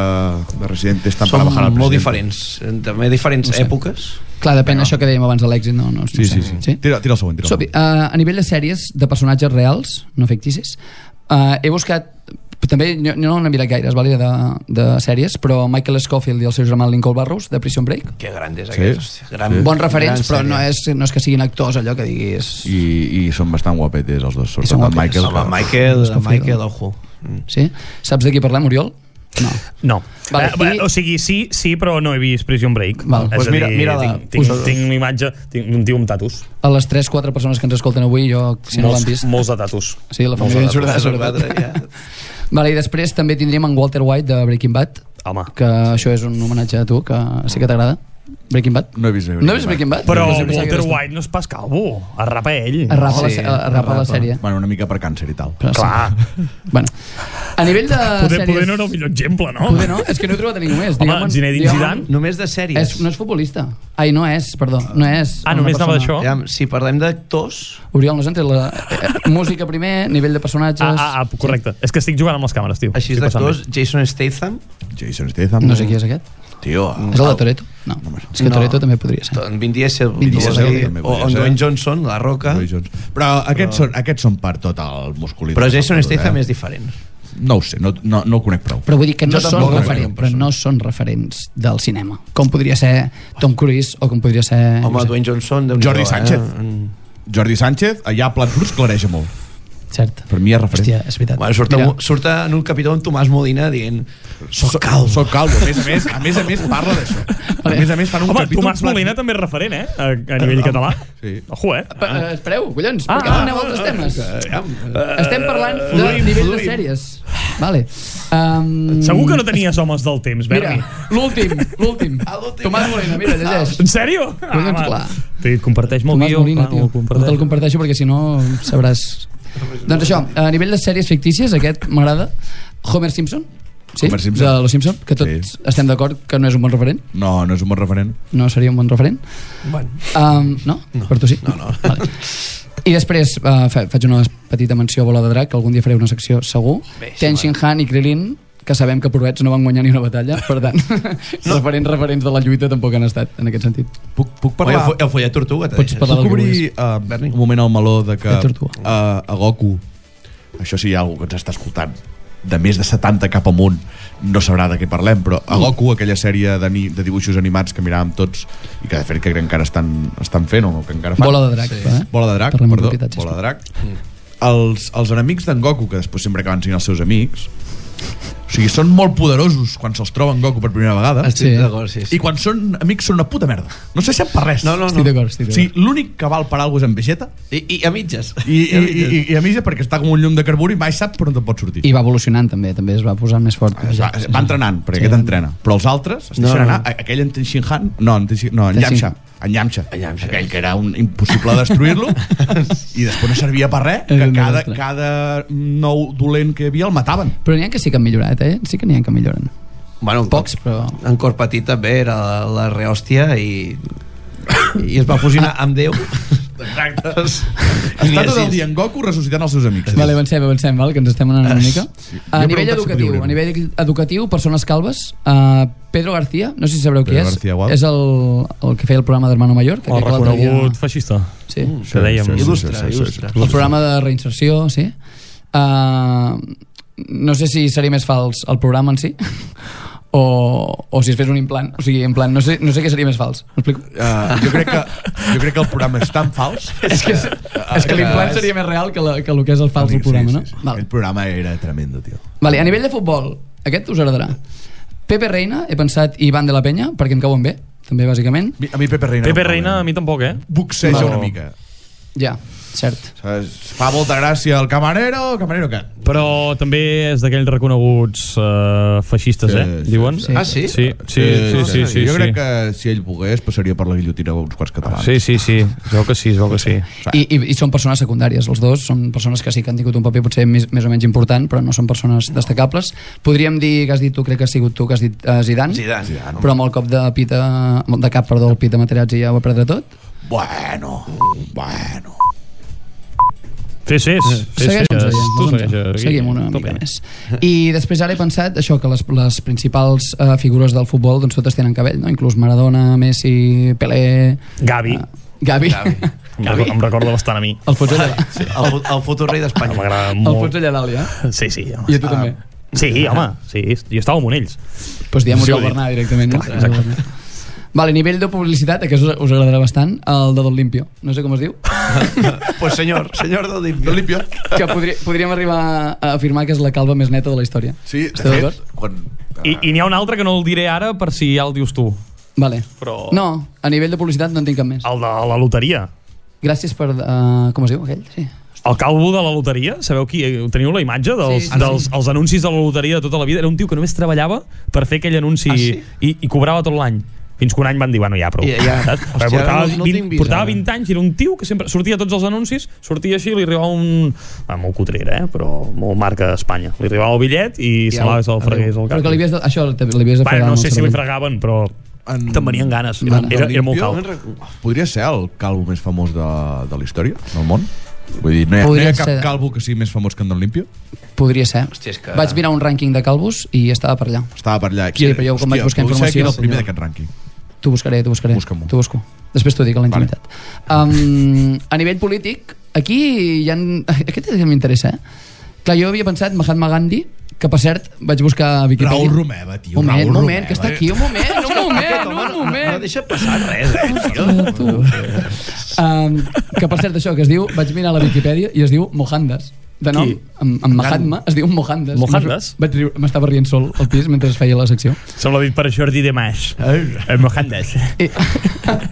[SPEAKER 2] de Residente estan per
[SPEAKER 3] Són
[SPEAKER 2] bajar al
[SPEAKER 3] molt
[SPEAKER 2] president.
[SPEAKER 3] diferents, també diferents
[SPEAKER 4] No sé.
[SPEAKER 3] èpoques.
[SPEAKER 4] Clar, depèn d'això que dèiem abans de l'èxit, no, no, no
[SPEAKER 2] Sí,
[SPEAKER 4] sé.
[SPEAKER 2] sí, sí. Tira, tira el següent, tira el
[SPEAKER 4] Sopi,
[SPEAKER 2] següent.
[SPEAKER 4] uh, a nivell de sèries de personatges reals, no ficticis, uh, he buscat també jo, jo no n'he mirat gaires vale, de, de sèries, però Michael Scofield i el seu germà Lincoln Barrows de Prison Break
[SPEAKER 3] Que gran és aquest, hòstia. Gran,
[SPEAKER 4] bons referents,
[SPEAKER 3] gran
[SPEAKER 4] però no
[SPEAKER 3] sèrie.
[SPEAKER 4] és, no és que siguin actors allò que diguis
[SPEAKER 2] I, I són bastant guapetes els dos, sobretot
[SPEAKER 4] són
[SPEAKER 2] el
[SPEAKER 4] guapetes.
[SPEAKER 2] Michael.
[SPEAKER 3] Home,
[SPEAKER 2] que-
[SPEAKER 3] Michael,
[SPEAKER 4] Scofield.
[SPEAKER 3] Michael, ojo.
[SPEAKER 4] sí? saps de qui parlem, Oriol? no
[SPEAKER 1] No.
[SPEAKER 4] Vale,
[SPEAKER 1] Vale, eh,
[SPEAKER 4] i-
[SPEAKER 1] bé, O sigui, sí, sí, però no he vist Prison Break.
[SPEAKER 4] Val.
[SPEAKER 1] És
[SPEAKER 4] Pues
[SPEAKER 1] a
[SPEAKER 3] mira-
[SPEAKER 1] dir,
[SPEAKER 3] mira la-
[SPEAKER 1] Tinc, tinc,
[SPEAKER 3] us-
[SPEAKER 1] tinc una imatge, tinc un tio amb tatus.
[SPEAKER 4] a les 3-4 persones que ens escolten avui jo, si no l'han vist
[SPEAKER 1] molts de tatus.
[SPEAKER 4] sí, la
[SPEAKER 1] Molts de
[SPEAKER 4] família
[SPEAKER 1] tatus.
[SPEAKER 4] Jordà, sobretot. Vale, I després també tindríem en Walter White de Breaking Bad,
[SPEAKER 1] Home.
[SPEAKER 4] que això és un homenatge a tu, que sí que t'agrada. Breaking Bad?
[SPEAKER 2] No he vist Breaking
[SPEAKER 4] no has vist
[SPEAKER 2] Bad.
[SPEAKER 4] Breaking Bad?
[SPEAKER 1] Però
[SPEAKER 4] Jo sempre pensava que
[SPEAKER 1] Walter
[SPEAKER 4] eres tu.
[SPEAKER 1] White no és pas calvo. Arrapa ell.
[SPEAKER 4] Es rapa,
[SPEAKER 3] Sí,
[SPEAKER 4] sí, la, es rapa la sèrie.
[SPEAKER 2] Bueno, una mica per càncer i tal.
[SPEAKER 4] Però
[SPEAKER 1] Clar.
[SPEAKER 4] Sí. Ah, Bueno, a nivell de
[SPEAKER 1] Poder,
[SPEAKER 4] sèries...
[SPEAKER 1] poder no era el millor exemple, no?
[SPEAKER 4] Poder no, és que no he trobat a ningú més.
[SPEAKER 1] Home,
[SPEAKER 4] Digue'm-
[SPEAKER 1] Zinedine
[SPEAKER 4] digue'm-
[SPEAKER 1] Zidane.
[SPEAKER 3] Només de sèries.
[SPEAKER 4] És, no és futbolista. Ai, no és, perdó, no és.
[SPEAKER 1] Ah,
[SPEAKER 4] una
[SPEAKER 1] només anava
[SPEAKER 4] persona.
[SPEAKER 1] d'això.
[SPEAKER 3] Ja, si parlem d'actors,
[SPEAKER 4] Oriol, no s'entra la eh, eh, música primer, nivell de personatges...
[SPEAKER 1] Ah, ah, ah, correcte. És que estic jugant amb les càmeres, tio.
[SPEAKER 3] així
[SPEAKER 1] Estic passant
[SPEAKER 3] d'actors, Jason Statham,
[SPEAKER 2] Jason Statham.
[SPEAKER 4] No sé qui és aquest.
[SPEAKER 2] Tio,
[SPEAKER 4] És el de Toreto? No, és que
[SPEAKER 3] No.
[SPEAKER 4] Toreto també podria ser.
[SPEAKER 3] en Vin Diesel,
[SPEAKER 4] Vin Diesel,
[SPEAKER 3] podria dir,
[SPEAKER 2] també
[SPEAKER 3] o
[SPEAKER 2] podria
[SPEAKER 3] en
[SPEAKER 2] ser.
[SPEAKER 3] Dwayne Johnson, La Roca,
[SPEAKER 2] Roy Jones. Però aquests, Són, aquests són per tot el musculí.
[SPEAKER 3] però Jason Statham és diferent.
[SPEAKER 2] eh? No ho sé, no, no, no ho conec prou.
[SPEAKER 4] Però vull dir que
[SPEAKER 2] Jo
[SPEAKER 4] no són,
[SPEAKER 2] tampoc,
[SPEAKER 4] referents,
[SPEAKER 2] eh,
[SPEAKER 4] però no són referents del cinema. Com podria ser Tom Cruise o com podria ser... no
[SPEAKER 3] Home,
[SPEAKER 4] sé.
[SPEAKER 3] Dwayne Johnson... déu-n'hi-do,
[SPEAKER 2] Jordi
[SPEAKER 3] eh?
[SPEAKER 2] Sánchez.
[SPEAKER 3] Mm.
[SPEAKER 2] Jordi Sánchez, allà a Plat Rus, clareja molt.
[SPEAKER 4] Cert.
[SPEAKER 2] Per mi és referent.
[SPEAKER 4] Hòstia, és veritat.
[SPEAKER 3] Bueno, surt,
[SPEAKER 4] Mira,
[SPEAKER 3] en, surt en un capítol amb Tomàs Modina dient soc calvo.
[SPEAKER 2] Soc calvo, a més a més, a més, a més parla d'això. A més a més fan un
[SPEAKER 1] Home,
[SPEAKER 2] capítol...
[SPEAKER 1] Tomàs Molina també és referent, eh? A, a nivell català.
[SPEAKER 2] Sí.
[SPEAKER 1] Ojo, eh?
[SPEAKER 4] Pa- eh, Espereu, collons, per què
[SPEAKER 1] ah,
[SPEAKER 4] aneu a altres temes?
[SPEAKER 3] Aviam. eh,
[SPEAKER 4] Estem parlant de
[SPEAKER 3] fluïm,
[SPEAKER 4] nivell de
[SPEAKER 3] fluïm.
[SPEAKER 4] sèries. Vale. Um,
[SPEAKER 1] Segur que no tenies homes del temps,
[SPEAKER 4] Mira,
[SPEAKER 1] Berni.
[SPEAKER 4] l'últim, l'últim. Tomàs Molina, mira, llegeix.
[SPEAKER 1] En sèrio? Ah,
[SPEAKER 4] Collons,
[SPEAKER 1] va.
[SPEAKER 4] clar.
[SPEAKER 1] Té- Comparteix molt
[SPEAKER 4] Tomàs
[SPEAKER 1] guió.
[SPEAKER 4] Molina,
[SPEAKER 1] clar,
[SPEAKER 4] tio.
[SPEAKER 1] ho comparteix.
[SPEAKER 4] No te'l comparteixo perquè si no sabràs... doncs això, a nivell de sèries fictícies, aquest m'agrada. Homer Simpson, sí,
[SPEAKER 2] Homer Simpson.
[SPEAKER 4] de Los Simpson, que tots
[SPEAKER 2] Sí.
[SPEAKER 4] estem d'acord que no és un bon referent,
[SPEAKER 2] No, no és un bon referent.
[SPEAKER 4] no seria un bon referent.
[SPEAKER 3] Bueno,
[SPEAKER 4] Um, no? no? Per tu sí? No, no. Vale. I després uh, fa, faig una petita menció a Bola de Drac, que algun dia faré una secció segur.
[SPEAKER 3] Bé, sí,
[SPEAKER 4] Ten Shin Han i Krilin, que sabem que provets no van guanyar ni una batalla, per tant, no. [LAUGHS] referents, referents de la lluita tampoc han estat, en aquest sentit.
[SPEAKER 2] Puc, puc
[SPEAKER 3] Oi, el,
[SPEAKER 2] parlar...
[SPEAKER 3] fo- el follet tortuga, t'ha
[SPEAKER 4] Pots
[SPEAKER 3] deixat.
[SPEAKER 4] parlar
[SPEAKER 2] Puc
[SPEAKER 4] del que vulguis.
[SPEAKER 2] obrir uh,
[SPEAKER 3] Berni?
[SPEAKER 2] un moment el meló de que
[SPEAKER 4] De tortuga.
[SPEAKER 2] uh, a Goku això sí hi ha algú que ens està escoltant de més de 70 cap amunt no sabrà de què parlem, però a
[SPEAKER 3] Mm.
[SPEAKER 2] Goku, aquella sèrie de, ni, de dibuixos animats que miràvem tots i que de fet crec que encara estan, estan fent o que encara fan.
[SPEAKER 4] Bola de Drac, sí. eh?
[SPEAKER 2] Bola de drac,
[SPEAKER 4] Parlem en
[SPEAKER 2] perdó.
[SPEAKER 4] propietat, sisplau.
[SPEAKER 2] Bola de drac. Mm. Els, els enemics d'en Goku, que després sempre acaben sent els seus amics, o sigui, són molt poderosos quan se'ls troba en Goku per primera vegada.
[SPEAKER 3] Estic
[SPEAKER 4] Sí.
[SPEAKER 3] d'acord, Ah, sí, sí.
[SPEAKER 2] I quan són amics són una puta merda. No se sap per res.
[SPEAKER 3] No, no,
[SPEAKER 4] Estic
[SPEAKER 3] no.
[SPEAKER 4] d'acord, estic
[SPEAKER 2] O
[SPEAKER 4] d'acord.
[SPEAKER 2] sigui, l'únic que val per alguna cosa és en Vegeta
[SPEAKER 3] I, I, a mitges.
[SPEAKER 2] i, i, i, i, i a mitja perquè està com un llum de carburi i mai sap per on te'n pot sortir.
[SPEAKER 4] I va evolucionant també, també es va posant més fort.
[SPEAKER 2] Es va, es va entrenant, perquè sí. aquest entrena. Però els altres es deixen
[SPEAKER 3] No,
[SPEAKER 2] no,
[SPEAKER 3] no.
[SPEAKER 2] anar. A- Aquell en Tenshin Han... No, en, Tenshin, no, en
[SPEAKER 4] Tenshin-
[SPEAKER 2] Yamcha. En Yamcha.
[SPEAKER 3] En Yamcha.
[SPEAKER 2] Aquell que era un, impossible
[SPEAKER 4] [LAUGHS]
[SPEAKER 2] destruir-lo i després no servia per res,
[SPEAKER 4] És
[SPEAKER 2] que
[SPEAKER 4] un
[SPEAKER 2] cada,
[SPEAKER 4] desastre.
[SPEAKER 2] cada nou dolent que hi havia el mataven.
[SPEAKER 4] Però n'hi ha que sí que han millorat, eh? Sí que n'hi ha que milloren.
[SPEAKER 3] Bueno,
[SPEAKER 4] Pocs, però...
[SPEAKER 3] En cor petit també era la, la rehòstia i, i es va fusionar amb Déu. [LAUGHS]
[SPEAKER 2] Exacte.
[SPEAKER 10] Està tot el dia en Goku ressuscitant els seus amics.
[SPEAKER 4] Vale, avancem, avancem, val? que ens estem anant una mica.
[SPEAKER 10] Ah,
[SPEAKER 4] A
[SPEAKER 10] Jo he preguntat
[SPEAKER 4] nivell
[SPEAKER 10] si podia
[SPEAKER 4] educatiu,
[SPEAKER 10] obrir-ho.
[SPEAKER 4] a nivell educatiu, persones calves, uh, Pedro García, no sé si sabreu qui
[SPEAKER 10] Pedro
[SPEAKER 4] és,
[SPEAKER 10] García Gual.
[SPEAKER 4] és el, el que feia el programa d'Hermano Mayor, que
[SPEAKER 1] El
[SPEAKER 4] crec que l'altre
[SPEAKER 1] reconegut Mm. feixista.
[SPEAKER 4] Sí.
[SPEAKER 1] Que dèiem.
[SPEAKER 3] Il·lustre, il·lustre.
[SPEAKER 4] El programa de reinserció, sí. Uh, no sé si seria més fals el programa en si, [LAUGHS] o, o si es fes un implant. O sigui, en plan, no sé, no sé què seria més fals. M'explico?
[SPEAKER 2] Uh, jo, crec que, jo crec que el programa és tan fals
[SPEAKER 4] És que, és que l'implant seria més real que, la, que el que és el fals del programa, no?
[SPEAKER 2] El
[SPEAKER 4] Val.
[SPEAKER 2] programa era tremendo, tio.
[SPEAKER 4] Vale, a nivell de futbol, aquest us agradarà. Pepe Reina, he pensat, i Ivan de la Penya, perquè em cauen bé, també, bàsicament.
[SPEAKER 2] Mi- A mi Pepe Reina...
[SPEAKER 1] Pepe
[SPEAKER 2] no em
[SPEAKER 1] Reina, a mi tampoc, eh?
[SPEAKER 2] Boxeja
[SPEAKER 1] No.
[SPEAKER 2] una mica.
[SPEAKER 4] Ja, cert.
[SPEAKER 2] Saps? Fa molta gràcia el camarero, camarero que...
[SPEAKER 1] Però també és d'aquells reconeguts uh, feixistes,
[SPEAKER 2] Sí,
[SPEAKER 1] eh?
[SPEAKER 2] sí,
[SPEAKER 1] Diuen?
[SPEAKER 4] sí.
[SPEAKER 3] Ah, sí?
[SPEAKER 1] Sí, sí, sí, sí, sí,
[SPEAKER 2] Eh,
[SPEAKER 1] sí.
[SPEAKER 2] Jo crec que si ell pogués passaria per la guillotina uns quarts catalans.
[SPEAKER 1] Sí, sí, sí. Es veu que sí, es veu que sí.
[SPEAKER 4] I, i, I són persones secundàries, els dos. Són persones que sí que han tingut un paper potser més, més o menys important, però no són persones destacables. Podríem dir que has dit tu, crec que has sigut tu, que has dit uh, Zidane,
[SPEAKER 3] Zidane.
[SPEAKER 4] però amb el cop de pita, de cap, perdó, el pita Materazzi ja ho ha perdre tot.
[SPEAKER 2] Bueno, bueno...
[SPEAKER 1] Sí, sí, sí. sí,
[SPEAKER 4] Segueix,
[SPEAKER 1] sí,
[SPEAKER 4] sí,
[SPEAKER 1] sí. Tu segueixes. aquí.
[SPEAKER 4] Seguim una
[SPEAKER 1] Tu
[SPEAKER 4] mica
[SPEAKER 1] primer.
[SPEAKER 4] més. I després ara he pensat això, que les, les principals uh, figures del futbol doncs totes tenen cabell, no? Inclús Maradona, Messi, Pelé...
[SPEAKER 1] Gavi.
[SPEAKER 4] Uh, Gavi.
[SPEAKER 3] Gavi.
[SPEAKER 1] Em, recorda, em recorda bastant a mi.
[SPEAKER 4] [LAUGHS] El fots allà,
[SPEAKER 3] Sí, el, fu- el futur rei d'Espanya.
[SPEAKER 1] M'agrada
[SPEAKER 4] el fots
[SPEAKER 1] molt. Ah,
[SPEAKER 4] allà dalt, ja.
[SPEAKER 1] Sí, sí.
[SPEAKER 4] I
[SPEAKER 1] Home.
[SPEAKER 4] a tu també.
[SPEAKER 1] Sí, home. Sí, jo estava amb ells.
[SPEAKER 4] Doncs pues diem Oriol
[SPEAKER 1] Sí.
[SPEAKER 4] Bernat directament, no? Exacte. Vale, nivell de publicitat, aquest us, us agradarà bastant, el de Don Limpio, no sé com es diu,
[SPEAKER 3] Pues senyor, senyor del Limpio.
[SPEAKER 2] Limpio.
[SPEAKER 4] que podri, podríem arribar a afirmar que és la calva més neta de la història.
[SPEAKER 2] Sí, de
[SPEAKER 4] Esteu
[SPEAKER 2] fet,
[SPEAKER 4] d'acord?
[SPEAKER 2] quan... eh,
[SPEAKER 1] I, i n'hi ha un altre que no el diré ara per si ja el dius tu.
[SPEAKER 4] Vale.
[SPEAKER 1] Però- Ah.
[SPEAKER 4] No, a nivell de publicitat no en tinc cap més.
[SPEAKER 1] El de la loteria.
[SPEAKER 4] Gràcies per... Uh, com es diu aquell? Sí.
[SPEAKER 1] El calvo de la loteria, sabeu qui? Eh, Teniu la imatge dels, sí,
[SPEAKER 4] Sí, sí,
[SPEAKER 1] sí, dels els anuncis de la loteria de tota la vida? Era un tio que només treballava per fer aquell anunci
[SPEAKER 3] Ah, sí?
[SPEAKER 1] i, i cobrava tot l'any. Fins que un any van dir, bueno, ja, prou.
[SPEAKER 3] Ja, ja.
[SPEAKER 1] Saps?
[SPEAKER 3] Hòstia,
[SPEAKER 1] Perquè portava,
[SPEAKER 3] ara no- no tinc
[SPEAKER 1] 20,
[SPEAKER 3] vist,
[SPEAKER 1] portava
[SPEAKER 3] ara.
[SPEAKER 1] 20 anys i era un tio que sempre sortia a tots els anuncis, sortia així i li arribava un... Ah, molt cutrera, eh? Però molt marca d'Espanya. Li arribava el bitllet i ja, semblava que se'l fregués al
[SPEAKER 4] Però
[SPEAKER 1] cap.
[SPEAKER 4] que li havies de, això també li havies de
[SPEAKER 1] Bueno,
[SPEAKER 4] fregar
[SPEAKER 1] no
[SPEAKER 4] amb
[SPEAKER 1] sé
[SPEAKER 4] el
[SPEAKER 1] si li
[SPEAKER 4] cervell.
[SPEAKER 1] fregaven, però
[SPEAKER 2] En-
[SPEAKER 1] te'n venien ganes. Era,
[SPEAKER 4] Vale.
[SPEAKER 1] era, era molt
[SPEAKER 2] Limpio,
[SPEAKER 1] calb.
[SPEAKER 2] Podria ser el calvo més famós de, de la història, del món? Vull dir, no hi ha, no hi
[SPEAKER 4] Podria
[SPEAKER 2] ha cap
[SPEAKER 4] ser.
[SPEAKER 2] calvo que sigui més famós que en Don Limpio?
[SPEAKER 4] Podria ser.
[SPEAKER 3] Hòstia, és que-
[SPEAKER 4] Vaig mirar un rànquing de calvos i estava per allà.
[SPEAKER 2] Estava per allà.
[SPEAKER 4] Sí, però jo quan vaig buscar
[SPEAKER 2] potser que era el
[SPEAKER 4] informació,
[SPEAKER 2] primer
[SPEAKER 4] senyor.
[SPEAKER 2] d'aquest rànquing.
[SPEAKER 4] T'ho buscaré, t'ho buscaré.
[SPEAKER 2] Busca-m'ho.
[SPEAKER 4] T'ho busco. Després t'ho dic a la
[SPEAKER 2] Vale.
[SPEAKER 4] intimitat. Um, a nivell polític, aquí hi ha... [LAUGHS] Aquest és el que m'interessa, eh? Clar, jo havia pensat Mahatma Gandhi, que per cert vaig buscar a Wikipedia.
[SPEAKER 2] Raül Romeva, tio,
[SPEAKER 4] Un moment,
[SPEAKER 2] Raül
[SPEAKER 4] un moment,
[SPEAKER 2] Romeva.
[SPEAKER 4] que està aquí, un moment, un moment, un
[SPEAKER 3] No
[SPEAKER 4] moment.
[SPEAKER 3] deixa passar res, eh, tio.
[SPEAKER 4] Um, que per cert, això que es diu, vaig mirar a la Viquipèdia i es diu Mohandas. De nom,
[SPEAKER 1] Qui?
[SPEAKER 4] amb, amb Mahatma, es diu Mohandas.
[SPEAKER 1] Mohandas?
[SPEAKER 4] Vaig riure, m'estava rient sol al pis mentre es feia la secció.
[SPEAKER 1] Sembla dit per Jordi Dimash. Eh, Mohandas.
[SPEAKER 4] I...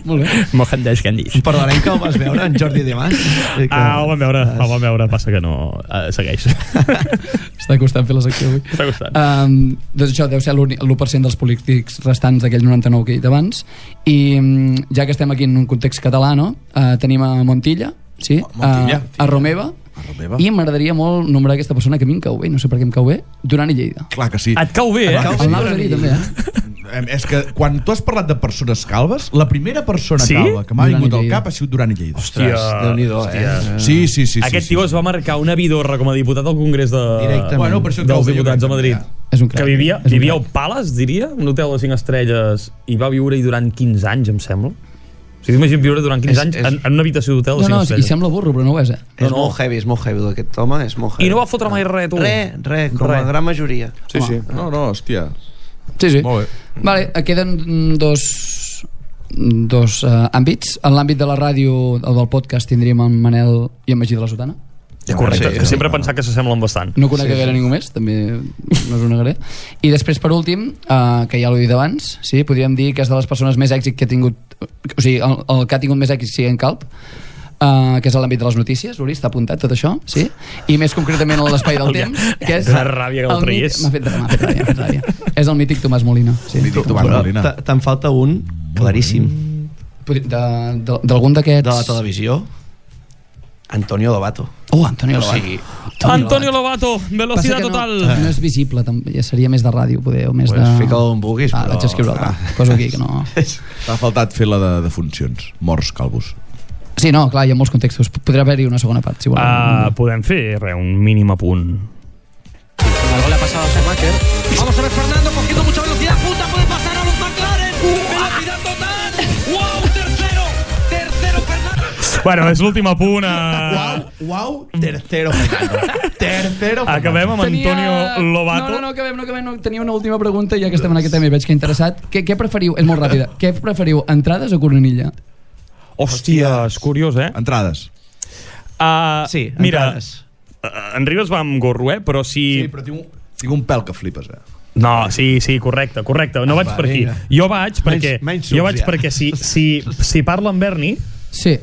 [SPEAKER 4] Molt bé.
[SPEAKER 1] Mohandas Gandhi.
[SPEAKER 3] Perdona'm que el vas veure, en Jordi Dimas. Que...
[SPEAKER 1] Ah, ho vam veure, ho vam veure, passa que no... Uh, [LAUGHS] segueix.
[SPEAKER 4] Està costant fer la secció avui.
[SPEAKER 1] Està costant.
[SPEAKER 4] Um, doncs això deu ser l'uni- l'1% dels polítics restants d'aquell 99 que he dit abans. I mm, ja que estem aquí en un context català, no? Uh, tenim a Montilla, sí?
[SPEAKER 2] Montilla.
[SPEAKER 4] a, a Romeva.
[SPEAKER 2] Romeva.
[SPEAKER 4] I m'agradaria molt nombrar aquesta persona que a mi em cau bé, no sé per què em cau bé, Duran i Lleida.
[SPEAKER 2] Clar que sí.
[SPEAKER 1] Et cau bé, eh?
[SPEAKER 2] cau
[SPEAKER 4] El Navas a dir també, eh?
[SPEAKER 2] Em- És que quan tu has parlat de persones calves, la primera persona
[SPEAKER 1] Sí?
[SPEAKER 2] calva que m'ha
[SPEAKER 4] Duran i
[SPEAKER 2] vingut al
[SPEAKER 4] Lleida.
[SPEAKER 2] cap ha sigut Duran i Lleida.
[SPEAKER 3] Ostres, Déu-n'hi-do, eh?
[SPEAKER 2] Sí, sí, sí. sí
[SPEAKER 1] Aquest
[SPEAKER 2] sí,
[SPEAKER 1] tio
[SPEAKER 2] sí.
[SPEAKER 1] es va marcar una vidorra com a diputat al Congrés de...
[SPEAKER 3] Directament.
[SPEAKER 2] Bueno, per això et cau
[SPEAKER 1] dels
[SPEAKER 2] bé, jo
[SPEAKER 1] diputats
[SPEAKER 2] crec
[SPEAKER 1] de Madrid.
[SPEAKER 2] que
[SPEAKER 4] És un crac.
[SPEAKER 1] Que vivia,
[SPEAKER 4] És un
[SPEAKER 1] vivia
[SPEAKER 4] crac.
[SPEAKER 1] al Palace, diria, un hotel de 5 estrelles, i va viure-hi durant 15 anys, em sembla. O sigui, t'imagines viure durant 15
[SPEAKER 3] És-
[SPEAKER 1] anys
[SPEAKER 3] és-
[SPEAKER 1] en, en una habitació d'hotel de
[SPEAKER 4] No,
[SPEAKER 1] 5
[SPEAKER 4] no, i
[SPEAKER 1] estrelles.
[SPEAKER 4] sembla burro, però no ho és, eh?
[SPEAKER 3] És
[SPEAKER 1] No, no.
[SPEAKER 3] molt heavy, és molt heavy d'aquest home, és molt heavy.
[SPEAKER 1] I no va fotre mai res, tu.
[SPEAKER 3] Re, re, com
[SPEAKER 1] Re.
[SPEAKER 3] la gran majoria.
[SPEAKER 2] Sí, sí. No, no, hòstia.
[SPEAKER 4] Sí, sí.
[SPEAKER 2] Molt bé.
[SPEAKER 4] Vale, eh, queden mm, dos dos eh, àmbits. En l'àmbit de la ràdio, el del podcast, tindríem en Manel i en Magí de la Sotana.
[SPEAKER 1] Ja, correcte,
[SPEAKER 3] Sí,
[SPEAKER 1] que
[SPEAKER 3] sí.
[SPEAKER 1] sempre he pensat que s'assemblen bastant.
[SPEAKER 4] No conec sí, gaire ningú més, també no us ho negaré. I després, per últim, eh, que ja l'he dit abans, sí, podríem dir que és de les persones més èxit que ha tingut, o sigui, el, el que ha tingut més èxit sigui en Calp, Uh, que és a l'àmbit de les notícies, Uri, està apuntat tot això, sí? I més concretament a l'espai
[SPEAKER 1] [LAUGHS]
[SPEAKER 4] del temps, que és...
[SPEAKER 1] La ràbia que el traies.
[SPEAKER 4] mític- M'ha fet, m'ha fet ràbia, m'ha fet ràbia. És el mític Tomàs Molina. Sí.
[SPEAKER 2] Mític Tomàs
[SPEAKER 3] Però
[SPEAKER 2] Molina.
[SPEAKER 3] te- Te'n falta un claríssim
[SPEAKER 1] Mm.
[SPEAKER 4] Podri- de- de- D'algun d'aquests...
[SPEAKER 3] de la televisió. Antonio Lobato.
[SPEAKER 4] Oh, Antonio
[SPEAKER 3] O
[SPEAKER 4] Lobato.
[SPEAKER 3] sigui,
[SPEAKER 1] Antonio Lobato,
[SPEAKER 4] Passa
[SPEAKER 1] velocitat
[SPEAKER 4] que
[SPEAKER 1] total.
[SPEAKER 4] No, Ah. no és visible, també. Ja seria més de ràdio, poder, o més
[SPEAKER 3] pues,
[SPEAKER 4] de...
[SPEAKER 3] fica on vulguis,
[SPEAKER 4] Ah,
[SPEAKER 3] però...
[SPEAKER 4] vaig escriure el
[SPEAKER 3] Ah.
[SPEAKER 4] Poso aquí, que no...
[SPEAKER 2] T'ha faltat fer la de, de funcions. Morts calvos.
[SPEAKER 4] Sí, no, clar, hi ha molts contextos. Podrà haver-hi una segona part, si voleu.
[SPEAKER 1] Uh, podem fer, res, un mínim apunt.
[SPEAKER 11] Algo le ha pasado a Schumacher. Vamos a ver Fernando cogiendo mucha velocidad. Puta, puede pasar a los McLaren. Velocidad total. ¡Wow! Tercero. Tercero Fernando.
[SPEAKER 1] Bueno, és l'últim apunt. Uh,
[SPEAKER 2] Wow,
[SPEAKER 1] [LAUGHS]
[SPEAKER 2] tercero Fernando. Tercero
[SPEAKER 1] acabem amb Antonio Lobato.
[SPEAKER 4] No, no, no, acabem, no, acabem, no. Tenia una última pregunta, ja que estem en aquest tema i veig que interessat. Què, què preferiu? És molt ràpida. Què preferiu, entrades o coronilla?
[SPEAKER 1] Hòstia, és curiós, eh?
[SPEAKER 2] Entrades.
[SPEAKER 1] Uh,
[SPEAKER 3] Sí,
[SPEAKER 1] mira,
[SPEAKER 3] entrades.
[SPEAKER 1] eh, en Ribas va amb gorro, eh? Però si...
[SPEAKER 2] Sí, però tinc un, tinc un pèl que flipes, eh?
[SPEAKER 1] No, sí, sí, correcte, correcte.
[SPEAKER 11] Ah,
[SPEAKER 1] No vaig
[SPEAKER 3] va,
[SPEAKER 1] per aquí.
[SPEAKER 3] vinga.
[SPEAKER 1] Jo vaig perquè...
[SPEAKER 3] menys
[SPEAKER 1] Jo vaig
[SPEAKER 3] sucs, ja.
[SPEAKER 1] perquè si, si, si parla amb Berni
[SPEAKER 4] Sí.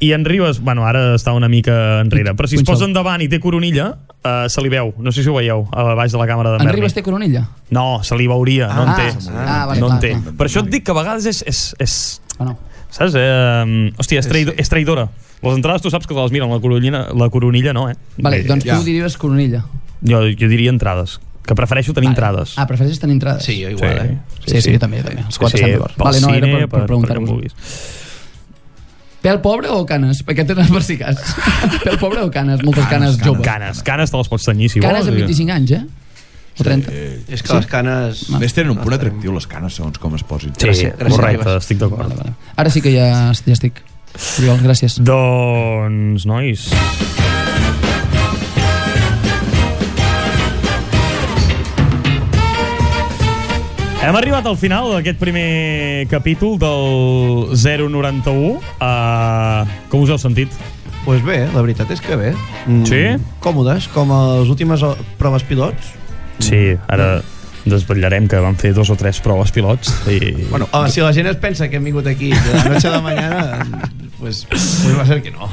[SPEAKER 1] i en Ribas, bueno, ara està una mica enrere, però si es
[SPEAKER 4] Punxau.
[SPEAKER 1] posa endavant i té coronilla, eh, se li veu. No sé si ho veieu, a baix de la càmera d'en
[SPEAKER 4] En
[SPEAKER 1] Berni.
[SPEAKER 4] Ribas té coronilla?
[SPEAKER 1] No, se li veuria, no en
[SPEAKER 4] Ah,
[SPEAKER 1] té.
[SPEAKER 4] ah, vale,
[SPEAKER 1] no
[SPEAKER 4] clar,
[SPEAKER 1] en té.
[SPEAKER 4] clar.
[SPEAKER 1] Per això et dic que a vegades és... és, és
[SPEAKER 4] Ah, no.
[SPEAKER 1] saps? Eh, hòstia, és, traïdo, és traïdora. Les entrades tu saps que te les miren, la coronilla, la coronilla no, eh?
[SPEAKER 4] Vale,
[SPEAKER 1] Bé,
[SPEAKER 4] doncs tu
[SPEAKER 2] ja.
[SPEAKER 4] diries coronilla.
[SPEAKER 1] Jo, jo diria entrades, que prefereixo tenir entrades.
[SPEAKER 4] Ah, prefereixes tenir entrades?
[SPEAKER 3] Sí, jo igual, sí. eh?
[SPEAKER 4] Sí, sí, jo també, jo també. Els quatre
[SPEAKER 1] sí,
[SPEAKER 4] estem d'acord.
[SPEAKER 1] pel
[SPEAKER 4] Vale, no, era
[SPEAKER 1] cine,
[SPEAKER 4] per, per
[SPEAKER 1] com
[SPEAKER 4] preguntar-vos.
[SPEAKER 1] vulguis.
[SPEAKER 4] Pèl pobre o canes? Perquè tenen per si
[SPEAKER 1] [LAUGHS]
[SPEAKER 4] cas. Pèl pobre o canes? Moltes canes, joves. Canes,
[SPEAKER 1] Canes, canes te les pots tenyir si
[SPEAKER 4] canes
[SPEAKER 1] vols.
[SPEAKER 4] a 25 anys, eh? O 30.
[SPEAKER 3] És que les canes...
[SPEAKER 4] Va.
[SPEAKER 2] A més, tenen un punt atractiu les canes, segons com es posin.
[SPEAKER 1] Sí,
[SPEAKER 3] gràcies,
[SPEAKER 1] correcte,
[SPEAKER 3] Ribas.
[SPEAKER 1] estic d'acord.
[SPEAKER 4] Vale, vale. Ara sí que ja, ja estic. Oriol, gràcies.
[SPEAKER 1] Doncs, nois... Hem arribat al final d'aquest primer capítol del 091. Uh, com us heu sentit?
[SPEAKER 3] Pues bé, la veritat és que bé. Mm,
[SPEAKER 1] Sí?
[SPEAKER 3] Còmodes, com a les últimes o- proves pilots.
[SPEAKER 1] Sí, ara desvetllarem Mm. que van fer dos o tres proves pilots i...
[SPEAKER 3] Bueno, home, si la gent es pensa que hem vingut aquí de la noche a la mañana, pues, pues va ser que no.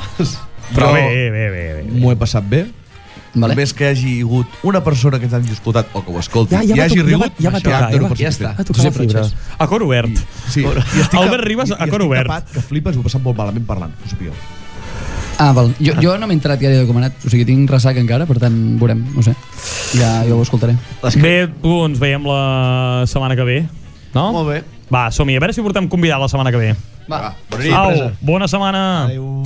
[SPEAKER 1] Però
[SPEAKER 2] Jo
[SPEAKER 1] bé, bé, bé, bé.
[SPEAKER 2] M'ho he passat bé.
[SPEAKER 4] Vale.
[SPEAKER 2] Vale. Més que hi hagi hagut una persona que t'hagi escoltat o que ho escolti
[SPEAKER 1] Ja- ja
[SPEAKER 2] i
[SPEAKER 1] va
[SPEAKER 2] hagi
[SPEAKER 1] tocar- ja va-
[SPEAKER 2] rigut,
[SPEAKER 1] ja va
[SPEAKER 2] això
[SPEAKER 1] tocar,
[SPEAKER 2] et dono
[SPEAKER 1] ja
[SPEAKER 2] per
[SPEAKER 3] va- ja
[SPEAKER 2] satisfet.
[SPEAKER 3] està.
[SPEAKER 1] tocar la fibra.
[SPEAKER 4] Francesc.
[SPEAKER 1] A cor obert.
[SPEAKER 2] Sí, i estic
[SPEAKER 1] Albert Ribas, a
[SPEAKER 2] i- i
[SPEAKER 1] cor
[SPEAKER 2] estic
[SPEAKER 1] obert.
[SPEAKER 2] Tapat, que flipes, ho he passat molt malament parlant, que ho sapigueu.
[SPEAKER 4] Ah, val. Jo, jo no m'he entrat ja de comanat. O sigui, tinc ressaca encara, per tant, veurem. No sé. Ja, jo ho escoltaré.
[SPEAKER 1] Bé, tu, ens veiem la setmana que ve, no?
[SPEAKER 3] Molt bé.
[SPEAKER 1] Va, som-hi, a veure si portem convidat la setmana que ve.
[SPEAKER 4] Va.
[SPEAKER 1] Au, bona setmana.
[SPEAKER 3] Adéu.